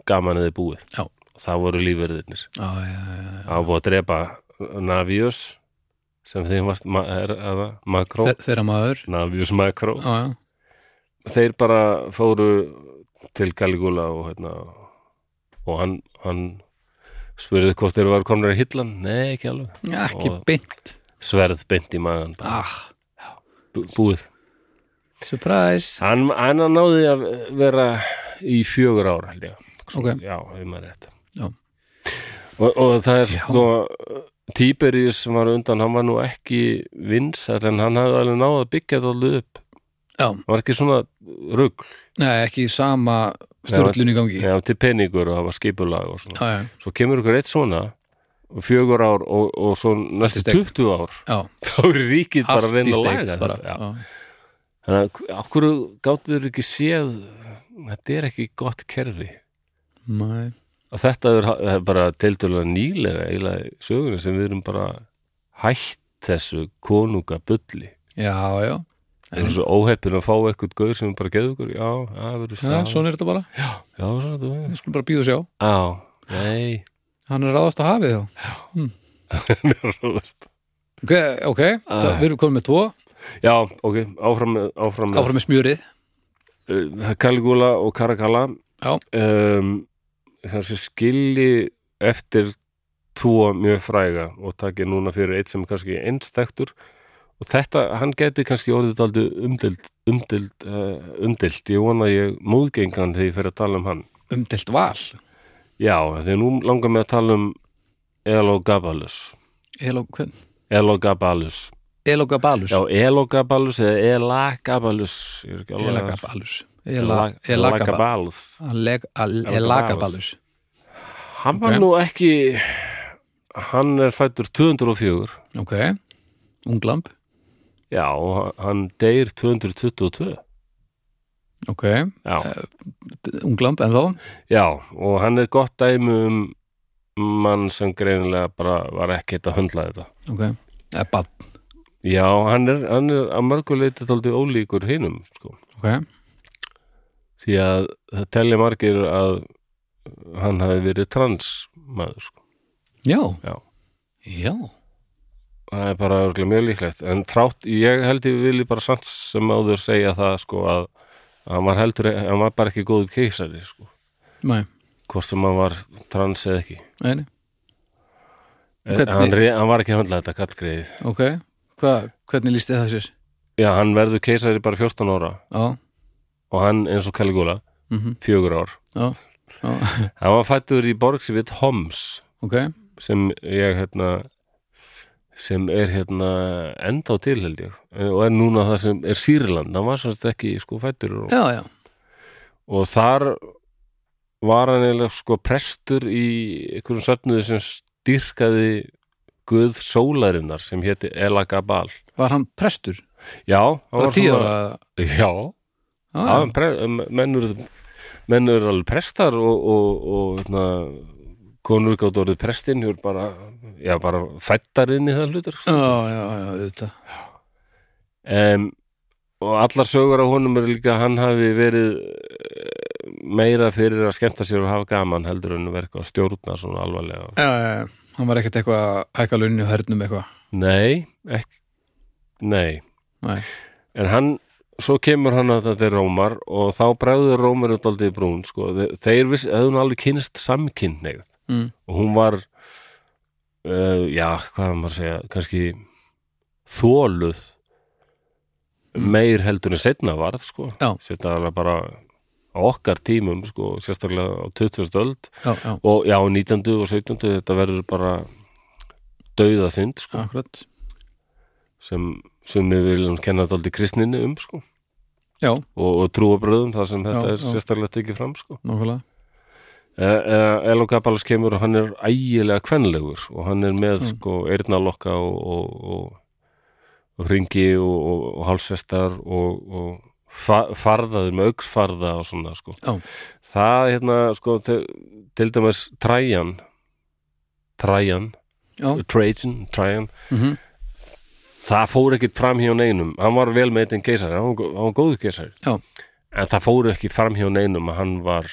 Speaker 1: gaman eða búið.
Speaker 2: Já.
Speaker 1: Það voru lífverðirnir.
Speaker 2: Já, já, já, já.
Speaker 1: Það var búið að drepa Navius sem þeim varst ma er, aða, Makró,
Speaker 2: Þe- þeirra maður
Speaker 1: Navius Makró
Speaker 2: já, já.
Speaker 1: þeir bara fóru til Caligula og hérna og hann, hann spurði hvort þeir var komnir að hillan nei, ekki alveg,
Speaker 2: Já, ekki
Speaker 1: Og-
Speaker 2: beint
Speaker 1: sverð beint í maðan
Speaker 2: ah,
Speaker 1: búið
Speaker 2: surprise
Speaker 1: hann, hann náði að vera í fjögur ára held ég
Speaker 2: Ok.
Speaker 1: já, ef maður er rétt
Speaker 2: Já.
Speaker 1: Og, og það er
Speaker 2: Já.
Speaker 1: sko Tíberius sem var undan, hann var nú ekki vinsar en hann hafði alveg náð að byggja það alveg upp
Speaker 2: já,
Speaker 1: hann var ekki svona rugg
Speaker 2: nei, ekki sama stjórlun í gangi
Speaker 1: Já,
Speaker 2: já,
Speaker 1: til peningur og það var skipulag og svona
Speaker 2: já,
Speaker 1: svo kemur ykkur eitt svona og fjögur ár og, og svo næstu
Speaker 2: Eftir
Speaker 1: 20 ár
Speaker 2: já,
Speaker 1: þá er ríkið bara að
Speaker 2: allt í
Speaker 1: reyna að
Speaker 2: steik
Speaker 1: laga
Speaker 2: bara
Speaker 1: þetta Já.
Speaker 2: já.
Speaker 1: þannig að okkur gáttu þurr ekki séð þetta er ekki gott kerfi
Speaker 2: Nei.
Speaker 1: og þetta er, er bara tiltölulega nýlega eiginlega í söguna sem við erum bara hætt þessu konungabulli
Speaker 2: já, já,
Speaker 1: við
Speaker 2: Mhm.
Speaker 1: erum svo óheppin að fá eitthvað gaur sem er bara geðu ykkur, já, já, það verður
Speaker 2: já
Speaker 1: stað já,
Speaker 2: svona er þetta bara,
Speaker 1: svona þú veist
Speaker 2: við skulum bara býða og sjá
Speaker 1: já, nei,
Speaker 2: hann er að ráðast á hafið þá
Speaker 1: róðast
Speaker 2: ok, okay. Það, við erum komin með tvo
Speaker 1: Ah. já, ok, áfram með, áfram með.
Speaker 2: áfram með smjörið
Speaker 1: Uh, Caligula og Caracalla
Speaker 2: Já.
Speaker 1: um, þessi skilji eftir tvo mjög fræga og takk ég núna fyrir eitt sem er kannski einstaktur og þetta, hann geti kannski orðið aldrei umdild, umdild, uh, umdild ég vona að ég móðgengan þegar ég fer að tala um hann
Speaker 2: umdelt val
Speaker 1: já, þegar nú langar mig að tala um Elogabalus
Speaker 2: Elo- hvern?
Speaker 1: Elogabalus
Speaker 2: Elogabalus
Speaker 1: já, Elogabalus eða Elagabalus ég er ekki alveg að-
Speaker 2: Elagabalus
Speaker 1: Ela-
Speaker 2: Ela- Elagaba-
Speaker 1: Elagabalus
Speaker 2: Aleg- Al- Elagabalus
Speaker 1: Hann var
Speaker 2: Ok.
Speaker 1: nú ekki hann er fættur 204
Speaker 2: ok, unglamb
Speaker 1: já, og hann deyr 222
Speaker 2: ok,
Speaker 1: já,
Speaker 2: d- unglamb en þá
Speaker 1: já, og hann er gott dæmi um mann sem greinilega bara var ekkert að höndla þetta
Speaker 2: ok, eða bann
Speaker 1: já, hann er, hann er að mörguleiti þóldi ólíkur hinum sko.
Speaker 2: ok,
Speaker 1: því að það telja margir að hann hafi verið trans maður sko.
Speaker 2: já
Speaker 1: Já.
Speaker 2: já,
Speaker 1: það er bara örugglega mjög líklegt en trátt, ég held ég vilji bara samt sem áður segja það sko að að hann var heldur, hann var bara ekki góður keisari sko,
Speaker 2: nei,
Speaker 1: hvort sem hann var trans eða ekki
Speaker 2: nei, nei.
Speaker 1: en,
Speaker 2: Hvernig-
Speaker 1: hann, re- hann var ekki að höndla þetta kallgreið
Speaker 2: ok Hva, hvernig líst þið það sér?
Speaker 1: já, hann verður keisari bara 14 ára
Speaker 2: já,
Speaker 1: og hann eins og Caligula,
Speaker 2: mhm,
Speaker 1: fjögur ár
Speaker 2: já, já
Speaker 1: hann var fættur í borg sem við Homs
Speaker 2: ok,
Speaker 1: sem ég hérna sem er hérna enda á til held ég og er núna það sem er Sýrland hann var svo sem sagt ekki sko fættur og
Speaker 2: já, já
Speaker 1: og þar var hann eiginlega sko prestur í einhverjum söfnuði sem styrkaði guð sólarinnar sem héti Elagabal
Speaker 2: var hann prestur?
Speaker 1: já, hann
Speaker 2: bara
Speaker 1: var
Speaker 2: tíu
Speaker 1: svona
Speaker 2: ára Ah.
Speaker 1: já,
Speaker 2: já,
Speaker 1: já. Pre, mennur mennur alveg prestar og, og, og hérna, konur gátt orðið prestin hér bara, já, bara fættar inn í það sko. hlutur
Speaker 2: já, já, já, auðvitað
Speaker 1: um, og allar sögur á honum er líka að hann hafi verið eh, meira fyrir að skemmta sér og hafa gaman heldur en verka og stjórna svona alvarlega
Speaker 2: já, já, já, hann var ekkert eitthvað að hækka launinu hörnum eitthvað
Speaker 1: nei, ekki nei,
Speaker 2: Nei.
Speaker 1: en hann svo kemur hann að þetta er Rómar og þá bregður Rómar út aldrei brún sko. Þe- þeir viss, hefðu hún alveg kynst samkynneigð
Speaker 2: mm.
Speaker 1: og hún var uh, já, hvað á maður að segja kannski þóluð meir heldur en setna varð sko
Speaker 2: Mm. Já.
Speaker 1: setna alveg bara á okkar tímum sko, sérstaklega á 20. öld
Speaker 2: já, já,
Speaker 1: og já, 19. og 17. þetta verður bara dauða synd sko,
Speaker 2: akkurat
Speaker 1: sem sem við viljum kenna þetta aldrei kristninni um sko
Speaker 2: já,
Speaker 1: og, og trúabröðum þar sem þetta
Speaker 2: Já,
Speaker 1: er
Speaker 2: já.
Speaker 1: sérstaklega tekið fram sko
Speaker 2: nákvæmlega
Speaker 1: uh, Elon Gabalus kemur og hann er ægilega kvenlegur og hann er með sko eyrnalokka og, og, og, og ringi og, og, og hálsvestar og, og fa farðaður með auksfarða og svona sko
Speaker 2: Já.
Speaker 1: það hérna sko til, til dæmis Trajan Trajan,
Speaker 2: já,
Speaker 1: Trajan, Trajan
Speaker 2: mhm
Speaker 1: það fór ekki fram hjá neinum hann var vel með einn geisari, hann var, gó- hann var góðu geisari
Speaker 2: Já.
Speaker 1: en það fór ekki fram hjá neinum að hann var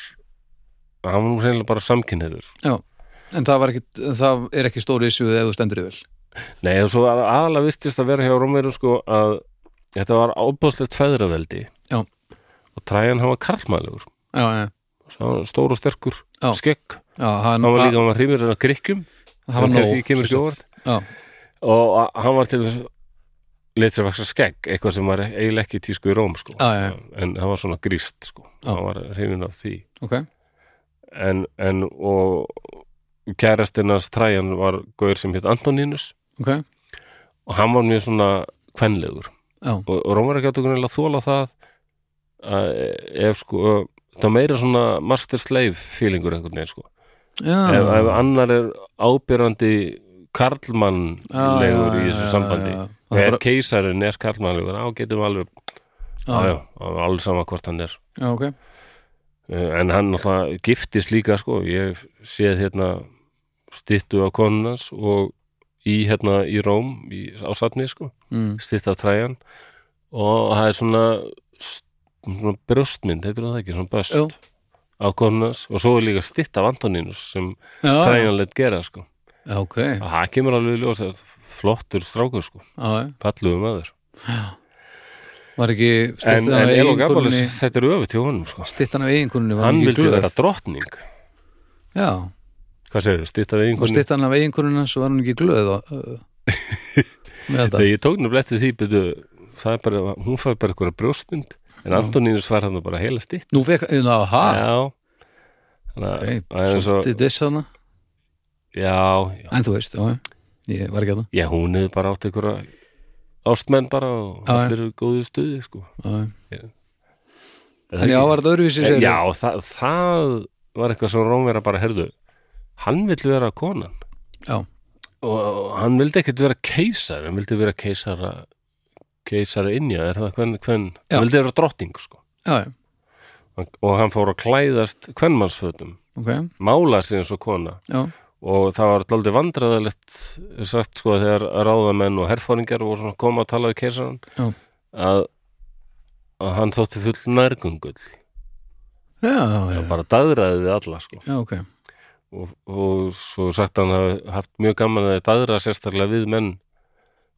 Speaker 1: hann var nú reynilega bara samkynniður
Speaker 2: En það, var ekkit, það er ekki stóri issue ef þú stendur yfir
Speaker 1: Nei, og svo var aðalega vistist að vera hjá Rómverum sko að þetta var ábúðslegt feðraveldi
Speaker 2: Já.
Speaker 1: og træjan hann var karlmælugur
Speaker 2: já, já,
Speaker 1: stór og sterkur,
Speaker 2: Já.
Speaker 1: skegg
Speaker 2: já hann,
Speaker 1: hann var líka, hann var hrýmur en að grikkjum
Speaker 2: það var
Speaker 1: hann
Speaker 2: nóg
Speaker 1: kannski kemur ekki
Speaker 2: sem
Speaker 1: óvart
Speaker 2: sagt. já,
Speaker 1: og a- hann var til þess leitt sér vaksa skegg, eitthvað sem var eiginlega ekki í tísku í Róm sko
Speaker 2: Já, já, já.
Speaker 1: en hann var svona gríst sko
Speaker 2: Já.
Speaker 1: hann var hrýmur af því
Speaker 2: ok
Speaker 1: en, en og kærastinnas træjan var gaur sem hétt Antonínus
Speaker 2: ok,
Speaker 1: og hann var mjög svona kvenlegur
Speaker 2: já,
Speaker 1: og, og Rómverja gætu greinlega þóla það að ef sko það var meira svona master slave feelingur einhvern veginn sko
Speaker 2: já
Speaker 1: ef, ef annar er ábyrjandi karlmannlegur í þessu sambandi
Speaker 2: já,
Speaker 1: ja,
Speaker 2: já, já,
Speaker 1: ef keisarin er karlmannlegur á getum við alveg,
Speaker 2: já,
Speaker 1: á,
Speaker 2: já,
Speaker 1: já, á, alveg sama hvort hann er
Speaker 2: já, ok
Speaker 1: Eh, en hann náttúrulega giftist líka sko, ég hef séð hérna styttu á konunans og í hérna í Róm í, á satni sko,
Speaker 2: Mm,
Speaker 1: stytta á træjan og það er svona st- svona brjóstmynd, heitir það ekki svona böst
Speaker 2: Jú.
Speaker 1: á konunans og svo er líka stytta af Antonínus sem
Speaker 2: Ah, já, já,
Speaker 1: træjan lett gera sko,
Speaker 2: já, ok já,
Speaker 1: og það kemur alveg í ljós að flottur strákur sko,
Speaker 2: já,
Speaker 1: falluðu maður
Speaker 2: var ekki
Speaker 1: en,
Speaker 2: stittan af
Speaker 1: en Elogabales,
Speaker 2: eiginkonunni
Speaker 1: þetta er öfugt hjá honum sko,
Speaker 2: stittan af eiginkonunni var
Speaker 1: hann
Speaker 2: ekki
Speaker 1: vildi
Speaker 2: glöð.
Speaker 1: vera drottning
Speaker 2: já,
Speaker 1: hvað segir, stytta við
Speaker 2: og
Speaker 1: einhvern
Speaker 2: stittan af eiginkonunni svo var hann ekki glöð og, uh, með þetta
Speaker 1: Þegar ég tók nefnilega eftir því byrju, það er bara, hún fæði bara eitthvað brjóstmynd en Antonínus var hann bara heila stitt
Speaker 2: nú fekk, já, ha,
Speaker 1: Já Þannig að
Speaker 2: Ah. ok,
Speaker 1: það er eins og
Speaker 2: svolítið diss þarna
Speaker 1: Já, já,
Speaker 2: en þú veist, já, já, ég var ekki hérna. að
Speaker 1: já, hún hefði bara átt einhverja ástmenn bara og
Speaker 2: Já, já.
Speaker 1: allir eru góðu í stuði sko.
Speaker 2: það
Speaker 1: Er það
Speaker 2: en já,
Speaker 1: ekki?
Speaker 2: var þetta öðruvísi
Speaker 1: En
Speaker 2: segirðu?
Speaker 1: Já, það, það var eitthvað sem Rómverja bara herðu hann vill vera konan
Speaker 2: Já.
Speaker 1: og, og hann vildi ekkert vera keisar hann vildi vera keisara keisara innja, er það hvern, hvern
Speaker 2: Já.
Speaker 1: hann vildi vera drotting sko
Speaker 2: já, já,
Speaker 1: og hann fór að klæðast kvennmannsfötum,
Speaker 2: ok,
Speaker 1: mála sig eins og kona
Speaker 2: já,
Speaker 1: og það var alltaf vandræðalegt sagt sko þegar ráðamenn og herfóringar voru svona að koma að tala við keisaran
Speaker 2: Já.
Speaker 1: að, að hann þótti full nærgungull
Speaker 2: já, já,
Speaker 1: og bara daðraði við alla sko
Speaker 2: já, ok
Speaker 1: og, og svo sagt hann hafi haft mjög gaman að daðra sérstaklega við menn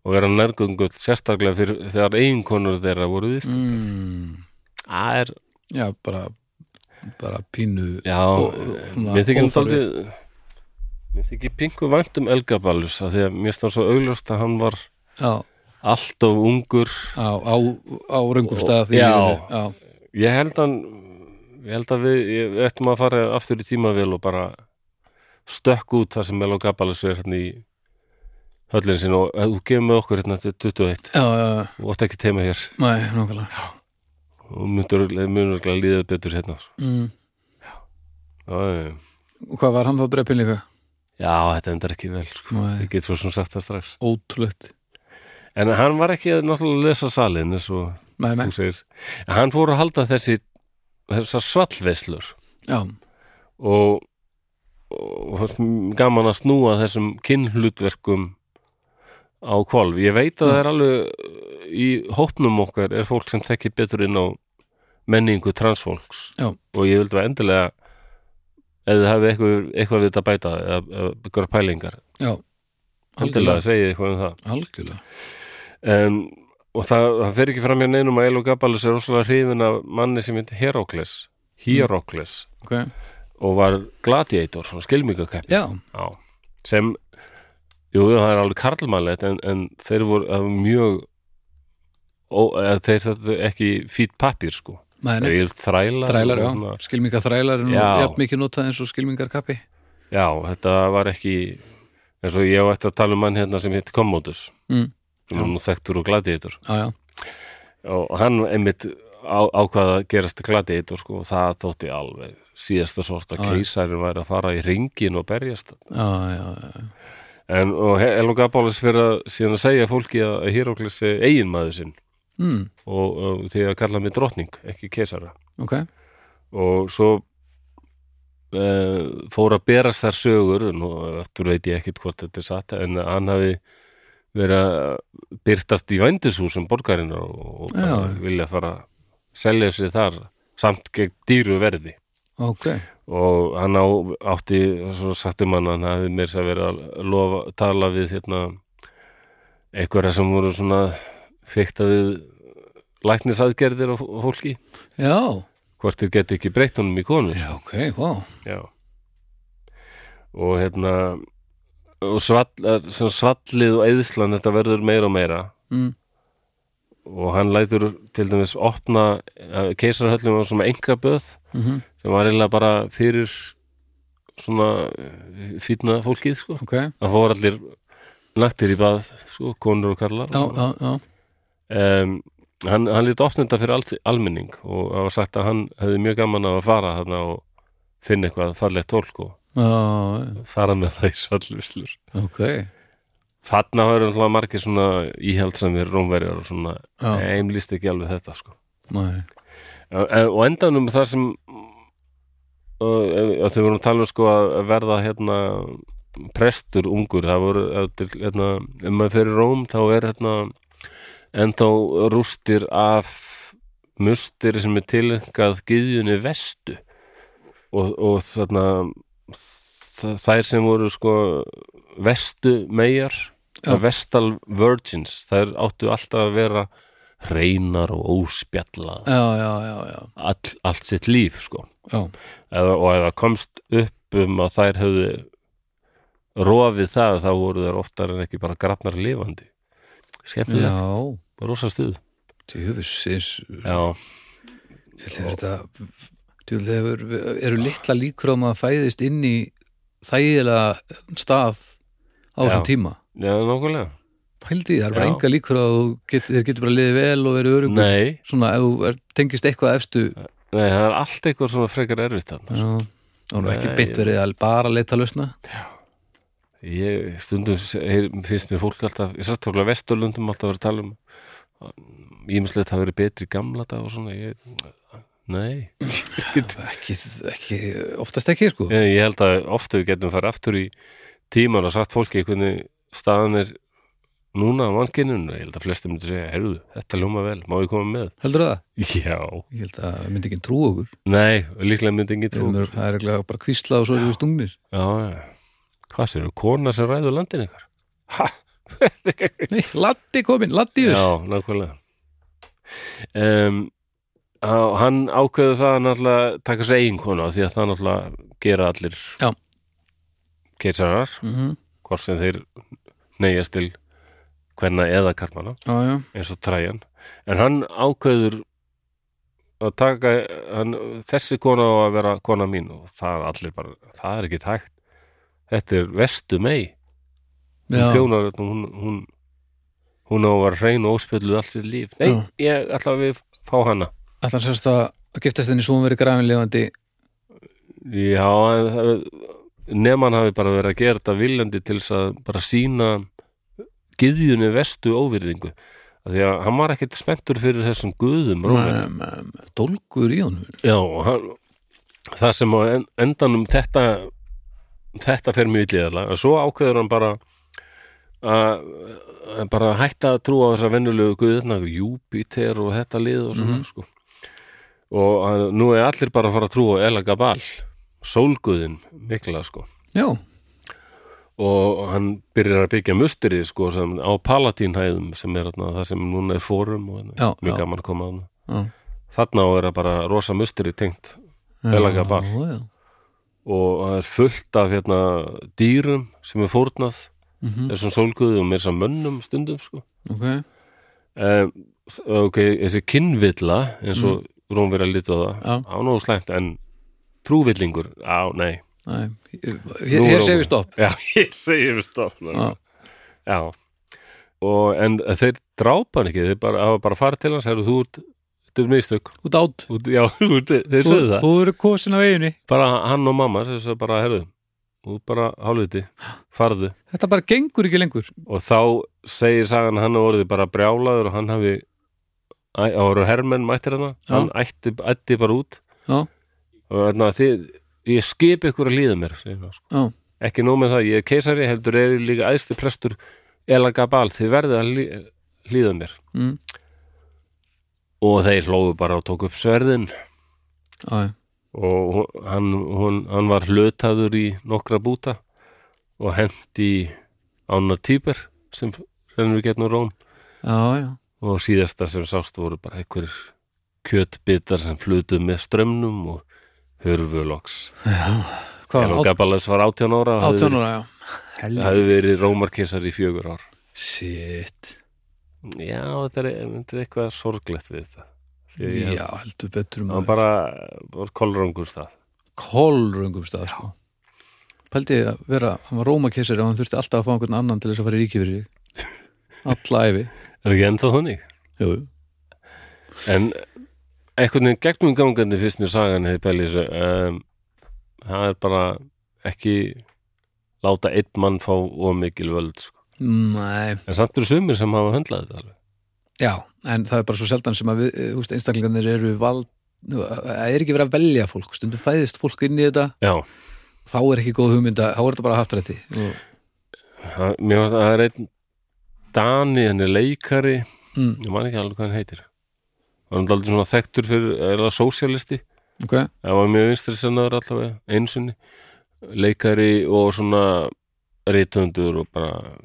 Speaker 1: og vera nærgungull sérstaklega fyrir, þegar eiginkonur þeirra voru vist
Speaker 2: mm,
Speaker 1: það er,
Speaker 2: já, bara bara pínu
Speaker 1: já eh,
Speaker 2: og- svona
Speaker 1: Mér þykir hann
Speaker 2: óþarfi.
Speaker 1: daldið Mér þykir pingu vænt um Elgabalus af því að mér stað svo augljóst að hann var
Speaker 2: já,
Speaker 1: allt of ungur
Speaker 2: á, á, á röngum stað í
Speaker 1: Já.
Speaker 2: lífinu, já,
Speaker 1: Ég held hann ég held að við, ég við ættum að fara aftur í tímavél og bara stökk út þar sem Elgabalus er hérna í höllin sinni og ef þú gefur með okkur hérna til 21
Speaker 2: já, já, já,
Speaker 1: og ótt ekki teima hér
Speaker 2: næ, nákvæmlega
Speaker 1: og myndur munur að líða betur hérna
Speaker 2: mm,
Speaker 1: Já, já, já.
Speaker 2: og hvað var hann þá dreppin líka?
Speaker 1: já þetta endar ekki vel sko.
Speaker 2: Næ,
Speaker 1: ég get svo sem sagt það strax
Speaker 2: ótrúlegt
Speaker 1: en hann var ekki að náttúrulega lesa salin eins og
Speaker 2: næ, næ,
Speaker 1: þú segir, En hann fór að halda þessi þessar svallveislur
Speaker 2: já,
Speaker 1: og, og, og gaman að snúa þessum kinnhlutverkum á kvolf ég veit að það er alveg í hópnum okkar er fólk sem tekki betur inn á menningu transfólks
Speaker 2: Já.
Speaker 1: og ég vildi að endilega ef þið hafi eitthvað, eitthvað við þetta að bæta eða eða ykkur pælingar
Speaker 2: já
Speaker 1: endilega segið eitthvað um það
Speaker 2: algjörlega,
Speaker 1: um, og það, það fer ekki fram hjá neinum að Elo Gabalus er rosalega hrifin af manni sem heit Herokles Herokles
Speaker 2: ok,
Speaker 1: og var gladiator, svona skilmingakeppi
Speaker 2: já,
Speaker 1: sem jú, jú, það er alveg karlmannlegt en, en þeir voru það var mjög ó, eða, þeir þetta ekki fýtt pappir sko,
Speaker 2: næ,
Speaker 1: þeir
Speaker 2: næ
Speaker 1: eru þrælar
Speaker 2: þrælar,
Speaker 1: og hérna,
Speaker 2: já,
Speaker 1: svona-
Speaker 2: skilminga þrælar en
Speaker 1: Já.
Speaker 2: jafn mikið notað eins og skilmingar kappi
Speaker 1: já, þetta var ekki eins og ég á eftir að tala um mann hérna sem heit Commodus
Speaker 2: Mm.
Speaker 1: sem er nú þekktur og gladiator
Speaker 2: já, já,
Speaker 1: og hann einmitt á, ákvað að gerast gladiator sko, og það þótti alveg síðasta sort að
Speaker 2: Já, já.
Speaker 1: keisarin væri að fara í ringin og berjast
Speaker 2: já, já, já,
Speaker 1: en, og Elogabólis fyrir að síðan að segja fólki að Híróklis er eiginmaður sinn
Speaker 2: mm,
Speaker 1: og, og því að kalla mig drottning, ekki keisara
Speaker 2: ok
Speaker 1: og svo uh, fór að berast þær sögur nú aftur veit ég ekkit hvort þetta er satt en að hann hafi verið að byrtast í vændishúsum borgarinnar og, og bara
Speaker 2: Já.
Speaker 1: vilja fara að selja sig þar samt gegn dýru verði
Speaker 2: ok,
Speaker 1: og hann á, átti svo sagt um hann hann hafi meir að vera að lofa, tala við hérna einhverja sem voru svona fyrta við læknisaðgerðir á fó- á fólki
Speaker 2: já,
Speaker 1: hvort þeir geti ekki breytt honum í konu
Speaker 2: já, ok, wow
Speaker 1: Já. og hérna og svall, eh, sem svallið og eðslan þetta verður meira og meira
Speaker 2: mm.
Speaker 1: og hann lætur til dæmis opna eh, keisarahöllum á svona engaböð
Speaker 2: Mm
Speaker 1: sem var eiginlega bara fyrir svona fýtna fólkið sko
Speaker 2: ok, já,
Speaker 1: það fór allir naktir í bað sko, konur og karlar
Speaker 2: já, já
Speaker 1: um, hann, hann lítið opnenda fyrir al almenning og það var sagt að hann hefði mjög gaman af að fara þarna og finna eitthvað fallegt tólk og
Speaker 2: já, já,
Speaker 1: fara með það í svallvislur
Speaker 2: ok
Speaker 1: þarna var alltaf margir svona íhjald sem við rómverjar og svona
Speaker 2: Já.
Speaker 1: heim líst ekki alveg þetta sko
Speaker 2: Nei.
Speaker 1: En- og Eh, endanum þar sem uh, að þau vorum að tala um sko að að verða hérna prestur ungur það voru ef til- hérna, ef maður fer í Róm þá er hérna ennþá rústir af mustir sem er tilengað gyðjunni vestu og, og þarna þ- þær sem voru sko vestu megar
Speaker 2: Já.
Speaker 1: vestal virgins þær áttu alltaf að vera reynar og óspjallað
Speaker 2: já, já, já, já,
Speaker 1: all, allt sitt líf sko.
Speaker 2: já
Speaker 1: eða, og ef það komst upp um að þær höfðu rofið það þá voru þær oftar en ekki bara grafnar lifandi skemmtilegt,
Speaker 2: já,
Speaker 1: rosa stuð
Speaker 2: djöfisins
Speaker 1: já,
Speaker 2: Þetta er þetta Djúl, þegar eru litla líkur á að maður fæðist inn í þægilega stað á þessum
Speaker 1: Já.
Speaker 2: tíma
Speaker 1: já nákvæmlega
Speaker 2: Pældi, því, það er bara
Speaker 1: Já.
Speaker 2: enga líkur á að þú get, þeir getur bara liðið vel og verið örugur
Speaker 1: nei,
Speaker 2: svona ef þú er, tengist eitthvað efstu
Speaker 1: nei, það er allt eitthvað svona frekar erfitt hann
Speaker 2: Já, þá er nú ekki
Speaker 1: Nei,
Speaker 2: beint
Speaker 1: ég-
Speaker 2: verið að bara leita að lausna
Speaker 1: ég stundum se- heyr- finnst mér fólk alltaf, ég sérst tóklega vesturlundum alltaf að vera að tala um ímislegt hafa verið betri í gamla dag og svona ég, nei
Speaker 2: ekki, ekki, oftast ekki sko
Speaker 1: Ég, ég held að ofta við getum farið aftur í tíman og sagt fólki hvernig staðan er núna á mannkinunum. Ég held að flestir myndi segja, heyrðu, þetta ljóma vel, má ég koma með?
Speaker 2: heldur það?
Speaker 1: Já.
Speaker 2: Ég held að það myndi ekki trú okkur
Speaker 1: Nei, líklega myndi engin
Speaker 2: Við
Speaker 1: trú.
Speaker 2: erum- það er ekki bara kvísla og svo erum við stungnir
Speaker 1: Já, já. Hvað sér, kona sem ræður landin ykkar? Ha?
Speaker 2: Nei, Latti komin, Latti
Speaker 1: Já, nákvæmlega. Um, hann ákveður það að náttúrulega taka sér eigin konu af því að það náttúrulega gera allir
Speaker 2: Já.
Speaker 1: keisarar,
Speaker 2: mm -hmm.
Speaker 1: hvort sem þeir neyjast til hvenna eða karmana.
Speaker 2: Já, já,
Speaker 1: eins og træjan en hann ákveður að taka hann, þessi kona á að vera kona mín og það er allir bara, það er ekki takt þetta er vestu mei hún
Speaker 2: já.
Speaker 1: þjónar, þetta, hún, hún hún á að vera hrein og óspjölluð allt sitt líf nei,
Speaker 2: Já.
Speaker 1: ég ætla að við fá hana
Speaker 2: Ætlan sérst að að giftast henni svo hún verið grafin lifandi
Speaker 1: já, en það- nema hann hafi bara verið að gera þetta viljandi til þess að bara sína gyðjunni vestu óvirðingu Af því að hann var ekkit spenntur fyrir þessum guðum Rómverjum.
Speaker 2: um, um, dólgur í honum
Speaker 1: Já, og hann, það sem á en- endanum þetta þetta fer mjög illíðarlega en svo ákveður hann bara að að bara hætta að trúa á þessa vennulegu guðna, Júpiter og þetta lið og
Speaker 2: Mhm.
Speaker 1: svona sko. og að, nú er allir bara að fara að trúa á Elagabal, sólguðin mikla sko
Speaker 2: Já,
Speaker 1: og hann byrjar að byggja musterið sko sem, á Palatínhæðum sem er þarna, það sem núna er fórum og
Speaker 2: Já,
Speaker 1: mjög
Speaker 2: já.
Speaker 1: gaman að koma að
Speaker 2: já
Speaker 1: þarna og er það bara rosa musterið tengt Elagabal.
Speaker 2: Já, já.
Speaker 1: og það er fullt af hérna, dýrum sem er fórnað
Speaker 2: Mhm.
Speaker 1: þessum sólguðu og mér sem mönnum stundum sko.
Speaker 2: Ok,
Speaker 1: um, ok, þessi kynvilla eins og mm. rúm verið að lita á það
Speaker 2: Já.
Speaker 1: á nógu slæmt en trúvillingur, á nei
Speaker 2: næ Hér,
Speaker 1: Nú
Speaker 2: hér
Speaker 1: er
Speaker 2: segir
Speaker 1: ómur.
Speaker 2: við stopp
Speaker 1: já, ég segi við stopp já.
Speaker 2: Já,
Speaker 1: já og en þeir drápa hann ekki þeir bara, hafa bara farið til hans heru, þú ert, þetta er mistök
Speaker 2: út átt
Speaker 1: Þú ert- já, þú ert, þeir
Speaker 2: Þú
Speaker 1: sögðu það
Speaker 2: þú verður kosin af eiginni
Speaker 1: bara hann og mamma sem sagði bara, herðu, þú ert bara hálfviti, farðu
Speaker 2: Þetta bara gengur ekki lengur
Speaker 1: og þá segir sagan að hann hafi orðið bara brjálaður og hann hafi Æ, það voru hermenn mættir hana
Speaker 2: Já.
Speaker 1: hann ætti, ætti bara út
Speaker 2: Já,
Speaker 1: og þannig að þið, ég skipi ykkur að líða mér segir hann, sko.
Speaker 2: já,
Speaker 1: ekki nóg með það, ég er keisari heldur er ég líka æðsti prestur Elagabal, þið verðið að lí, líða mér
Speaker 2: mm.
Speaker 1: og þeir hlóðu bara og tók upp sverðin
Speaker 2: já, já.
Speaker 1: og hún- hann, hún, hann var hlutaður í nokkra búta og hendi ána týper sem rennur í getnum róm
Speaker 2: já, já,
Speaker 1: og síðasta sem sást voru bara einhverjir kjötbitar sem flutu með strömmnum og hörfu loks
Speaker 2: hvað,
Speaker 1: en hún
Speaker 2: var,
Speaker 1: gaf alveg svar 18 ára og
Speaker 2: át-
Speaker 1: hafði
Speaker 2: 18
Speaker 1: verið-
Speaker 2: ára, já Helvítið.
Speaker 1: hafði verið rómarkesar í fjögur ár
Speaker 2: Shit,
Speaker 1: já, þetta er, þetta er eitthvað sorglegt við þetta Því ég-
Speaker 2: já, heldur betur um
Speaker 1: það var
Speaker 2: maður
Speaker 1: bara var kolrangur stað
Speaker 2: kolröngum stað, sko Pældi ég að vera, hann var rómakessari og hann þurfti alltaf að fá einhvern annan til þess að fara í ríki fyrir sig Alla æfi
Speaker 1: er ekki ennþá þannig
Speaker 2: Jú,
Speaker 1: en einhvern veginn gegnum gangandi fyrst mér sagan hefði pælið þessu um, það er bara ekki láta einn mann fá of mikil völd sko.
Speaker 2: nei
Speaker 1: en samt eru sumir sem hafa höndlað þetta alveg
Speaker 2: Já, en það er bara svo sjaldan sem að við, eh, þú veist, einstaklingarnir eru vald það er ekki verið að velja fólk stundum fæðist fólk inn í þetta
Speaker 1: já,
Speaker 2: þá er ekki góð hugmynd að, þá er þetta bara haftrætti mm.
Speaker 1: það, mér varst að það er einn Dani, hann er leikari
Speaker 2: Mm,
Speaker 1: ég man ekki alveg hvað hann heitir hann er aldrei svona þekktur fyrir er það sósialisti,
Speaker 2: ok,
Speaker 1: það var mjög vinstri sennaður allavega, einsunni leikari og svona reytundur og bara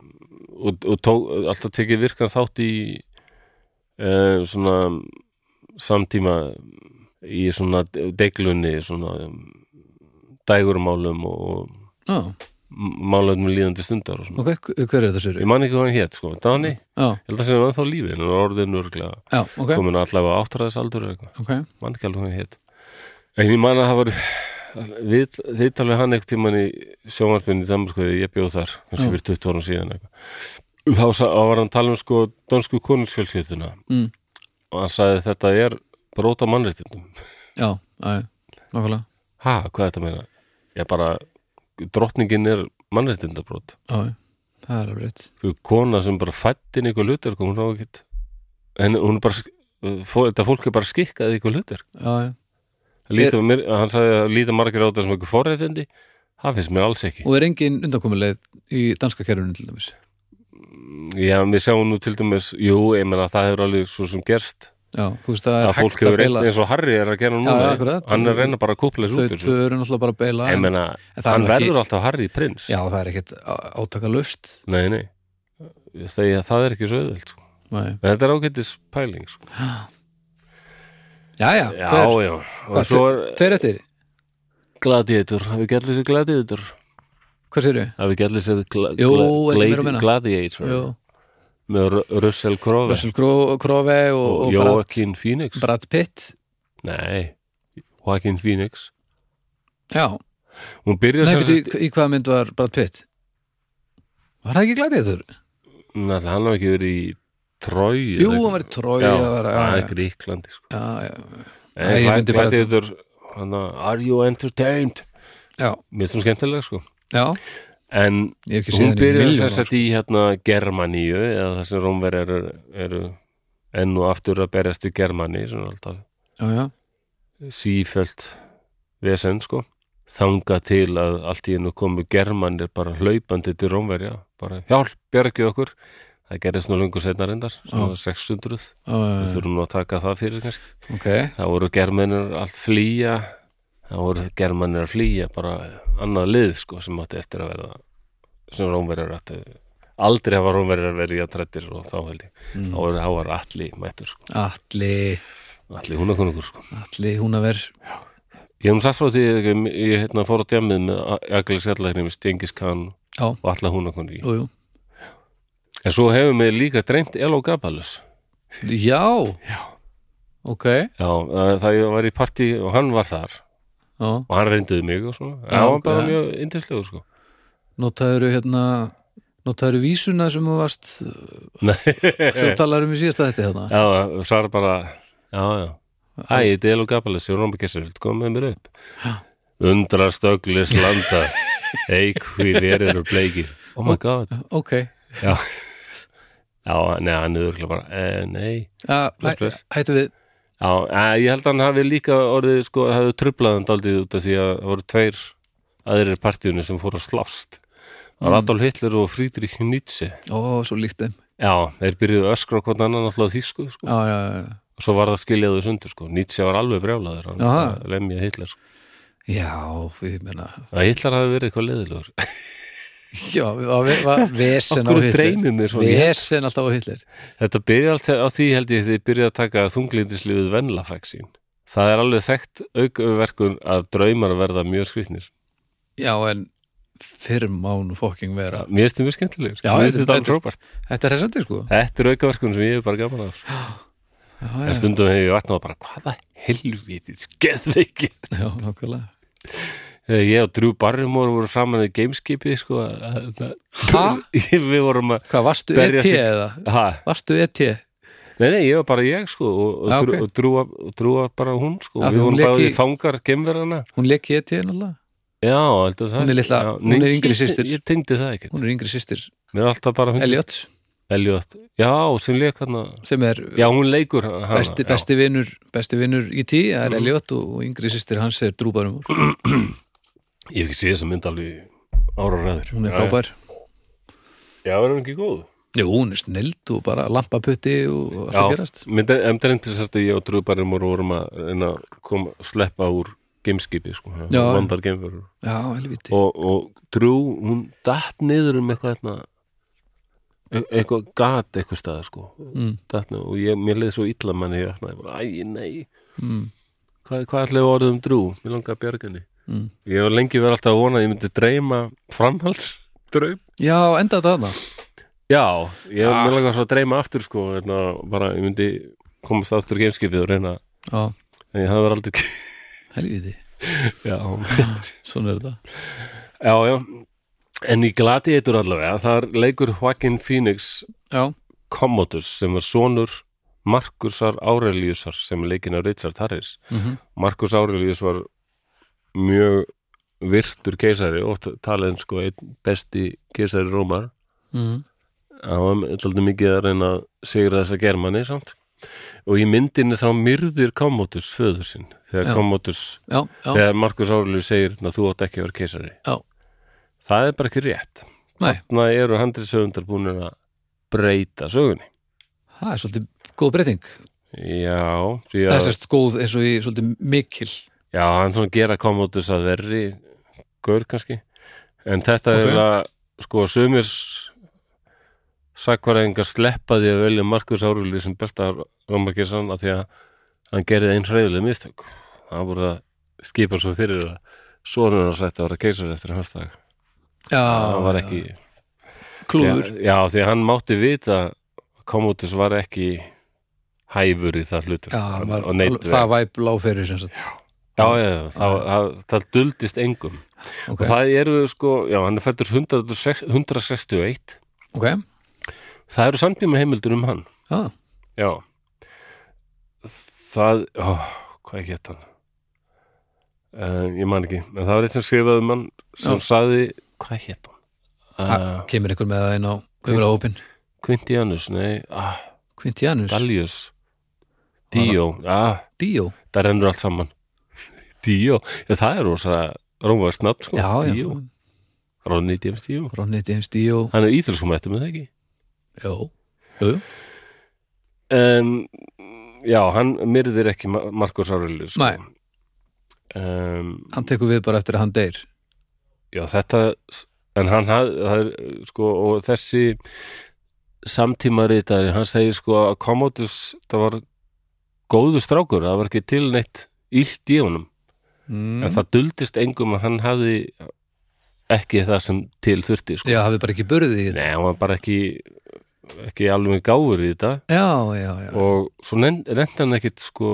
Speaker 1: og, og tók, alltaf tekið virkan þátt í uh, svona samtíma í svona deglunni svona um, dægurmálum og
Speaker 2: já,
Speaker 1: málefnum líðandi stundar og svona
Speaker 2: ok, hver er þetta sér?
Speaker 1: ég man ekki hvað hann hétt sko, Dani ég
Speaker 2: Já,
Speaker 1: held að segja hann þá lífi, hann var orðin örglega
Speaker 2: já, ok,
Speaker 1: komin allavega áttræðisaldur eða eitthvað,
Speaker 2: ok
Speaker 1: man ekki alveg hvað hann hétt en ég man að það var við, við talaði hann eitthvað tíman í sjónvarpinu í Danmarku, ég bjóð þar kannski
Speaker 2: Já.
Speaker 1: fyrir 20 árum síðan eitthvað þá, sa- þá var hann að tala um sko dönsku konungsfjölskylduna
Speaker 2: mm.
Speaker 1: og hann sagði þetta er bróta mannréttindum
Speaker 2: Já, já, nákvæmlega
Speaker 1: ha, hvað er þetta meina? ég bara, drottningin er mannréttindabrót
Speaker 2: já, já, það er alveg rétt
Speaker 1: þú kona sem bara fætti inn í eitthvað hlutverk og hún á ekkert en hún er bara sk- fó- þetta fólk er bara skikkað í eitthvað hlutverk
Speaker 2: Já, já,
Speaker 1: Það líta,
Speaker 2: Eh.
Speaker 1: mér, hann sagði að líta margir á þetta sem eitthvað forréttindi það finnst mér alls ekki
Speaker 2: og er engin undankomuleið í danska kerfinu til dæmis
Speaker 1: já, við sjáum nú til dæmis, jú, ég menna það hefur alveg svo sem gerst
Speaker 2: Já, þú veist, það er
Speaker 1: að fólk
Speaker 2: hægt að
Speaker 1: hefur
Speaker 2: beila
Speaker 1: reynd eins og Harry er að gera núna
Speaker 2: Já, akkurat.
Speaker 1: hann er að reyna bara að kúpla þessu
Speaker 2: þau
Speaker 1: út úr
Speaker 2: tvö
Speaker 1: þessu.
Speaker 2: eru náttúrulega bara að beila
Speaker 1: ég menna,
Speaker 2: en það er
Speaker 1: hann
Speaker 2: nú ekki-
Speaker 1: verður alltaf Harry prins
Speaker 2: Já, það er ekkit átakalust
Speaker 1: nei, nei, þegar það er ekki svo auðvöld sko.
Speaker 2: Nei.
Speaker 1: en þetta er ágættis pæling sko.
Speaker 2: Já, já,
Speaker 1: já,
Speaker 2: hver,
Speaker 1: já,
Speaker 2: hvað,
Speaker 1: og svo er
Speaker 2: tveir eftir
Speaker 1: gladiðitur, hafi ekki allir sér gladiðitur
Speaker 2: Hvað sér ég?
Speaker 1: hafi ekki allir sér gla
Speaker 2: Jú,
Speaker 1: gla
Speaker 2: ekki meira að
Speaker 1: gladi-
Speaker 2: minna.
Speaker 1: gladiator með Ru- Russell Crowe
Speaker 2: Russell Crowe Crowe og,
Speaker 1: og
Speaker 2: og Brad,
Speaker 1: Joaquin Phoenix
Speaker 2: Brad Pitt
Speaker 1: nei, Joaquin Phoenix
Speaker 2: Já,
Speaker 1: hún byrjar
Speaker 2: Nei,
Speaker 1: sem
Speaker 2: beti,
Speaker 1: sagt
Speaker 2: í hvaða mynd var Brad Pitt? Var það ekki glæðið þur?
Speaker 1: Nei, hann hafi ekki verið í Trói
Speaker 2: Jú, hann var í Troy
Speaker 1: já,
Speaker 2: eða var- já,
Speaker 1: það
Speaker 2: já.
Speaker 1: er Gríklandi sko.
Speaker 2: Já, já, Nei, ég
Speaker 1: en
Speaker 2: myndi bara-
Speaker 1: gladiðitur hann að Are you entertained?
Speaker 2: já,
Speaker 1: mér finnst hún skemmtilega sko
Speaker 2: já
Speaker 1: en
Speaker 2: Ég hef ekki séð
Speaker 1: hún
Speaker 2: hann í
Speaker 1: byrjar sem
Speaker 2: miljón
Speaker 1: sagt í hérna Germaníu eða það sem Rómver eru, eru enn og aftur að berjast í Germaní svona alltaf
Speaker 2: Já, já,
Speaker 1: sífelt vesen sko þanga til að allt í einu komu germanir bara hlaupandi til Rómverja bara hjálp, bjargi okkur það gerðist nú lungu setna reyndar svona 600,
Speaker 2: já, já,
Speaker 1: við
Speaker 2: já.
Speaker 1: þurfum nú að taka það fyrir kannski,
Speaker 2: ok
Speaker 1: það voru germanir allt flýja það voru germanir að flýja bara annað lið sko sem átti eftir að verða sem Rómverjar ættu aldrei hafa Rómverjar verið í að trættir og þá held ég,
Speaker 2: Mm.
Speaker 1: þá voru þá var allir mættur sko,
Speaker 2: Alli,
Speaker 1: allir húnakonungur sko
Speaker 2: alli hún að ver
Speaker 1: Ég hef nú sagt frá því að ég, ég hérna, fór á djamið með Aglis Erlækni með Stengis Khan
Speaker 2: Já.
Speaker 1: og alla hún að konni.
Speaker 2: Jú, jú
Speaker 1: En svo hefur mig líka dreymt Elo Gabalus.
Speaker 2: Já,
Speaker 1: Já.
Speaker 2: ok
Speaker 1: Já, það það ég var í partí og hann var þar
Speaker 2: Já,
Speaker 1: og hann reynduði mig og svona.
Speaker 2: Já,
Speaker 1: Já, hann bara
Speaker 2: ok.
Speaker 1: mjög yndislegur sko.
Speaker 2: notaður hérna notaður vísuna sem þú varst
Speaker 1: Nei.
Speaker 2: sem þú talar um í síðasta þetta hérna
Speaker 1: Já, það er bara, já, já. Æ, þetta er Elo Gabalus, ég er Rómbi Kessar, viltu koma með mér upp?
Speaker 2: Já.
Speaker 1: Undra stögglis landa, eik hví verið eru bleikir. Oh my god.
Speaker 2: Ok,
Speaker 1: Já, já neða, hann er örugglega bara, eh, nei.
Speaker 2: já,
Speaker 1: Bless, bless.
Speaker 2: hæ- hættu við
Speaker 1: Já, eh, ég held að hann hafi líka orðið sko, hafi trublað hann daldið út af því að það voru tveir aðrir partíunni sem fóru að slást Það
Speaker 2: Mm.
Speaker 1: var Adolf Hitler og Friedrich Nietzsche
Speaker 2: Ó, svo líkt þeim
Speaker 1: Já, þeir byrjuðu að öskra hvort annan alltaf þýsku sko.
Speaker 2: Já, já, já, já
Speaker 1: og svo var það skiljaðu sundur sko. Nietzsche var alveg brjálaður hann
Speaker 2: Aha.
Speaker 1: að lemja Hitler sko.
Speaker 2: Já, ég meina
Speaker 1: að Hitler hafi verið eitthvað leðilegur
Speaker 2: já, það var- var vesen á
Speaker 1: Okkur
Speaker 2: Hitler
Speaker 1: dreymir mér svona
Speaker 2: vesen alltaf á Hitler
Speaker 1: Þetta byrja allt á því held ég þið byrja að taka þunglindisliðuð venlafaxín Það er alveg þekkt aukverkun að draumar verða mjög skrifnir
Speaker 2: já, en fyrir má nú fokking vera
Speaker 1: Mér finnst þið mjög skemmtilegur
Speaker 2: Já,
Speaker 1: Mér finnst
Speaker 2: þetta-
Speaker 1: þetta alveg frábært
Speaker 2: þetta er hressandi sko
Speaker 1: Þetta er aukaverkun sem ég er bara gaman af
Speaker 2: já,
Speaker 1: En
Speaker 2: já,
Speaker 1: stundum hefur ég vatnað bara hvaða helvítið skeðveiki
Speaker 2: já, nákvæmlega
Speaker 1: Þegar ég og Drew Barrymore voru saman í gameskipi sko, að- að-
Speaker 2: Ha?
Speaker 1: Við vorum að
Speaker 2: hvað, varstu
Speaker 1: Berjast
Speaker 2: ET
Speaker 1: í-
Speaker 2: eða?
Speaker 1: ha,
Speaker 2: varstu E ET?
Speaker 1: Nei, nei, ég var bara ég sko og, og,
Speaker 2: Já,
Speaker 1: okay.
Speaker 2: ok.
Speaker 1: og drúa, og drúa bara hún sko
Speaker 2: Já,
Speaker 1: Við
Speaker 2: því hún
Speaker 1: vorum
Speaker 2: lék
Speaker 1: báði
Speaker 2: í-
Speaker 1: fangar gemverana
Speaker 2: hún leik í ET náttúrulega
Speaker 1: Já, heldur það
Speaker 2: Hún er litla-
Speaker 1: Já,
Speaker 2: hún
Speaker 1: nei,
Speaker 2: er yngri
Speaker 1: ég-
Speaker 2: systir.
Speaker 1: Ég tengdi það ekkert
Speaker 2: hún er yngri sýstir
Speaker 1: Mér er alltaf bara fundist
Speaker 2: Elliot
Speaker 1: Elliot Já, sem leik hann
Speaker 2: sem er
Speaker 1: Já, hún leikur hana
Speaker 2: besti,
Speaker 1: já. Mm.
Speaker 2: besti vinnur besti vinnur í tí, það er Elliot og, og yngri sýstir hans er drúbarum úr
Speaker 1: Ég hef ekki séð þess að mynda alveg ára ræður
Speaker 2: hún er frábær,
Speaker 1: Já, er hún ekki góð?
Speaker 2: jú hún er snild og bara lampaputti og allt að gerast
Speaker 1: myndi, myndi reyndi sérst að ég og Drúbarum vorum að reyna að koma, sleppa úr gameskipi, sko,
Speaker 2: Já.
Speaker 1: vandar gameverur
Speaker 2: já, helviti,
Speaker 1: og, og Drú, hún datt niður um eitthvað hérna e- eitthvað gat eitthvað staðar sko
Speaker 2: Mm.
Speaker 1: datt niður og ég, mér leið svo illa manni ég vaknaði bara, æ, nei
Speaker 2: Mm.
Speaker 1: hvað, hvað ætlaði orðið um Drú, mér langaði að bjarga henni
Speaker 2: Mm.
Speaker 1: ég var lengi verið alltaf að vona að ég myndi dreyma framhaldsdraum
Speaker 2: já, enda þetta þarna
Speaker 1: já, ég ah. mér langaði svo að dreyma aftur sko, hérna, bara ég myndi komast aftur í gameskipið og reyna
Speaker 2: já,
Speaker 1: en ég hafði verið aldrei
Speaker 2: helviti,
Speaker 1: já,
Speaker 2: svona er þetta
Speaker 1: já, já en í Gladiator allavega, þar leikur Joaquin Phoenix
Speaker 2: já,
Speaker 1: Commodus sem var sonur Markusar Aureliusar sem er leikinn af Richard Harris
Speaker 2: mm
Speaker 1: Markus Aurelius var mjög virtur keisari og talin sko einn besti keisari Rómar
Speaker 2: mhm.
Speaker 1: hann var alltaf mikið að reyna að sigra þessa germani samt og í myndinni þá myrðir Commodus föður sinn þegar
Speaker 2: Já.
Speaker 1: Commodus
Speaker 2: já, já,
Speaker 1: þegar Markus Aurelius segir að þú átt ekki að vera keisari
Speaker 2: Já.
Speaker 1: það er bara ekki rétt
Speaker 2: Nei.
Speaker 1: þannig að eru handriðsöfundar búinir að breyta sögunni
Speaker 2: það er svolítið góð breyting
Speaker 1: Já, því
Speaker 2: það er
Speaker 1: að
Speaker 2: sérst góð eins og í svolítið mikil
Speaker 1: Já, hann svona gera Commodus að verri gaur kannski en þetta
Speaker 2: Ok.
Speaker 1: er að sko sumir sakvaræðingar sleppa því að velja Markus Árúli sem besta Rómarkessan af því að hann gerði einn hreiðlega mistök hann voru að skipa svo fyrir að sonur hans ætti að vera keisar eftir hans dag
Speaker 2: já,
Speaker 1: það var
Speaker 2: já,
Speaker 1: ekki
Speaker 2: klúður
Speaker 1: já, já, því að hann mátti vita að Commodus var ekki hæfur í það hlutur
Speaker 2: já, hann var,
Speaker 1: og neitt
Speaker 2: alveg- það væp láfeyrir sem sagt
Speaker 1: Já, já, já, það, það, það duldist engum
Speaker 2: ok,
Speaker 1: og það eru sko, já, hann er fættur 161
Speaker 2: ok,
Speaker 1: það eru samtíma heimildur um hann
Speaker 2: já,
Speaker 1: já það, ó, hvað hétt hann uh, ég man ekki en það var eitt sem skrifaði um hann sem
Speaker 2: Já.
Speaker 1: sagði, hvað hétt hann
Speaker 2: Ha,
Speaker 1: uh,
Speaker 2: kemur ykkur með það inn á umræðaópin
Speaker 1: Quintianus, nei ah,
Speaker 2: Quintianus,
Speaker 1: Dallius Dio, ah,
Speaker 2: Dio
Speaker 1: það rennur allt saman Dio, já, það er rosa rómaðist nafn sko,
Speaker 2: já, já,
Speaker 1: Dio Ronny James Dio
Speaker 2: Ronny James Dio
Speaker 1: hann er íþjóðskum eftir með það ekki
Speaker 2: já, já, já,
Speaker 1: um, Já, hann myrðir ekki Ma- Markus Aurelius sko.
Speaker 2: Nei.
Speaker 1: um,
Speaker 2: hann tekur við bara eftir að hann deyr
Speaker 1: Já, þetta en hann haf, það er, sko, og þessi samtímaritari, hann segir sko að Commodus, það var góður strákur, það var ekki til neitt illt í honum,
Speaker 2: mm.
Speaker 1: en það duldist engum að hann hafði ekki það sem til þurfti sko.
Speaker 2: já, hafði bara ekki burðið í þetta
Speaker 1: Nei, hann var bara ekki ekki alveg gáfur í þetta
Speaker 2: já, já, já,
Speaker 1: og svo reyndi hann ekkit sko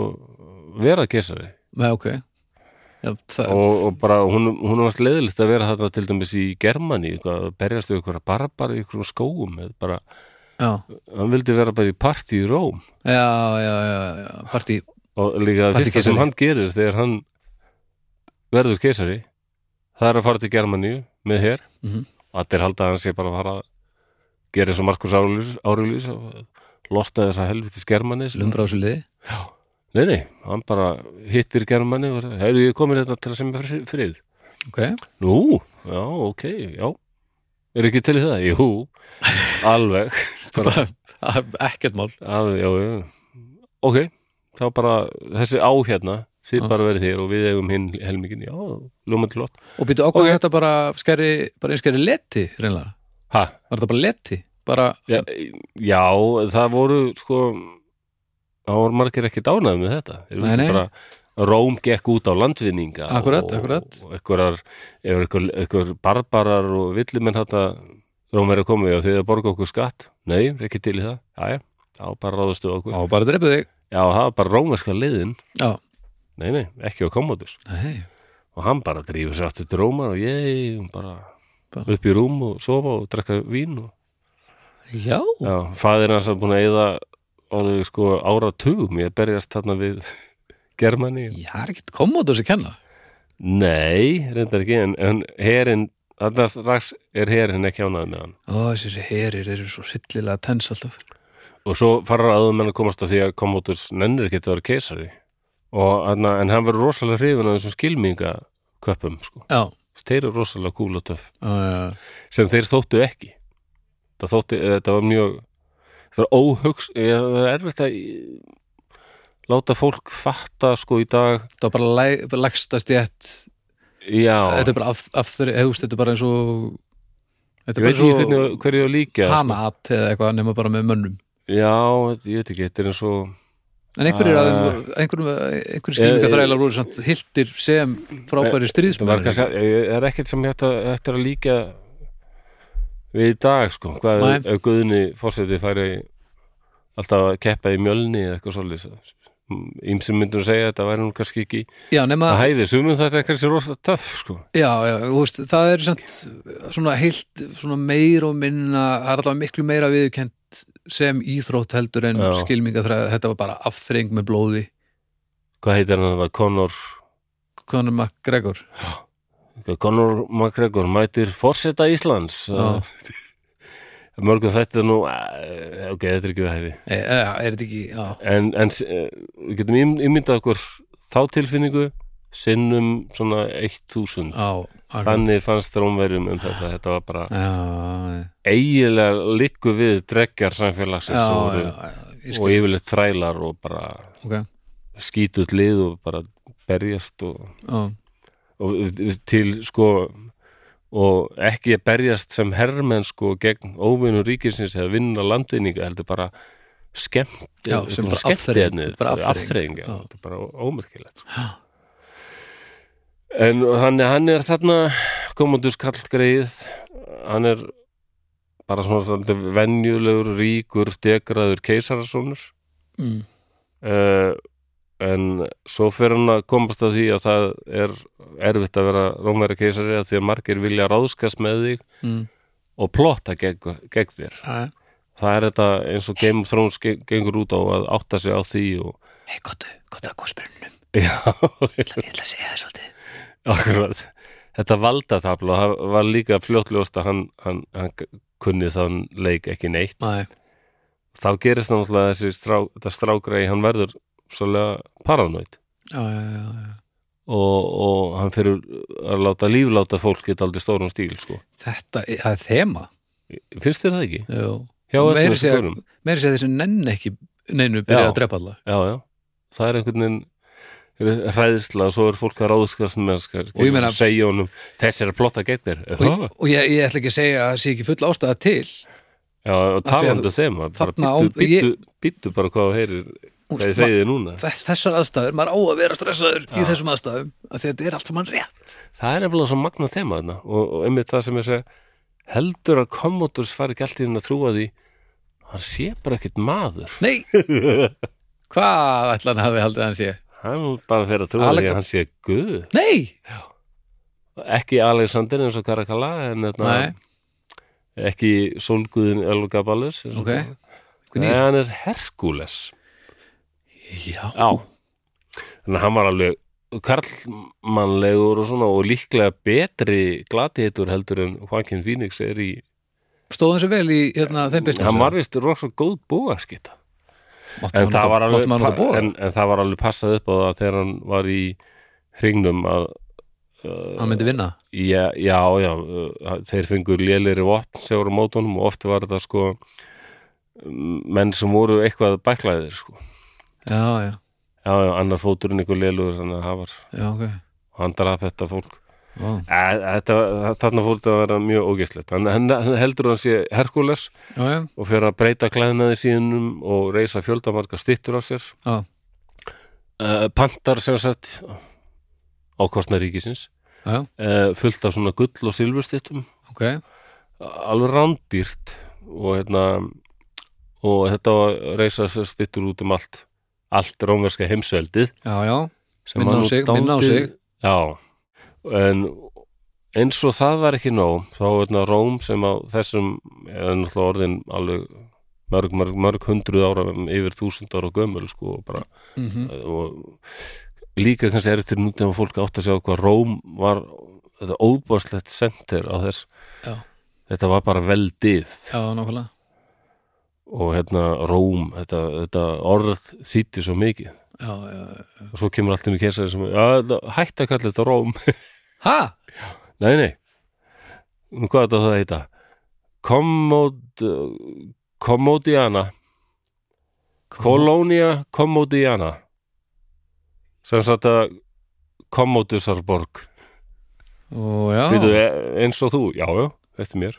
Speaker 1: vera kesari
Speaker 2: með ok já, það,
Speaker 1: og, og bara hún, hún varst leiðilegt að vera þarna til dæmis í Germani eitthvað, að berjast við ykkur barbara í ykkur skóum eða bara,
Speaker 2: já,
Speaker 1: hann vildi vera bara í partí í Róm
Speaker 2: já, já, já, já partí,
Speaker 1: og líka það
Speaker 2: Partí
Speaker 1: fyrsta
Speaker 2: keisari.
Speaker 1: sem hann gerir þegar hann verður kesari það er að fara til Germani með hér
Speaker 2: Mhm.
Speaker 1: og allir halda að hann sé bara að fara að gera eins og Markus Árjulís, Árjulís og losta þessa helvitis Germani sem-
Speaker 2: lumbrásuliði
Speaker 1: Nei, nei, hann bara hittir germanni og hefur ég komin þetta til að semja fri- frið.
Speaker 2: ok,
Speaker 1: Nú, já, ok, já. Er ekki til í það? Jú, alveg. Bara,
Speaker 2: ekkert mál
Speaker 1: að, já, já. Ok, þá bara þessi á hérna, þið
Speaker 2: Já.
Speaker 1: bara verið þér og við eigum hinn helmingin, já, ljómandi lott
Speaker 2: og býtu ákveð
Speaker 1: Ok.
Speaker 2: okay. þetta bara skeri, bara einskeri leti reynlega,
Speaker 1: ha,
Speaker 2: var þetta bara leti bara,
Speaker 1: já, já, það voru sko það voru margir ekki dánað með þetta Þeir
Speaker 2: Nei,
Speaker 1: vildu
Speaker 2: nei.
Speaker 1: bara, Róm gekk út á landvinninga
Speaker 2: Akkurat,
Speaker 1: og,
Speaker 2: akkurat.
Speaker 1: og einhverjar, ef einhver, einhver barbarar og villumenn þetta Róm er að koma við og þið að borga okkur skatt nei, ekki til í það, já, já þá bara ráðastu okkur,
Speaker 2: á bara dreipið þig
Speaker 1: já, það var bara rómarska liðin
Speaker 2: já,
Speaker 1: nei, nei, ekki á komodur
Speaker 2: nei,
Speaker 1: og hann bara drífur sér aftur til Rómar og ég hún bara
Speaker 2: Bara-
Speaker 1: upp í rúm og sofa og drekka vín og
Speaker 2: já
Speaker 1: já, faðir hans að búin að eyða alveg sko ára tugum ég berjast þarna við Germani
Speaker 2: ég er ekkert kommótus að kenna
Speaker 1: nei, reyndar ekki en, en herin, þarna strax er herin ekki ánað með hann
Speaker 2: ó, þessi herir eru svo sillilega tens alltaf
Speaker 1: og svo farar aðum menn að komast af því að komotus nennir ekki að vera keisari og, þarna, en hann verður rosalega hrifin af þessum skilminga köpum sko,
Speaker 2: já,
Speaker 1: þeir eru rosalega kúl og töff
Speaker 2: já, já,
Speaker 1: sem þeir þóttu ekki það þótti, eh, þetta var mjög það var óhugs eh, það er erfitt að í- láta fólk fatta sko í dag
Speaker 2: það var bara læg, lagsta stjætt
Speaker 1: já,
Speaker 2: þetta er bara af, af þeirri, eða þú veist, þetta er bara eins og
Speaker 1: ég veit
Speaker 2: þetta er
Speaker 1: ekki
Speaker 2: bara eins
Speaker 1: hvernig,
Speaker 2: og
Speaker 1: hverju að líka sko.
Speaker 2: hamat eða eitthvað nema bara með mönnum
Speaker 1: já, þetta- ég veit ekki, þetta er eins og
Speaker 2: En einhverjir
Speaker 1: Ah.
Speaker 2: uh, einhverjum, einhverjum skilninga þrælar voru samt hiltir sem frábæri
Speaker 1: það var
Speaker 2: stríðsmenn
Speaker 1: kannski, eh, er ekkert sem þetta, þetta er að líka við í dag sko, hvað
Speaker 2: Nei.
Speaker 1: ef- ef Guðni fórseti færi alltaf að keppa í mjölni eða eitthvað svolítið ímsum myndur að segja að þetta væri nú kannski ekki
Speaker 2: Já, nema,
Speaker 1: að hæfi, sumum þetta er kannski rosa töff sko
Speaker 2: já, já, þú veist, það er samt svona heilt, svona meir og minna, það er allavega miklu meira viðkent sem íþrótt heldur en
Speaker 1: Já.
Speaker 2: skilminga þrælar, þetta var bara afþreng með blóði,
Speaker 1: hvað heitir hann það, Conor
Speaker 2: Conor McGregor
Speaker 1: Conor McGregor mætir forseta Íslands Eh,
Speaker 2: Já.
Speaker 1: mörgum þetta er nú eh, ok, þetta er ekki við hæfi
Speaker 2: e, e, er þetta ekki, já,
Speaker 1: en, en eh, við getum ím- ímyndað okkur þá tilfinningu sinnum svona 1000
Speaker 2: á akkurat.
Speaker 1: þannig fannst rómverjum um þetta þetta var bara
Speaker 2: já,
Speaker 1: eiginlega likku við dregjar
Speaker 2: já,
Speaker 1: samfélagsins og,
Speaker 2: já,
Speaker 1: voru-
Speaker 2: já, ég
Speaker 1: og
Speaker 2: skil,
Speaker 1: yfirleitt þrælar og bara
Speaker 2: ok,
Speaker 1: skítut lið og bara berjast og
Speaker 2: já,
Speaker 1: og til sko og ekki að berjast sem herrmenn sko gegn óvinnur ríkisins eða vinna landinninga heldur bara skemmt eh,
Speaker 2: Já, sem bara afþreying, bara afþreying,
Speaker 1: aftreying
Speaker 2: já.
Speaker 1: bara ómerkilegt sko.
Speaker 2: Já.
Speaker 1: en hann, hann er þarna komandus kallgreið hann er bara svona svolítið venjulegur, ríkur, degraður keisarasonur
Speaker 2: mm,
Speaker 1: uh, en svo fyrir hann að komast að því að það er erfitt að vera rómverja keisari af því að margir vilja ráðskast með þig
Speaker 2: mm,
Speaker 1: og plotta gegn, gegn þér
Speaker 2: að,
Speaker 1: það er þetta eins og Game of Thrones ge- gengur út á að átta sig á því og
Speaker 2: hei, gottu, gottu um- að hvað spyrnum,
Speaker 1: já,
Speaker 2: ég ætla að segja þér svolítið,
Speaker 1: akkurat þetta valdatafla, það var líka fljótljóst að hann, hann, hann kunni þann leik ekki neitt
Speaker 2: næ,
Speaker 1: þá gerist náttúrulega þessi strá, þetta strágrei, hann verður svolítið paranoid
Speaker 2: já, já, já, já
Speaker 1: og, og hann fyrir að láta lífláta fólk geta aldrei stórum stíl sko.
Speaker 2: Þetta, er- það er þema
Speaker 1: finnst þér það ekki?
Speaker 2: Jú.
Speaker 1: Hjá öllum
Speaker 2: Meira að
Speaker 1: þessum
Speaker 2: segja-
Speaker 1: gaurum.
Speaker 2: meira að segja þessi nenn ekki neinu byrja
Speaker 1: Já.
Speaker 2: að drepa alla
Speaker 1: já, já, það er einhvern veginn er hræðsla og svo er fólk að ráðskast með skar,
Speaker 2: Og ég meina-
Speaker 1: segja honum þessi er að plotta gegn þér Er
Speaker 2: og,
Speaker 1: það?
Speaker 2: og ég, ég ætla ekki að segja að það sé ekki full ástæða til
Speaker 1: já, og
Speaker 2: Af því að
Speaker 1: talandi þeim bara
Speaker 2: þarna á-
Speaker 1: býttu,
Speaker 2: ég-
Speaker 1: býttu, býttu bara hvað þú heyrir
Speaker 2: Úst,
Speaker 1: hvað ég segi þið núna
Speaker 2: þess, þessar aðstæður, maður á að vera stressaður í þessum aðstæðum, að þetta er allt sem hann rétt
Speaker 1: það er nefnilega svo magna þema þarna og, og einmitt það sem ég segi heldur að Commodus fari ekki allt í þinn að trúa því hann sé bara ekkert maður
Speaker 2: nei, hvað ætla hann hafi haldið að hann sé
Speaker 1: hann bara fer að trúa
Speaker 2: Alec-
Speaker 1: því að hann sé guð
Speaker 2: nei,
Speaker 1: ekki Alexander eins og Karakala en þetta
Speaker 2: nei,
Speaker 1: ekki sólguðin Elgabalus eins og
Speaker 2: Ok.
Speaker 1: það. Nei,
Speaker 2: hvernig
Speaker 1: hann er Herkules
Speaker 2: já,
Speaker 1: þannig að hann var alveg karlmannlegur og svona og líklega betri glatiðitur heldur en Joaquin Phoenix er í
Speaker 2: stóð hann sér vel í hérna, þeim business
Speaker 1: hann var vist rosa góð búaskita
Speaker 2: máttum
Speaker 1: en,
Speaker 2: hann
Speaker 1: það var
Speaker 2: nota-
Speaker 1: alveg-
Speaker 2: máttum hann nota bóða
Speaker 1: en, en það var alveg passað upp á það þegar hann var í hringnum að
Speaker 2: hann myndi vinna
Speaker 1: Já, já, já, uh, þeir fengur lélir vopn sem voru á mótunum og oft var þetta sko um, menn sem voru eitthvað bæklaðir sko.
Speaker 2: já, já,
Speaker 1: Já, já, já, annar fóturinn ykkur lélugur þannig að það var,
Speaker 2: já, ok
Speaker 1: hann draf þetta fólk
Speaker 2: Vá.
Speaker 1: Æ, þetta, þarna fór þetta að vera mjög ógæslegt hann, hann hann heldur að hann sé Herkules
Speaker 2: já, já,
Speaker 1: og fyrir að breyta klæðnaði síðunum og reisa fjöldamarga stittur af sér
Speaker 2: já,
Speaker 1: uh, pantar sem sagt á kostnað ríkisins
Speaker 2: já, já,
Speaker 1: uh, fullt af svona gull og silfurstittum
Speaker 2: ok
Speaker 1: alveg rándýrt og hérna og þetta var að reisa sér stittur út um allt allt rómverska heimsveldið
Speaker 2: já, já,
Speaker 1: sem
Speaker 2: Minna á
Speaker 1: var nú
Speaker 2: sig, minna á
Speaker 1: dálítið-
Speaker 2: sig.
Speaker 1: já, en eins og það var ekki nóg þá hérna Róm sem á þessum er náttúrulega orðin alveg mörg, mörg, mörg hundruð ára yfir þúsund ára gömul sko og bara
Speaker 2: mhm
Speaker 1: og líka kannski er eftir nútíma fólk átt að sjá hvað Róm var þetta óbáslegt sentir á þess
Speaker 2: Já.
Speaker 1: þetta var bara veldið
Speaker 2: Já, nákvæmlega
Speaker 1: og hérna Róm þetta, þetta orð þýtti svo mikið
Speaker 2: já, já, já.
Speaker 1: og svo kemur allt um í keisari sem já, þetta- hætt að kalla þetta Róm
Speaker 2: Ha?
Speaker 1: nei, nei Nú, hvað þetta það að heita Kommod Kommodiana Kolónia Kommodiana sem sagt að Kommodusarborg
Speaker 2: Ó, já,
Speaker 1: Býtu, e, eins og þú, já, já, eftir mér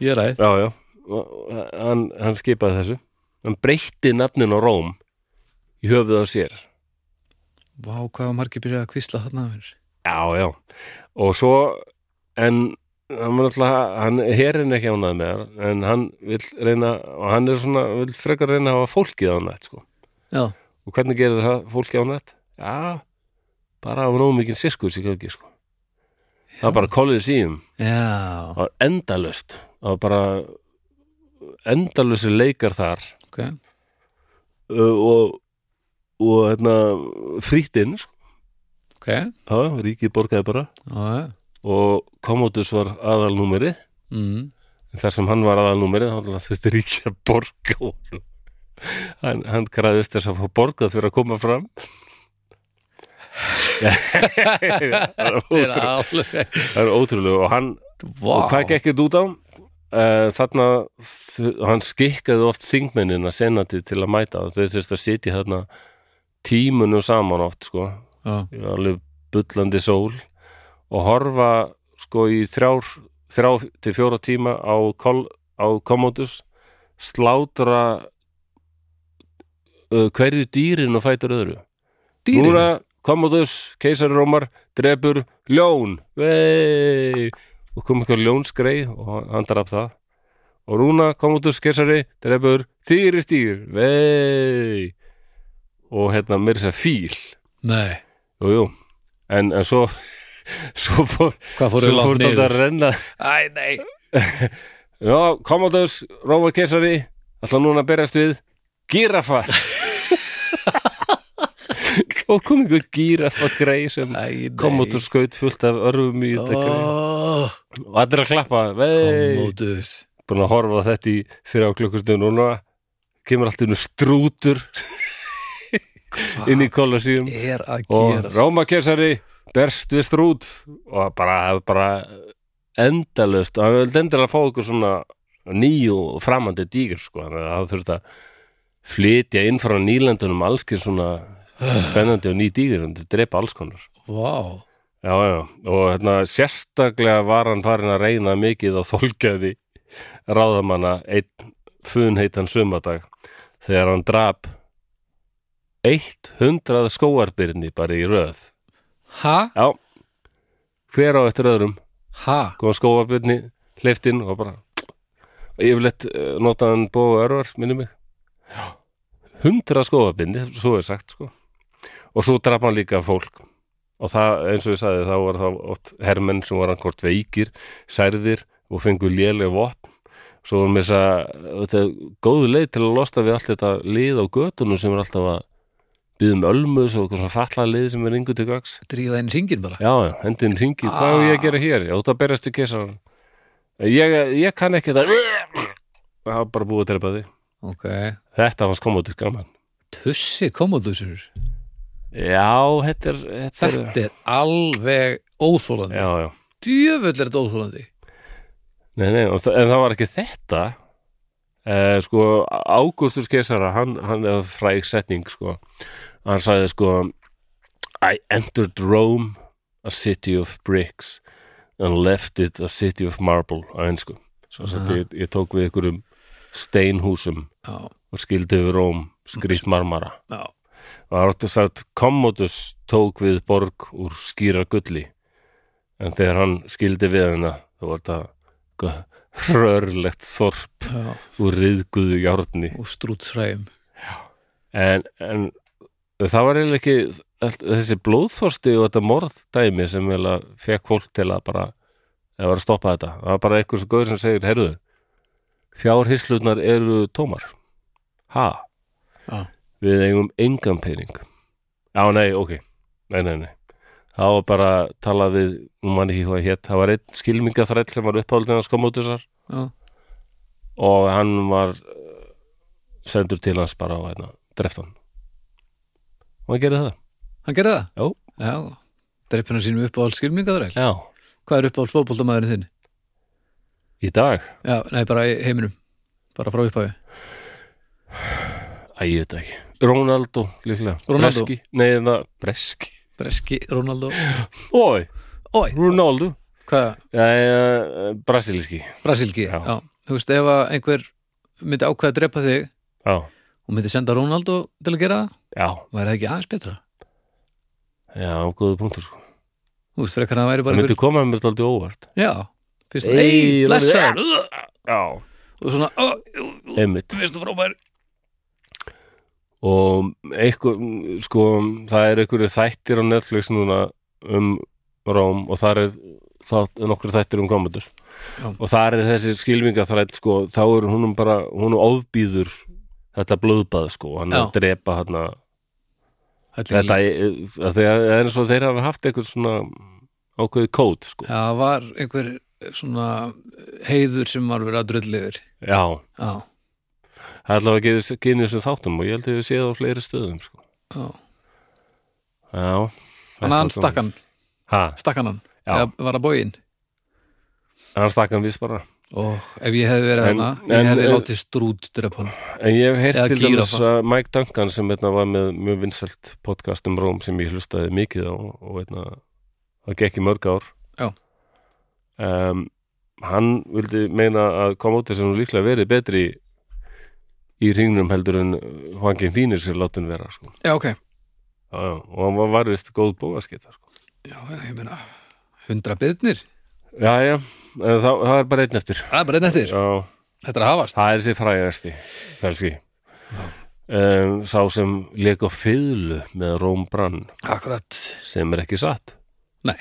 Speaker 2: ég er ræð
Speaker 1: já, já, Og hann, hann skipaði þessu hann breytti nafnin á Róm í höfuð á sér
Speaker 2: Vá, hvað var margir byrjað að kvísla þarna að mér
Speaker 1: já, já, og svo en hann var alltaf hann herin ekki ánað með hann en hann vil reyna og hann er svona, vil frekar reyna að hafa fólkið ánætt sko.
Speaker 2: Já,
Speaker 1: og hvernig gerir það fólkið ánætt? já, bara af nógu mikið sirkus í gangi sko. það var bara kollið síðum
Speaker 2: já,
Speaker 1: það var endalust það var bara endalusi leikar þar
Speaker 2: ok
Speaker 1: uh, og, og hérna, frýttinn sko.
Speaker 2: Ok, já,
Speaker 1: Já, ríkið borgaði bara
Speaker 2: já
Speaker 1: og Commodus var aðalnúmerið
Speaker 2: mm.
Speaker 1: en þar sem hann var aðalnúmerið þá náttúrulega þurfti ríkið að borga honum. hann, hann græðist þess að fá borgað fyrir að koma fram það er
Speaker 2: Þetta er
Speaker 1: ótrú-
Speaker 2: alveg
Speaker 1: það er ótrúlega og hann
Speaker 2: Vá
Speaker 1: og hvað gekk þetta út á? Uh, þarna, þ- hann skikkaði oft þingmennin að senna til, til að mæta þau þurfti að sitja þarna tímunum saman oft sko
Speaker 2: Já,
Speaker 1: Ég var alveg bullandi sól og horfa sko í þrjár, þrjá til fjóra tíma á, kol, á Commodus slátra uh, hverju dýrin og fætur öðru
Speaker 2: dýrin
Speaker 1: Núna Commodus, keisari Rómar, drepur ljón Vei! og kom eitthvað ljónsgrei og hann draf það og núna Commodus, keisari, drepur þýristýr Vei! og hérna mér þess að fíl
Speaker 2: Nei,
Speaker 1: jú, jú. En, en svo svo fór,
Speaker 2: hvað fóruðu
Speaker 1: svo fór
Speaker 2: langt
Speaker 1: þetta að
Speaker 2: niður?
Speaker 1: renna
Speaker 2: Æ, nei
Speaker 1: Já, Commodus, Rómar keisari ætla núna að berjast við gíraffa og kom einhver gíraffa grei sem
Speaker 2: Æ, nei
Speaker 1: Commodus skaut fullt af örfum í þetta greið
Speaker 2: Ó,
Speaker 1: og allir að klappa, vei
Speaker 2: Commodus
Speaker 1: búin að horfa á þetta í þrjá klukkustund og núna kemur allt innu strútur inn í kolosíum
Speaker 2: Er að
Speaker 1: og
Speaker 2: gera
Speaker 1: Rómakesari berst við strút og bara, bara endalust og hann vildi endilega fá okkur svona nýju framandi dýgur sko, þannig að það þurfti að flytja inn frá nýlandunum allskir svona spennandi og ný dýgur og drepa alls konar
Speaker 2: Vá
Speaker 1: Já, já, og hérna, sérstaklega var hann farin að reyna mikið á þolgæði ráðamanna einn funheitan sumadag þegar hann drap 100 skóarbyrni bara í röð.
Speaker 2: Ha?
Speaker 1: Já, hver á eftir öðrum
Speaker 2: Ha?
Speaker 1: kom skóarbyrni, hleyftinn og bara yfirleitt eh, notaði hann bóðu örvar, minni mig. Já, 100 skóarbyrni, svo er sagt, sko. Og svo draf hann líka fólk og það, eins og ég sagði, þá var það oft hermenn sem var annkort veikir, særðir og fengu léleg vopn svo var mér þess að þetta er góð leið til að losna við allt þetta lið á götunum sem er alltaf að byggðum ölmus og eitthvað svona falla lið sem er yngur til gags
Speaker 2: Drífa einn ringin bara
Speaker 1: já, já, hendin ringi, hvað er ég að gera hér? Já, það berjast til kesaran ég, ég kann ekki það það var bara búið að drepa því
Speaker 2: Ok
Speaker 1: þetta fannst koma út í gaman
Speaker 2: Tussi Commodusur
Speaker 1: já, þetta er þetta er,
Speaker 2: Þetta er alveg óþólandi
Speaker 1: já, já
Speaker 2: Djöfull er þetta óþólandi
Speaker 1: Nei, nei, og þa en það var ekki þetta eh, sko, Ágústus keisara hann, hann er fræg setning sko hann sagði sko I entered Rome a city of bricks and left it a city of marble á ennsku svo að
Speaker 2: Aha.
Speaker 1: ég, ég tók við einhverjum steinhúsum
Speaker 2: já,
Speaker 1: og skildi við Róm skrýtt marmara
Speaker 2: já,
Speaker 1: og það er áttu sagt Commodus tók við borg úr skýra gulli en þegar hann skildi við hana þá var þetta eitthvað hrörlegt þorp
Speaker 2: já
Speaker 1: úr riðguðu járni
Speaker 2: og strútsræðum
Speaker 1: en, en það var eiginlega ekki allt- þessi blóðþorsti og þetta morðdæmi sem eiginlega fekk fólk til að bara eða var að stoppa þetta það var bara einhver svo gauður sem segir, heyrðu fjárhislunar eru tómar ha
Speaker 2: Já.
Speaker 1: við eigum engan pening á nei, ok, nei, nei, nei það var bara að tala við nú mann ekki hvað hétt, það var einn skilmingaþræll sem var uppáhaldin hans kom út þessar
Speaker 2: já,
Speaker 1: og hann var uh, sendur til hans bara á hérna, dreft hann og hann gerði það
Speaker 2: hann gerði það?
Speaker 1: Jó.
Speaker 2: já, dreipinu sínum uppáhalds skilmingaðræl
Speaker 1: já,
Speaker 2: hvað er uppáhalds fótboltamaðurinn þinn?
Speaker 1: í dag,
Speaker 2: já, nei, bara í heiminum bara frá upphafi
Speaker 1: að ég veit það ekki Ronaldo líklega,
Speaker 2: Ronaldo?
Speaker 1: Breski nei, hérna, það, Breski
Speaker 2: Breski, Ronaldo
Speaker 1: Oi,
Speaker 2: Oi,
Speaker 1: Ronaldo
Speaker 2: hvað,
Speaker 1: Jæja, eh, brasilíski
Speaker 2: Brasilki
Speaker 1: Já.
Speaker 2: já. þú veist, ef að einhver myndi ákveða að drepa þig
Speaker 1: já,
Speaker 2: og myndi senda Ronaldo til að gera það
Speaker 1: já,
Speaker 2: væri það ekki aðeins betra
Speaker 1: já, góðu punktur sko.
Speaker 2: þú veist, frekar að það væri
Speaker 1: það
Speaker 2: bara
Speaker 1: myndi koma með þetta aldrei óvart
Speaker 2: einhver já, fyrst,
Speaker 1: Ey,
Speaker 2: ei, blessaður
Speaker 1: já,
Speaker 2: og svona, ó, jú, jú,
Speaker 1: einmitt
Speaker 2: þú veist þú frábær
Speaker 1: og eitthvað, sko, það er einhverju þættir á Netflix núna um Róm og þar er það er nokkur þættir um komandur
Speaker 2: Já.
Speaker 1: og þar er þessi skilmingaþrætt sko, þá er húnum bara, húnum ofbýður þetta blöðbað sko, hann er
Speaker 2: Já.
Speaker 1: að drepa þarna
Speaker 2: Hellingi.
Speaker 1: þetta er, að þegar, það er eins og þeir hafa haft eitthvað svona ákveðið kód sko,
Speaker 2: já, var einhver svona heiður sem var verið að drulli yfir
Speaker 1: já,
Speaker 2: já,
Speaker 1: það er allavega að gefa þessu þáttum og ég held að við séð á fleiri stöðum sko,
Speaker 2: já
Speaker 1: já
Speaker 2: hann hann stakkan,
Speaker 1: ha,
Speaker 2: stakkan hann
Speaker 1: Já.
Speaker 2: eða var það bógin
Speaker 1: hann stakkan viss bara
Speaker 2: og ef ég hefði verið
Speaker 1: En-
Speaker 2: hana, ég
Speaker 1: en-
Speaker 2: hefði
Speaker 1: en-
Speaker 2: látið strút drepa hann
Speaker 1: En ég hef heyrt
Speaker 2: Eða
Speaker 1: til dæmis
Speaker 2: gíraffa.
Speaker 1: að Mike Duncan sem eitna, var með mjög vinsælt podcast um Róm sem ég hlustaði mikið á og eitna, það gekk í mörg ár
Speaker 2: Já.
Speaker 1: um, Hann vildi meina að koma út þessum líklega verið betri í hringnum heldur en Hwangin Fínir sér látin vera sko.
Speaker 2: já, ok,
Speaker 1: já, já, og hann var- var vist góð bóðaskita sko.
Speaker 2: já, já, ég meina hundra byrnir,
Speaker 1: Já, já, en það, það er bara einn eftir
Speaker 2: það er bara einn eftir
Speaker 1: Já,
Speaker 2: þetta er að hafast
Speaker 1: það er þessi frægasti felski um, Sá sem leik á fiðlu með Róm Brann
Speaker 2: akkurat,
Speaker 1: sem er ekki satt
Speaker 2: nei,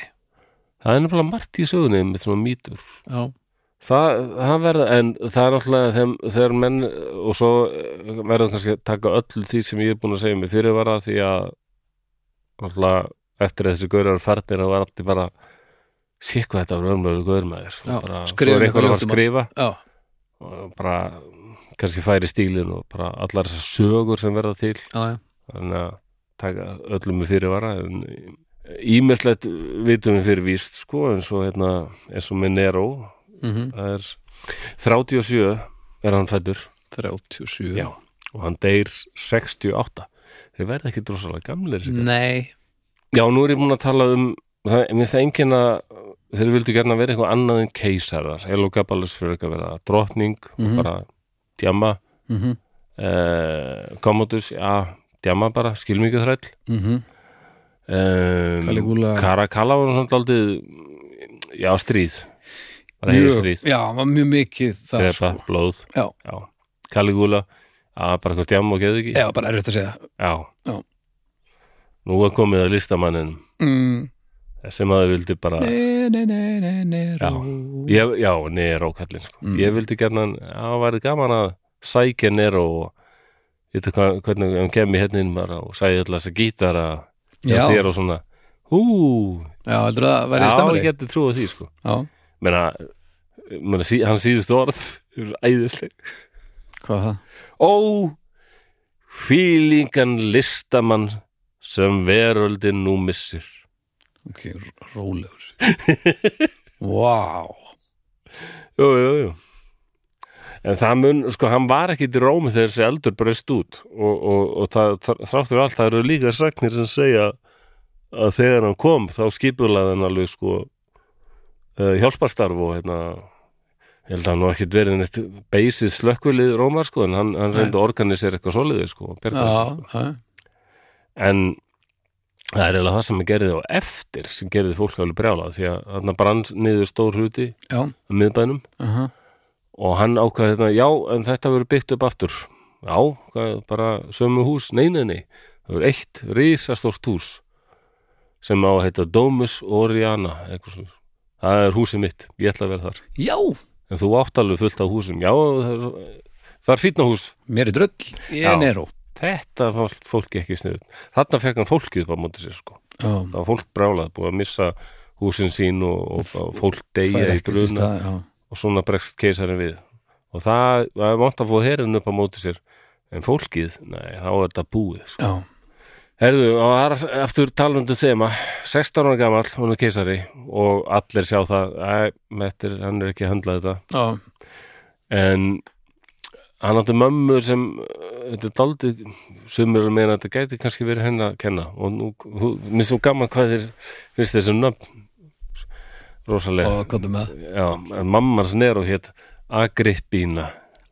Speaker 1: það er nefnilega margt í sögunni með svona mýtur
Speaker 2: já
Speaker 1: það, það verða, en það er náttúrulega þeim, þegar menn og svo eh, verður kannski að taka öll því sem ég er búin að segja mig fyrirvara því að náttúrulega eftir að þessi gaurar færdir það var allir bara sé hvað þetta var örmölu gaurmaður
Speaker 2: Já,
Speaker 1: bara, svo
Speaker 2: skrifum
Speaker 1: er
Speaker 2: eitthvað
Speaker 1: eitthvað að
Speaker 2: ljótt um
Speaker 1: skrifa
Speaker 2: Já,
Speaker 1: og bara kannski færi stílin og bara allar þessar sögur sem verða til
Speaker 2: já, já,
Speaker 1: þannig að taka öllum með fyrirvara en ímislegt vitum við fyrir víst sko eins og hérna eins og með Nero
Speaker 2: mm
Speaker 1: það er 37 er hann fættur
Speaker 2: 37
Speaker 1: Já. og hann deyr 68 þeir verða ekki drosalega gamlir mm.
Speaker 2: Nei,
Speaker 1: já nú er ég múin að tala um það, mér finnst það enginn að þeir vildu gerna vera eitthvað annað en keisarar Elogaballus fyrir ekki að vera drottning
Speaker 2: Mhm.
Speaker 1: og bara djama
Speaker 2: mm -hmm.
Speaker 1: eh, Commodus, já, djama bara skilmikið þræll
Speaker 2: Mm
Speaker 1: um,
Speaker 2: Caligula.
Speaker 1: Karakalla var svona aldrei já, stríð bara hefði stríð,
Speaker 2: Já, var mjög mikið það
Speaker 1: þegar
Speaker 2: sko.
Speaker 1: það blóð
Speaker 2: Já.
Speaker 1: Já. Caligula, að bara hvað stjám og geðu ekki
Speaker 2: Já, bara erfitt að segja það.
Speaker 1: Já.
Speaker 2: Já.
Speaker 1: nú er komið að listamannin
Speaker 2: mm.
Speaker 1: sem að þau vildi bara
Speaker 2: Nei, nei, nei, nei, nei
Speaker 1: Já. ég, já, Nero kallinn sko.
Speaker 2: Mm.
Speaker 1: ég vildi gerna, það væri gaman að sækja Nero og vita hvað, hvernig hann kemur hérna inn bara og sæði alltaf þess að gítara
Speaker 2: Já,
Speaker 1: og þér og svona hú,
Speaker 2: já heldur það að
Speaker 1: já,
Speaker 2: vera í
Speaker 1: ég
Speaker 2: stamari Já,
Speaker 1: geti trúið því sko
Speaker 2: já.
Speaker 1: meina, meina sí, hann síðust orð eru æðisleg
Speaker 2: hvað var það?
Speaker 1: ó fílingan listamann sem veröldin nú missir
Speaker 2: Ok, r- rólegur Vá
Speaker 1: jú, jú, jú En það mun, sko, hann var ekki í Rómi þegar þessi eldur breyst út og, og, og það, þráttur allt, það eru líka sagnir sem segja að þegar hann kom þá skipulaði hann alveg, sko, uh, hjálparstarf og hérna, ég held að hann nú ekkit verið neitt beisið slökkvilið Rómar, sko, en hann, hann
Speaker 2: Nei.
Speaker 1: reyndi að organisera eitthvað soliðið, sko, og bjargaði sér,
Speaker 2: já, eh,
Speaker 1: sko.
Speaker 2: já,
Speaker 1: en það er eiginlega það sem hann gerði á eftir sem gerði fólk alveg brjálað því að hann brann niður stór hluti
Speaker 2: já,
Speaker 1: á miðbænum
Speaker 2: aha,
Speaker 1: og hann ákvað hérna, já, en þetta verður byggt upp aftur já, hvað, bara sömu hús, nei, nei, nei það verður eitt risastórt hús sem á að heita Domus Oriana eitthvað svona, það er húsið mitt ég ætla að vera þar,
Speaker 2: já,
Speaker 1: en þú átt alveg fullt af húsum, já, það er, það er fínna hús
Speaker 2: mér er drull ég
Speaker 1: Já.
Speaker 2: er nero
Speaker 1: þetta fólk, fólk ekki sniður þarna fekk hann fólkið upp á móti sér sko
Speaker 2: já,
Speaker 1: það var fólk brálað, búið að missa húsin sín og, og, og fólk
Speaker 2: það
Speaker 1: degja
Speaker 2: er
Speaker 1: í
Speaker 2: ekkert í
Speaker 1: bruna
Speaker 2: stað já,
Speaker 1: og svona bregst keisarinn við og það, það er vant að fóða herinn upp á móti sér en fólkið, nei, þá er þetta búið sko.
Speaker 2: já,
Speaker 1: Herðu, og það er aftur talandu þema 16 ára gamall, hún er keisari og allir sjá það æ, mettir, hann er ekki að handla þetta
Speaker 2: já,
Speaker 1: en hann átti mömmur sem eh, þetta er daldið sumur að meina að þetta gæti kannski verið henn að kenna og nú, hú, mér er svo gaman hvað þér finnst þessum nöfn rosalega
Speaker 2: og hvað er með
Speaker 1: Já, en mammars Nero hétt Agrippína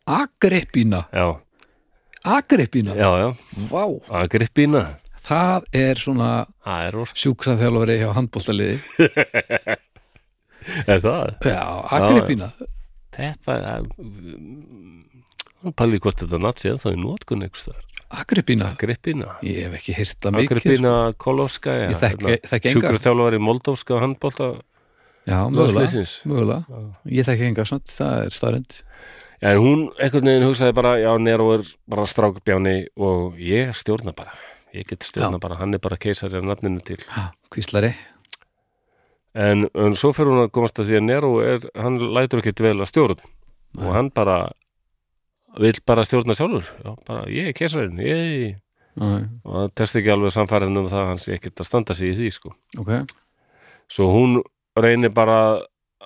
Speaker 2: agrippina,
Speaker 1: Já,
Speaker 2: agrippina
Speaker 1: já, já,
Speaker 2: vá,
Speaker 1: Agrippína
Speaker 2: það er svona
Speaker 1: Það er orð
Speaker 2: sjúkraþjálfari hjá handbóltaliði
Speaker 1: Er það?
Speaker 2: já, agrippina
Speaker 1: Þetta er Pæli Mm, hvort þetta natt séð þá í nótkun einhvers þar
Speaker 2: agrippina,
Speaker 1: Agrippína
Speaker 2: ég hef ekki hýrt það mikið sko.
Speaker 1: Agrippína hérna, Kolovska
Speaker 2: Ég þekki- þekki enga.
Speaker 1: Sjúkurþjálfari Moldófska handbólta
Speaker 2: já, mögulega,
Speaker 1: landsliðsins.
Speaker 2: mögulega ég þekki enga samt, það er staðrind
Speaker 1: En hún einhvern veginn hugsaði bara Já, Nero er bara strákbjáni og ég stjórna bara Ég get stjórna bara, hann er bara keisari af nafninu til
Speaker 2: kvíslari,
Speaker 1: en, en svo fyrir hún að komast að því að Nero er, hann lætur ekkert vel að stjórn og hann bara vill bara stjórna sjálfur já, bara, ég er kesarinn, ég
Speaker 2: Æ,
Speaker 1: og það testi ekki alveg samfærin um það hans ekkert að standa sig í því sko
Speaker 2: ok
Speaker 1: svo hún reynir bara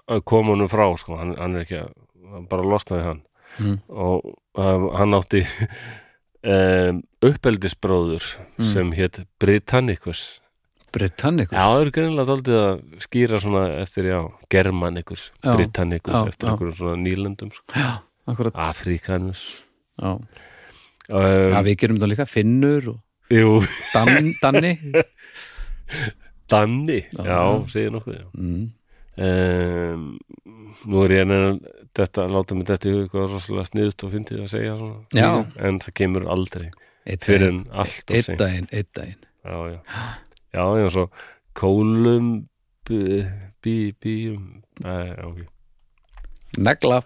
Speaker 1: að koma honum frá sko, hann, hann er ekki að hann bara losnaði hann
Speaker 2: Mm.
Speaker 1: og um, hann átti um, uppeldisbróður
Speaker 2: Mm.
Speaker 1: sem hétt Britannicus
Speaker 2: Britannicus
Speaker 1: Já, það eru greinilega daldið að skýra svona eftir, já, germanikus,
Speaker 2: Já,
Speaker 1: britannikus,
Speaker 2: já,
Speaker 1: eftir
Speaker 2: já.
Speaker 1: einhverjum svona nýlendum, sko,
Speaker 2: Já, akkurat
Speaker 1: afrikanus.
Speaker 2: Já.
Speaker 1: Um,
Speaker 2: Já, við gerum það líka Finnur og
Speaker 1: Jú,
Speaker 2: Dan, Danni
Speaker 1: danni,
Speaker 2: Já,
Speaker 1: já,
Speaker 2: já.
Speaker 1: segir nokkuð, já.
Speaker 2: mm.
Speaker 1: Um, nú er ég enn að þetta, láta mig þetta í hug eitthvað rosalega sniðut og fyndið að segja svona.
Speaker 2: Já.
Speaker 1: En það kemur aldrei
Speaker 2: Eitt
Speaker 1: fyrir en allt og
Speaker 2: Eitt
Speaker 1: segja.
Speaker 2: daginn, eitt daginn
Speaker 1: Já, já. Já, já, svo kólum, bí, bí, bíum, Nei, ok.
Speaker 2: Negla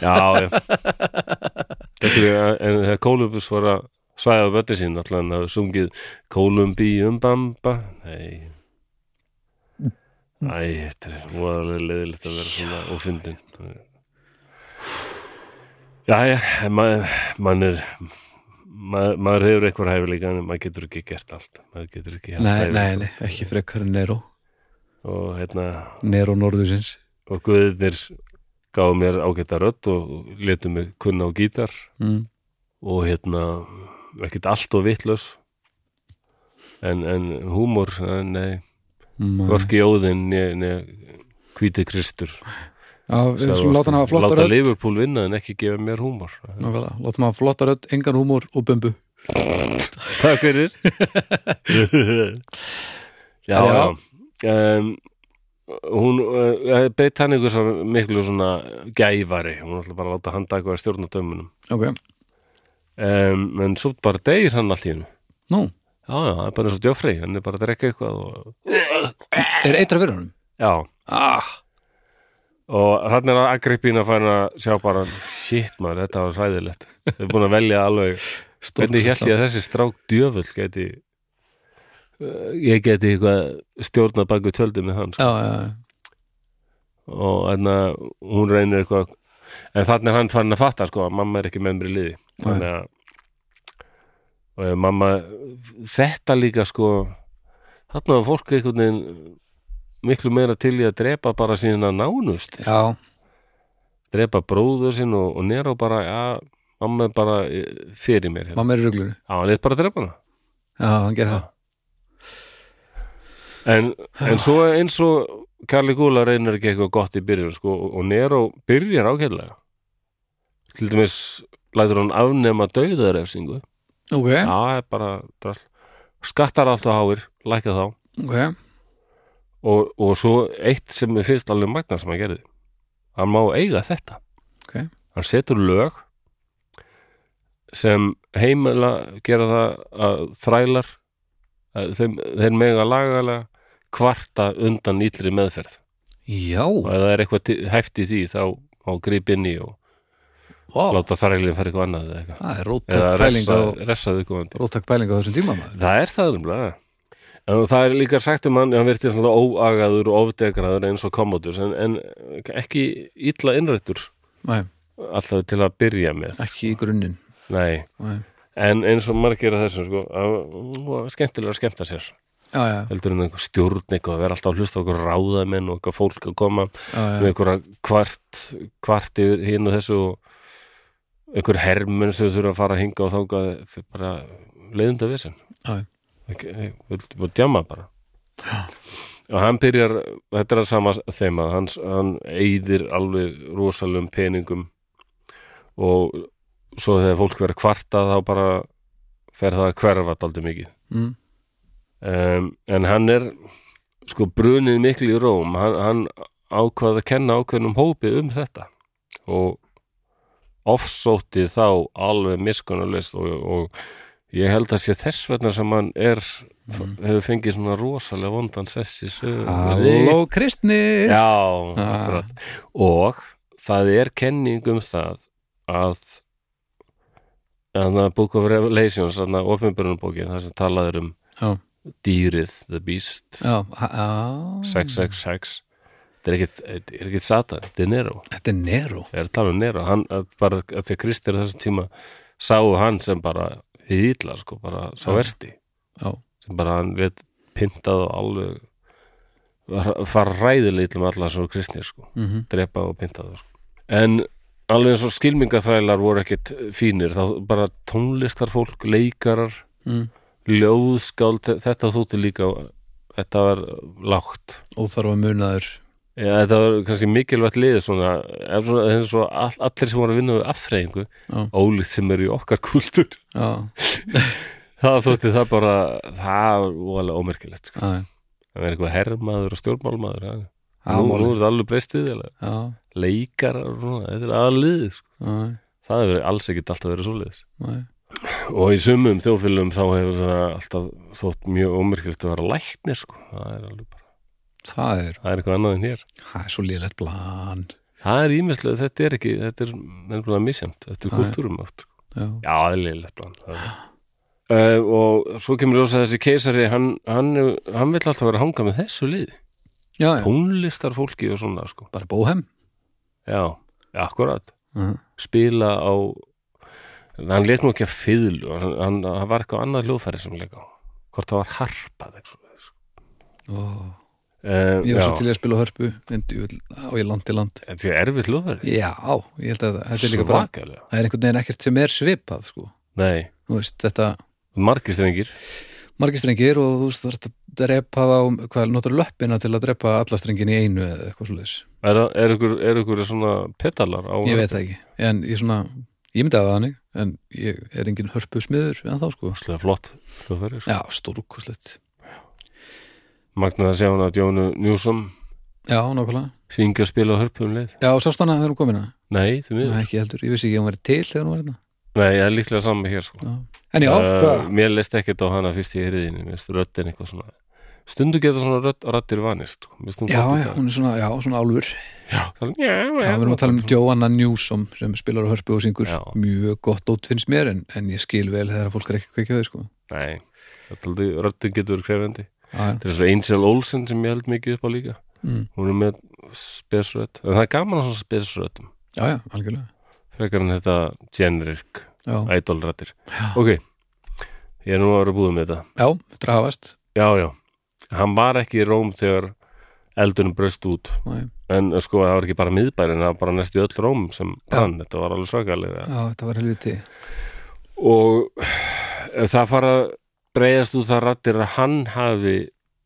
Speaker 1: Já, já Þetta er en þegar Kólumbus var að svæða bötni sín allan hann hafði sungið Kólumbíum bamba Nei
Speaker 2: Mm.
Speaker 1: Æ, þetta er voðalega leðilegt að vera svona ófindin Jæja, en maður mann er maður, maður hefur eitthvað hæfileika en maður getur ekki gert allt maður getur ekki haft
Speaker 2: Nei,
Speaker 1: hæfileika.
Speaker 2: nei, nei, ekki frekar en Nero
Speaker 1: og hérna
Speaker 2: Nero Norðusins
Speaker 1: og guðirnir gáðu mér ágæta rödd og letu mig kunna á gítar
Speaker 2: mm.
Speaker 1: og hérna ekkert allt og vitlaus en, en húmor eh, nei,
Speaker 2: Mm.
Speaker 1: hvorki óðinn né, né hvíti kristur
Speaker 2: Já, við
Speaker 1: Sagði
Speaker 2: skulum láta hann hafa
Speaker 1: Ástæður.
Speaker 2: flotta
Speaker 1: láta
Speaker 2: rödd
Speaker 1: Liverpool vinna en ekki gefa mér húmor
Speaker 2: Nákvæmlega, láta hann hafa flotta rödd, engan húmór og bömbu
Speaker 1: takk fyrir já, já.
Speaker 2: Já.
Speaker 1: Um, hún uh, beitt hann ykkur svo miklu svona gæfari hún ætla bara að láta hann dagvað stjórnadömmunum
Speaker 2: Ok,
Speaker 1: um, en svo bara deyr hann allt í hennu
Speaker 2: nú,
Speaker 1: já, já, það er bara eins og Joffrey hann er bara að drekka eitthvað og,
Speaker 2: er eitra fyrir honum?
Speaker 1: já,
Speaker 2: Ah,
Speaker 1: og þannig er að Agrippín að fæna sjá bara shit maður, þetta var ræðilegt þau er búin að velja alveg hvernig held ég að þessi strák djöfull geti Uh, ég geti eitthvað stjórna baku tjöldi með hann sko.
Speaker 2: Já, já, já,
Speaker 1: og þannig að hún reynir eitthvað en þannig er hann fann að fatta sko að mamma er ekki með mér í liði þannig að og ef mamma þetta líka sko þannig að fólk einhvern veginn miklu meira til í að drepa bara sína nánust
Speaker 2: já
Speaker 1: drepa bróður sinn og, og Nero bara, ja, mamma er bara eh, fyrir mér, hérna.
Speaker 2: mamma er í ruglunu
Speaker 1: Já, hann leitt bara að drepa hana
Speaker 2: já, hann gerði það
Speaker 1: En, en svo eins og Karli Gúla reynir ekki eitthvað gott í byrjun sko, og Nero byrjar ákæðlega til dæmis lætur hann afnema dauðarefsingu Já,
Speaker 2: ok,
Speaker 1: það er bara drasl skattar allt og háir, lækka þá
Speaker 2: ok,
Speaker 1: og, og svo eitt sem mér finnst alveg magnar sem hann gerði hann má eiga þetta
Speaker 2: Ok.
Speaker 1: hann setur lög sem heimila gera það að þrælar að þeim, þeir mega lagalega kvarta undan ítlri meðferð
Speaker 2: já
Speaker 1: og ef það er eitthvað til- hæft í því þá má gríp inn í og
Speaker 2: wow.
Speaker 1: láta þrælinn fyrir eitthvað annað eða eitthvað
Speaker 2: það er
Speaker 1: eða
Speaker 2: róttæk pæling
Speaker 1: refsa,
Speaker 2: á
Speaker 1: refsa þau komandi
Speaker 2: róttæk pæling á þessum tíma maður
Speaker 1: Það er það umlega En það er líka sagt um hann, hann virti svona óagaður og ofdegraður eins og komodur en, en ekki illa innrættur
Speaker 2: Nei,
Speaker 1: alltaf til að byrja með
Speaker 2: ekki í grunninn
Speaker 1: Nei,
Speaker 2: Nei.
Speaker 1: en eins og margir af þessum sko, að- og skemmtilega að skemmta sér
Speaker 2: já, já,
Speaker 1: heldur en einhver stjórn eitthvað að vera alltaf að hlusta á okkur ráðamenn og eitthvað fólk að koma
Speaker 2: já, já.
Speaker 1: með einhverja kvart kvart yfir hinn og þessu og einhver hermenn sem þurfa að fara að hinga og þangað þetta er bara leiðinda vesen
Speaker 2: Já.
Speaker 1: Ekki- nei, við vildum bara djama bara og hann byrjar þetta er að sama þeim að hann, hann eyðir alveg rosalum peningum og svo þegar fólk verið kvartað þá bara fer það að hverfa daldið mikið
Speaker 2: Mm.
Speaker 1: um, en hann er sko brunin miklu í róm hann, hann ákvað að kenna ákveðnum hópi um þetta og offsótti þá alveg miskunnarlist og, og ég held að sé þess vegna sem hann er hefur fengið svona rosalega vondan sessi
Speaker 2: Halló kristnir
Speaker 1: Já,
Speaker 2: Ah.
Speaker 1: akkurat og það er kenning um það að þannig að Book of Revelations þannig að ofinbjörnubókin það sem talað er um
Speaker 2: Já. Ah.
Speaker 1: dýrið, the beast
Speaker 2: já, ha- já.
Speaker 1: 666 þetta er ekkit, þetta er ekkit satan, þetta er Nero
Speaker 2: þetta er Nero
Speaker 1: það er að tala um Nero, hann að bara að því að Kristir á þessum tíma sáu hann sem bara hýðla, sko, bara sá
Speaker 2: Já.
Speaker 1: versti
Speaker 2: já,
Speaker 1: sem bara hann veit pintað og alveg var- fara ræðilítlum allar svo kristnir, sko
Speaker 2: mm
Speaker 1: drepa og pynta það sko. en alveg eins og skilmingaþrælar voru ekkit fínir, þá bara tónlistarfólk, leikarar
Speaker 2: Mm.
Speaker 1: ljóðskáld, þetta þótti líka þetta var lágt
Speaker 2: óþarfa munaður
Speaker 1: ja, þetta var kannski mikilvægt lið svona, ef svona, eins og all, allir sem voru að vinna við afþreyingu,
Speaker 2: Já.
Speaker 1: ólíkt sem eru í okkar kultur,
Speaker 2: já,
Speaker 1: það þótti það bara það var alveg ómerkilegt sko.
Speaker 2: já, já.
Speaker 1: það er eitthvað herrmaður og stjórnmálmaður ja.
Speaker 2: Já,
Speaker 1: nú,
Speaker 2: málið.
Speaker 1: nú er það alveg breystið
Speaker 2: já,
Speaker 1: leikarar, og svona, þetta er aðlið sko.
Speaker 2: já,
Speaker 1: það hefur alls ekkert alltaf verið svoleiðis
Speaker 2: já.
Speaker 1: og í sumum þjóðfélum þá hefur það alltaf þótt mjög ómyrkilegt að vera læknir sko. það er alveg bara,
Speaker 2: það er
Speaker 1: það er eitthvað annað en hér
Speaker 2: það er svo lélegt blan
Speaker 1: það er ímestlega, þetta er ekki þetta er nefnilega misjönd, þetta er
Speaker 2: Nei.
Speaker 1: kultúrum átt sko.
Speaker 2: já,
Speaker 1: já, eðlilegt plan uh, og svo kemur ljósa þessi keisari hann, hann, hefur- hann vill alltaf vera að hanga með þessu lið
Speaker 2: já, já.
Speaker 1: tónlistarfólki og svona sko.
Speaker 2: bara bóhem
Speaker 1: já, akkurat
Speaker 2: uh
Speaker 1: spila á en hann leik nú ekki að fiðlu hann, hann, hann var eitthvað annað hljóðfæri sem hann leik á hvort það var harpað eitthvað svoleiðis, sko.
Speaker 2: -huh.
Speaker 1: Uh,
Speaker 2: ég var svo til í að spila á hörpu en djúvill, á ég land til land
Speaker 1: Þetta sé erfitt hljóðverði
Speaker 2: já, ég held að þetta er líka bara það er einhvern veginn ekkert sem er svipað sko.
Speaker 1: Nei,
Speaker 2: Þú veist, þetta
Speaker 1: margir strengir
Speaker 2: margir strengir og þú veist þú þarft að drepa á, hvað, notar löppina til að drepa alla strengin í einu eða eitthvað svoleiðis
Speaker 1: Er, það- er ykkur, er ykkur svona pedalar á
Speaker 2: ég veit það ekki, en ég svona ég myndi að það hannig, en ég er engin hörpu smiður en þá sko,
Speaker 1: Slega flott hljóðfæri sko.
Speaker 2: já, stórkoslegt
Speaker 1: Magnaði að sjá hann að Jónu Njúsum
Speaker 2: já, nákvæmlega,
Speaker 1: syngja að spila á hörpu um leið
Speaker 2: já, sást hana þegar hún komina
Speaker 1: Nei, þú miður
Speaker 2: Nei,
Speaker 1: Nei,
Speaker 2: ekki heldur, ég vissi ekki að hún var til þegar hún var hérna
Speaker 1: það er líklega saman hér sko.
Speaker 2: já. en já,
Speaker 1: Eh,
Speaker 2: hvað,
Speaker 1: Mér leist ekkert á hana fyrst í heyriðinni Mér finnst röddin eitthvað svona Stundu geta svona rödd, raddir vanist sko. Mér finnst hún
Speaker 2: já,
Speaker 1: gott í
Speaker 2: já,
Speaker 1: dag.
Speaker 2: hún er svona, já, svona álfur
Speaker 1: Það- Já,
Speaker 2: já, við erum að tala um Joanna Newsom sem spilar á hörpu og syngur
Speaker 1: Já.
Speaker 2: mjög gott út finnst mér, en, en ég skil vel þegar fólk er ekki kveikjaði, sko
Speaker 1: Nei, þetta er aldrei- röddin getur verið krefendi
Speaker 2: já, já,
Speaker 1: Þetta er svo Angel Olsen sem ég held mikið upp á líka
Speaker 2: Mm.
Speaker 1: Hún er með spesrödd En það er gaman að svona spesröddum
Speaker 2: já, já, algjörlega
Speaker 1: Frekar en þetta generic
Speaker 2: já,
Speaker 1: idolrættir
Speaker 2: Já.
Speaker 1: Ok, ég er nú að vera búið með þetta
Speaker 2: já, drafast
Speaker 1: Já, já, hann var ekki í Róm þegar eldunum bröst út
Speaker 2: Næ,
Speaker 1: en eh, sko það var ekki bara miðbærin það var bara næstu öll róm sem
Speaker 2: Já.
Speaker 1: brann þetta var alveg svakalega
Speaker 2: já, þetta var helviti
Speaker 1: og ef það fara að breyðast út það rættir að hann hafi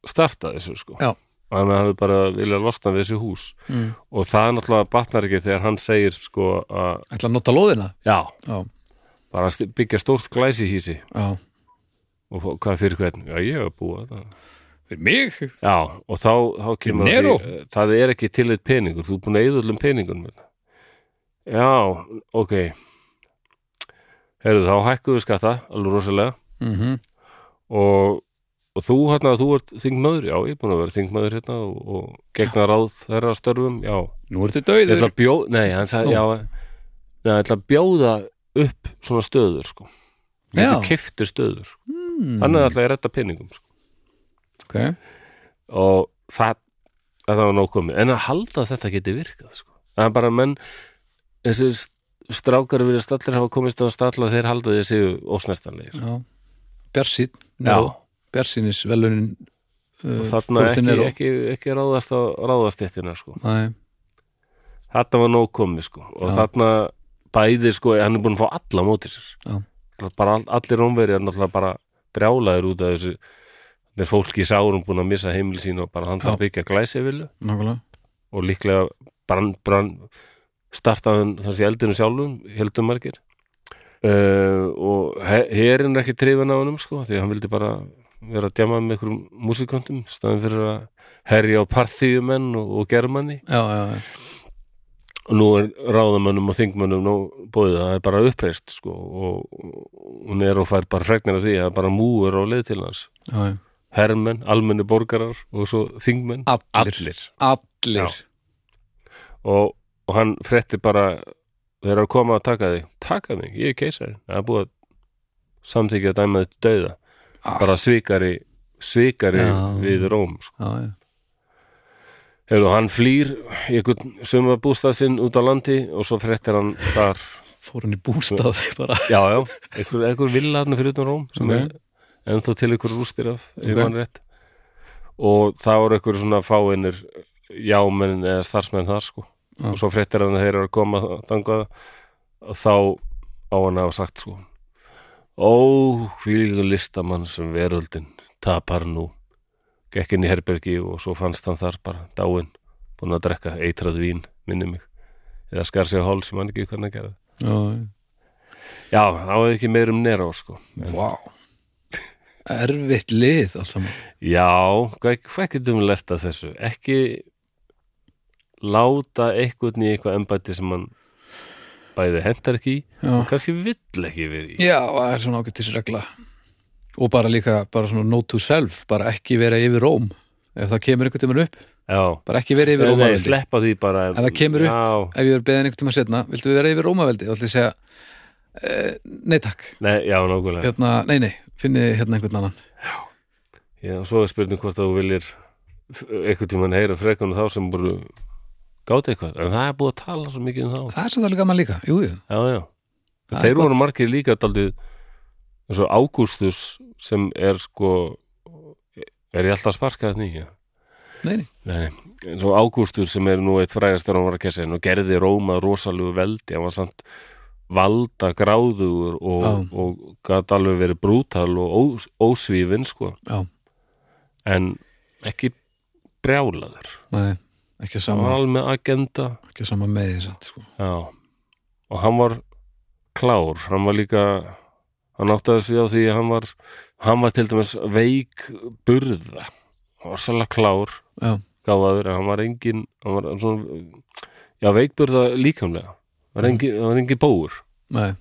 Speaker 1: startað þessu sko
Speaker 2: Já.
Speaker 1: og hann hafi bara viljað losna við þessi hús
Speaker 2: mm.
Speaker 1: og það náttúrulega batnar ekki þegar hann segir sko að
Speaker 2: ætla að nota lóðina
Speaker 1: já,
Speaker 2: já,
Speaker 1: bara að sti- byggja stórt glæsihísi
Speaker 2: já,
Speaker 1: og fó- hvað fyrir hvern, já ég hef búið það
Speaker 2: fyrir mig
Speaker 1: já, og þá, þá kemur að
Speaker 2: Nero.
Speaker 1: því, eh, það er ekki til eitt peningur, þú er búin að eyðullum peningun hérna. já, ok heyrðu þá hækkuðu skatta alveg rosalega
Speaker 2: mm
Speaker 1: og, og þú hérna, þú ert þingmaður, já, ég er búin að vera þingmaður hérna og, og gegna ráð þeirra störfum, já,
Speaker 2: nú ertu
Speaker 1: ég
Speaker 2: döiður
Speaker 1: ætla að bjóða nei, hann
Speaker 2: Nú.
Speaker 1: sagði, já, nei, ég ætla að bjóða upp svona stöður, sko ég
Speaker 2: Já.
Speaker 1: ætla kiftir stöður, sko.
Speaker 2: mm.
Speaker 1: hann er alltaf að retta peningum, sko,
Speaker 2: ok,
Speaker 1: og það það var nóg komið, en að halda að þetta geti virkað, sko, það er bara menn þessi st- strákar við stallir hafa komist á stalla þeir halda því séu ósnestanlegir,
Speaker 2: já Bjarsýn, já, Bjarsýnis velunin uh,
Speaker 1: og þarna ekki, ekki, ekki ráðast á ráðastéttina, sko
Speaker 2: Næ,
Speaker 1: Þetta var nóg komið sko og
Speaker 2: Já.
Speaker 1: þarna bæði sko hann er búin að fá alla á móti sér
Speaker 2: Já.
Speaker 1: Náttúrulega bara all, allir rómverið er náttúrulega bara brjálaður út af þessu þeir fólki í sárum búin að missa heimil sín og bara hann þarf að byggja glæsivilu
Speaker 2: nákvæmlega
Speaker 1: og líklega brann, brann startaðan þessi eldinu sjálfum heldum margir uh, og he- herinn er ekki trefin á honum sko því að hann vildi bara vera að djama með einhverjum músikantum staðan fyrir að herja á parþýjumenn og, og germanni
Speaker 2: Já, já, já,
Speaker 1: og nú er ráðamönnum og þingmönnum nú bóðið, það er bara uppreist sko, og og hún er og fær bara fregnir af því að bara múur á leið til hans
Speaker 2: já, já.
Speaker 1: hermenn, almenni borgarar og svo þingmenn
Speaker 2: Allir, allir.
Speaker 1: Já. og, og hann frétti bara þeir eru að koma að taka þig taka mig, ég er keisari, það er búið að samþykja að dæma þetta dauða
Speaker 2: Ah.
Speaker 1: bara svikari svikari
Speaker 2: Já.
Speaker 1: við Róm sko.
Speaker 2: já, já.
Speaker 1: Hefðu, hann flýr í einhvern sumabústað sinn út á landi og svo fréttir hann þar
Speaker 2: fór hann í bústað bara
Speaker 1: já, já, einhver, einhver villa þarna fyrir utan Róm sem
Speaker 2: Ok.
Speaker 1: er ennþá til einhver rústir af ef
Speaker 2: Ok.
Speaker 1: hann rétt og það voru einhver svona fáinir jámenn eða starfsmenn þar sko
Speaker 2: Já.
Speaker 1: og svo fréttir hann að þeir eru að koma þangað og þá á hann að hafa sagt sko Ó, hvílíku listamann sem veröldin tapar nú gekk inn í herbergi og svo fannst hann þar bara dáinn, búinn að drekka eitrað vín, minni mig eða skar sig á hál sem hann ekki hvernig að gera
Speaker 2: já,
Speaker 1: Já, það var ekki meir um Neró sko.
Speaker 2: vá erfitt lið allt saman
Speaker 1: Já, hvað, hvað getum við lert að þessu? Ekki láta einhvern í eitthvað embætti sem hann bæði hendar ekki í
Speaker 2: já,
Speaker 1: kannski vill ekki við í
Speaker 2: já það er svona ágættis regla og bara líka, bara svona note to self bara ekki vera yfir róm ef það kemur einhvern tímann upp,
Speaker 1: Já,
Speaker 2: bara ekki vera yfir
Speaker 1: nei, nei,
Speaker 2: rómaveldi
Speaker 1: sleppa því bara
Speaker 2: Ef það kemur upp.
Speaker 1: Já,
Speaker 2: ef ég er beðin einhvern tímann setna, viltu vera yfir rómaveldi þá ætla ég að segja eh, nei takk,
Speaker 1: nei, já nákvæmlega já.
Speaker 2: hérna, nei nei finnið hérna einhvern annan
Speaker 1: Svo er spurning hvort að þú viljir f- einhvern tímann heyra frekunum þá sem voru gáti eitthvað, en það er búið að tala svo mikið um þá
Speaker 2: það er svo alveg gaman líka, jú, jú
Speaker 1: Já, já.
Speaker 2: Það er
Speaker 1: Þeir
Speaker 2: gott.
Speaker 1: voru margir líka daldið eins og Ágústus sem er sko er ég alltaf að sparka þetta nýja?
Speaker 2: nei, nei.
Speaker 1: Nei, nei. eins og Ágústus sem er nú eitt frægastur á Markessin og gerði Róma rosalegu veldi, hann var samt valda gráður og,
Speaker 2: Já.
Speaker 1: og gat alveg verið brútal og ós, ósvífin sko
Speaker 2: Já.
Speaker 1: en ekki brjálaður,
Speaker 2: nei ekki
Speaker 1: hann
Speaker 2: sama,
Speaker 1: var alveg með agenda
Speaker 2: ekki sama með því samt, sko.
Speaker 1: Já, og hann var klár, hann var líka hann áttaði sig á því að hann var hann var til dæmis veik burða, hann var svolítið klár
Speaker 2: Já.
Speaker 1: gáfaður, en hann var engin hann var svona já, veikburða líkamlega var engin, hann var engin bóur,
Speaker 2: nei,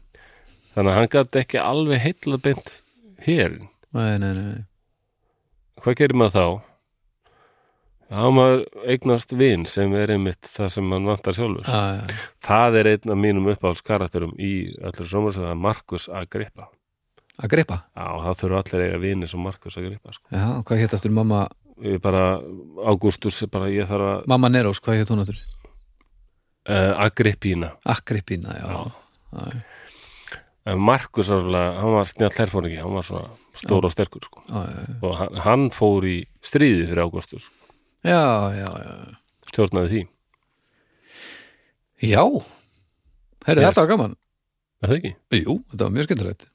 Speaker 1: þannig að hann gat ekki alveg heillað beint hér
Speaker 2: nei, nei, nei, nei.
Speaker 1: hvað gerir maður þá? Já, maður eignast vin sem er einmitt það sem hann vantar sjálfur
Speaker 2: Ah, já.
Speaker 1: Það er einn af mínum uppáhaldskarakterum í allir sjómarsöða, Markus Agrippa.
Speaker 2: að greipa
Speaker 1: Já, það þurfa allir eiga vini sem Markus Agrippa. Sko.
Speaker 2: Já, hvað hétt eftir mamma,
Speaker 1: Ég bara, Ágústus, er bara ég þarf að
Speaker 2: mamma Nerós, hvað hétt hún eftir?
Speaker 1: uh, Agrippína.
Speaker 2: Akrippína, já. Já.
Speaker 1: En Markus, alveg, hann var snjall herfóringi,
Speaker 2: Ah,
Speaker 1: hann var svona stór og sterkur. Sko.
Speaker 2: Já, já, já.
Speaker 1: Og hann, hann fór í stríði fyrir Ágústus.
Speaker 2: já, já, já
Speaker 1: stjórnaði því,
Speaker 2: Já, herri,
Speaker 1: Yes.
Speaker 2: þetta var gaman
Speaker 1: er það ekki?
Speaker 2: Jú, þetta var mjög skemmtilegt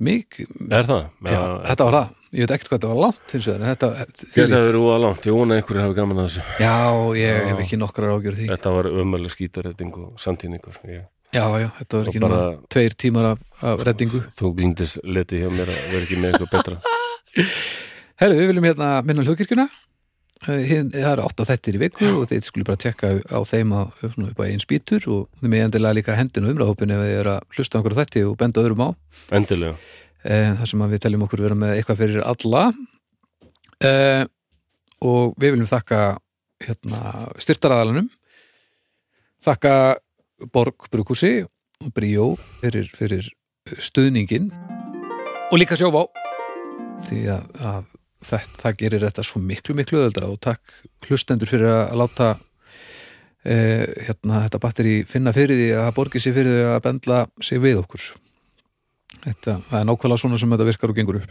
Speaker 2: Mikið,
Speaker 1: Er það?
Speaker 2: já, þetta var það Ég veit ekkert hvað þetta var langt hins vegar en þetta,
Speaker 1: Þetta hefur verið úa langt, ég vona að einhverju hafi gaman að þessu
Speaker 2: Já, ég
Speaker 1: Já.
Speaker 2: hef ekki nokkrar ágjörð því
Speaker 1: Þetta var ömælu skítaretting og samtíningur ég,
Speaker 2: Já, já, þetta var
Speaker 1: Og
Speaker 2: ekki
Speaker 1: bara-
Speaker 2: bara... tveir tímar af, af reddingu
Speaker 1: Þú glindist leti hjá mér að vera ekki með eitthvað betra
Speaker 2: Herri, við viljum hérna minna hlugkirkjuna Það eru átt á þettir í viku og þið skulle bara tjekka á þeim að öfnum upp að einn spýtur og þið með endilega líka hendin og umræðhópin ef þið eru að hlusta á einhverju þætti og benda öðrum á
Speaker 1: Endilega,
Speaker 2: eh, þar sem að við teljum okkur vera með eitthvað fyrir alla eh, og við viljum þakka hérna, styrtaraðalanum þakka Borg Brukúsi og Bríó fyrir, fyrir stuðningin og líka sjófá því að, að það, það gerir þetta svo miklu miklu öðuldra og takk hlustendur fyrir að láta eh, hérna, þetta batteri finna fyrir því að það borgi sig fyrir því að bendla sig við okkur Þetta það er nákvæmlega svona sem þetta virkar og gengur upp.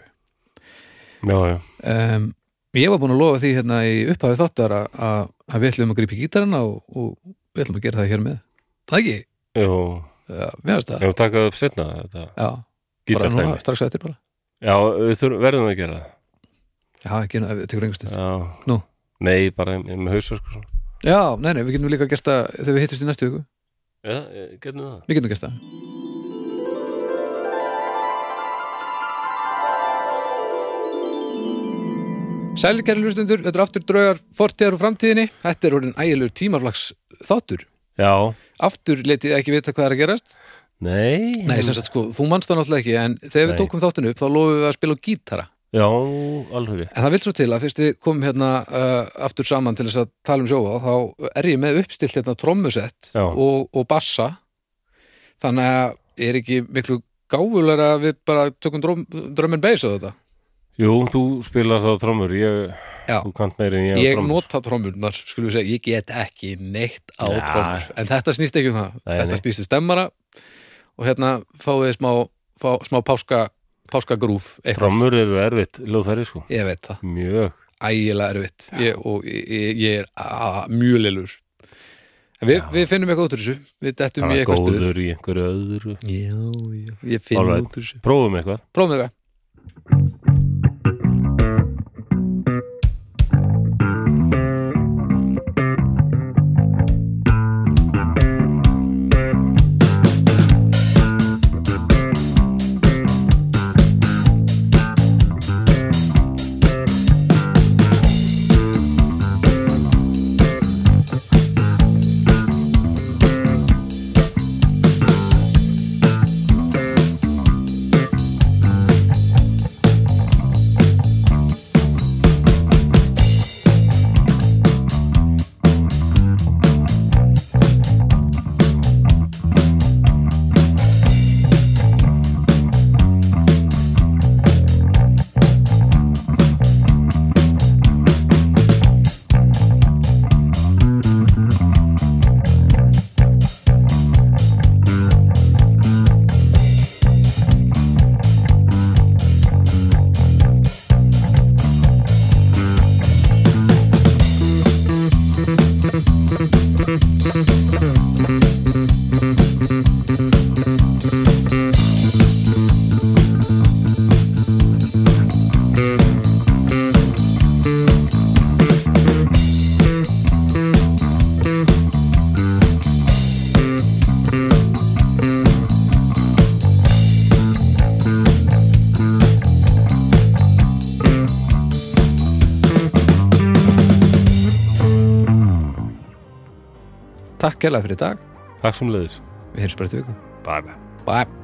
Speaker 1: já, já,
Speaker 2: Um, ég var búin að lofa því hérna í upphafi þáttar að- að að við ætlum að grípa í gítarana og, og við ætlum að gera það hér með. Það ekki?
Speaker 1: jú
Speaker 2: Já, mér finnst það.
Speaker 1: Ef taka upp setna þetta
Speaker 2: Já, bara núna,
Speaker 1: gítartæmi
Speaker 2: strax eftir bara.
Speaker 1: Já, við þurfum, verðum að gera það
Speaker 2: Já, ekki, við tekur einhver stund.
Speaker 1: Já,
Speaker 2: Nú.
Speaker 1: nei, bara með, með hausverk og svona.
Speaker 2: Já, nei, nei, við getum líka gert það þegar við hittust í næstu viku.
Speaker 1: Já, eh, getum við það
Speaker 2: Við getum gert það. Sælir kæri hlustundur, þetta er aftur draugar fortíðar og framtíðinni. Þetta er orðin ægilegur tímarflags þáttur.
Speaker 1: Já,
Speaker 2: aftur letið ekki vita hvað er að gerast
Speaker 1: nei
Speaker 2: Nei, sem sagt sko, þú manst það náttúrulega ekki en þegar
Speaker 1: Nei.
Speaker 2: við tókum þáttinu upp þá lofum við að spila á gítara
Speaker 1: Já, alveg rétt
Speaker 2: en það vil svo til að fyrst við komum hérna uh, aftur saman til þess að tala um sjóa þá er ég með uppstilt hérna trommusett
Speaker 1: Já.
Speaker 2: og, og bassa þannig að er ekki miklu gáfulega að við bara tökum drum, drömmin beis á þetta
Speaker 1: Jú, þú spilar þá trommur, ég,
Speaker 2: Já.
Speaker 1: þú kant meiri en ég, á
Speaker 2: ég
Speaker 1: trommur.
Speaker 2: nota trommurnar, skulum við segja, ég get ekki neitt á
Speaker 1: Ja.
Speaker 2: trommur, en þetta snýst ekki um það
Speaker 1: Nei, nei.
Speaker 2: þetta snýst um stemmara og hérna fáið þið smá, fá, smá páska, páska grúf
Speaker 1: Trommur eru erfitt, lögfæri sko
Speaker 2: ég veit það,
Speaker 1: Mjög,
Speaker 2: ægilega erfitt ég, og ég, ég er a- mjög lillur en við,
Speaker 1: Já.
Speaker 2: við finnum eitthvað út úr þessu við dettum
Speaker 1: það er
Speaker 2: í eitthvað stuð
Speaker 1: góður í einhverju öðru
Speaker 2: já, já, ég finn
Speaker 1: Alright.
Speaker 2: út úr þessu
Speaker 1: Prófum eitthvað
Speaker 2: prófum við það takk kærlega fyrir í dag,
Speaker 1: Takk sem leiðis
Speaker 2: við heyrjum spyrir til viku
Speaker 1: Bye bye
Speaker 2: bye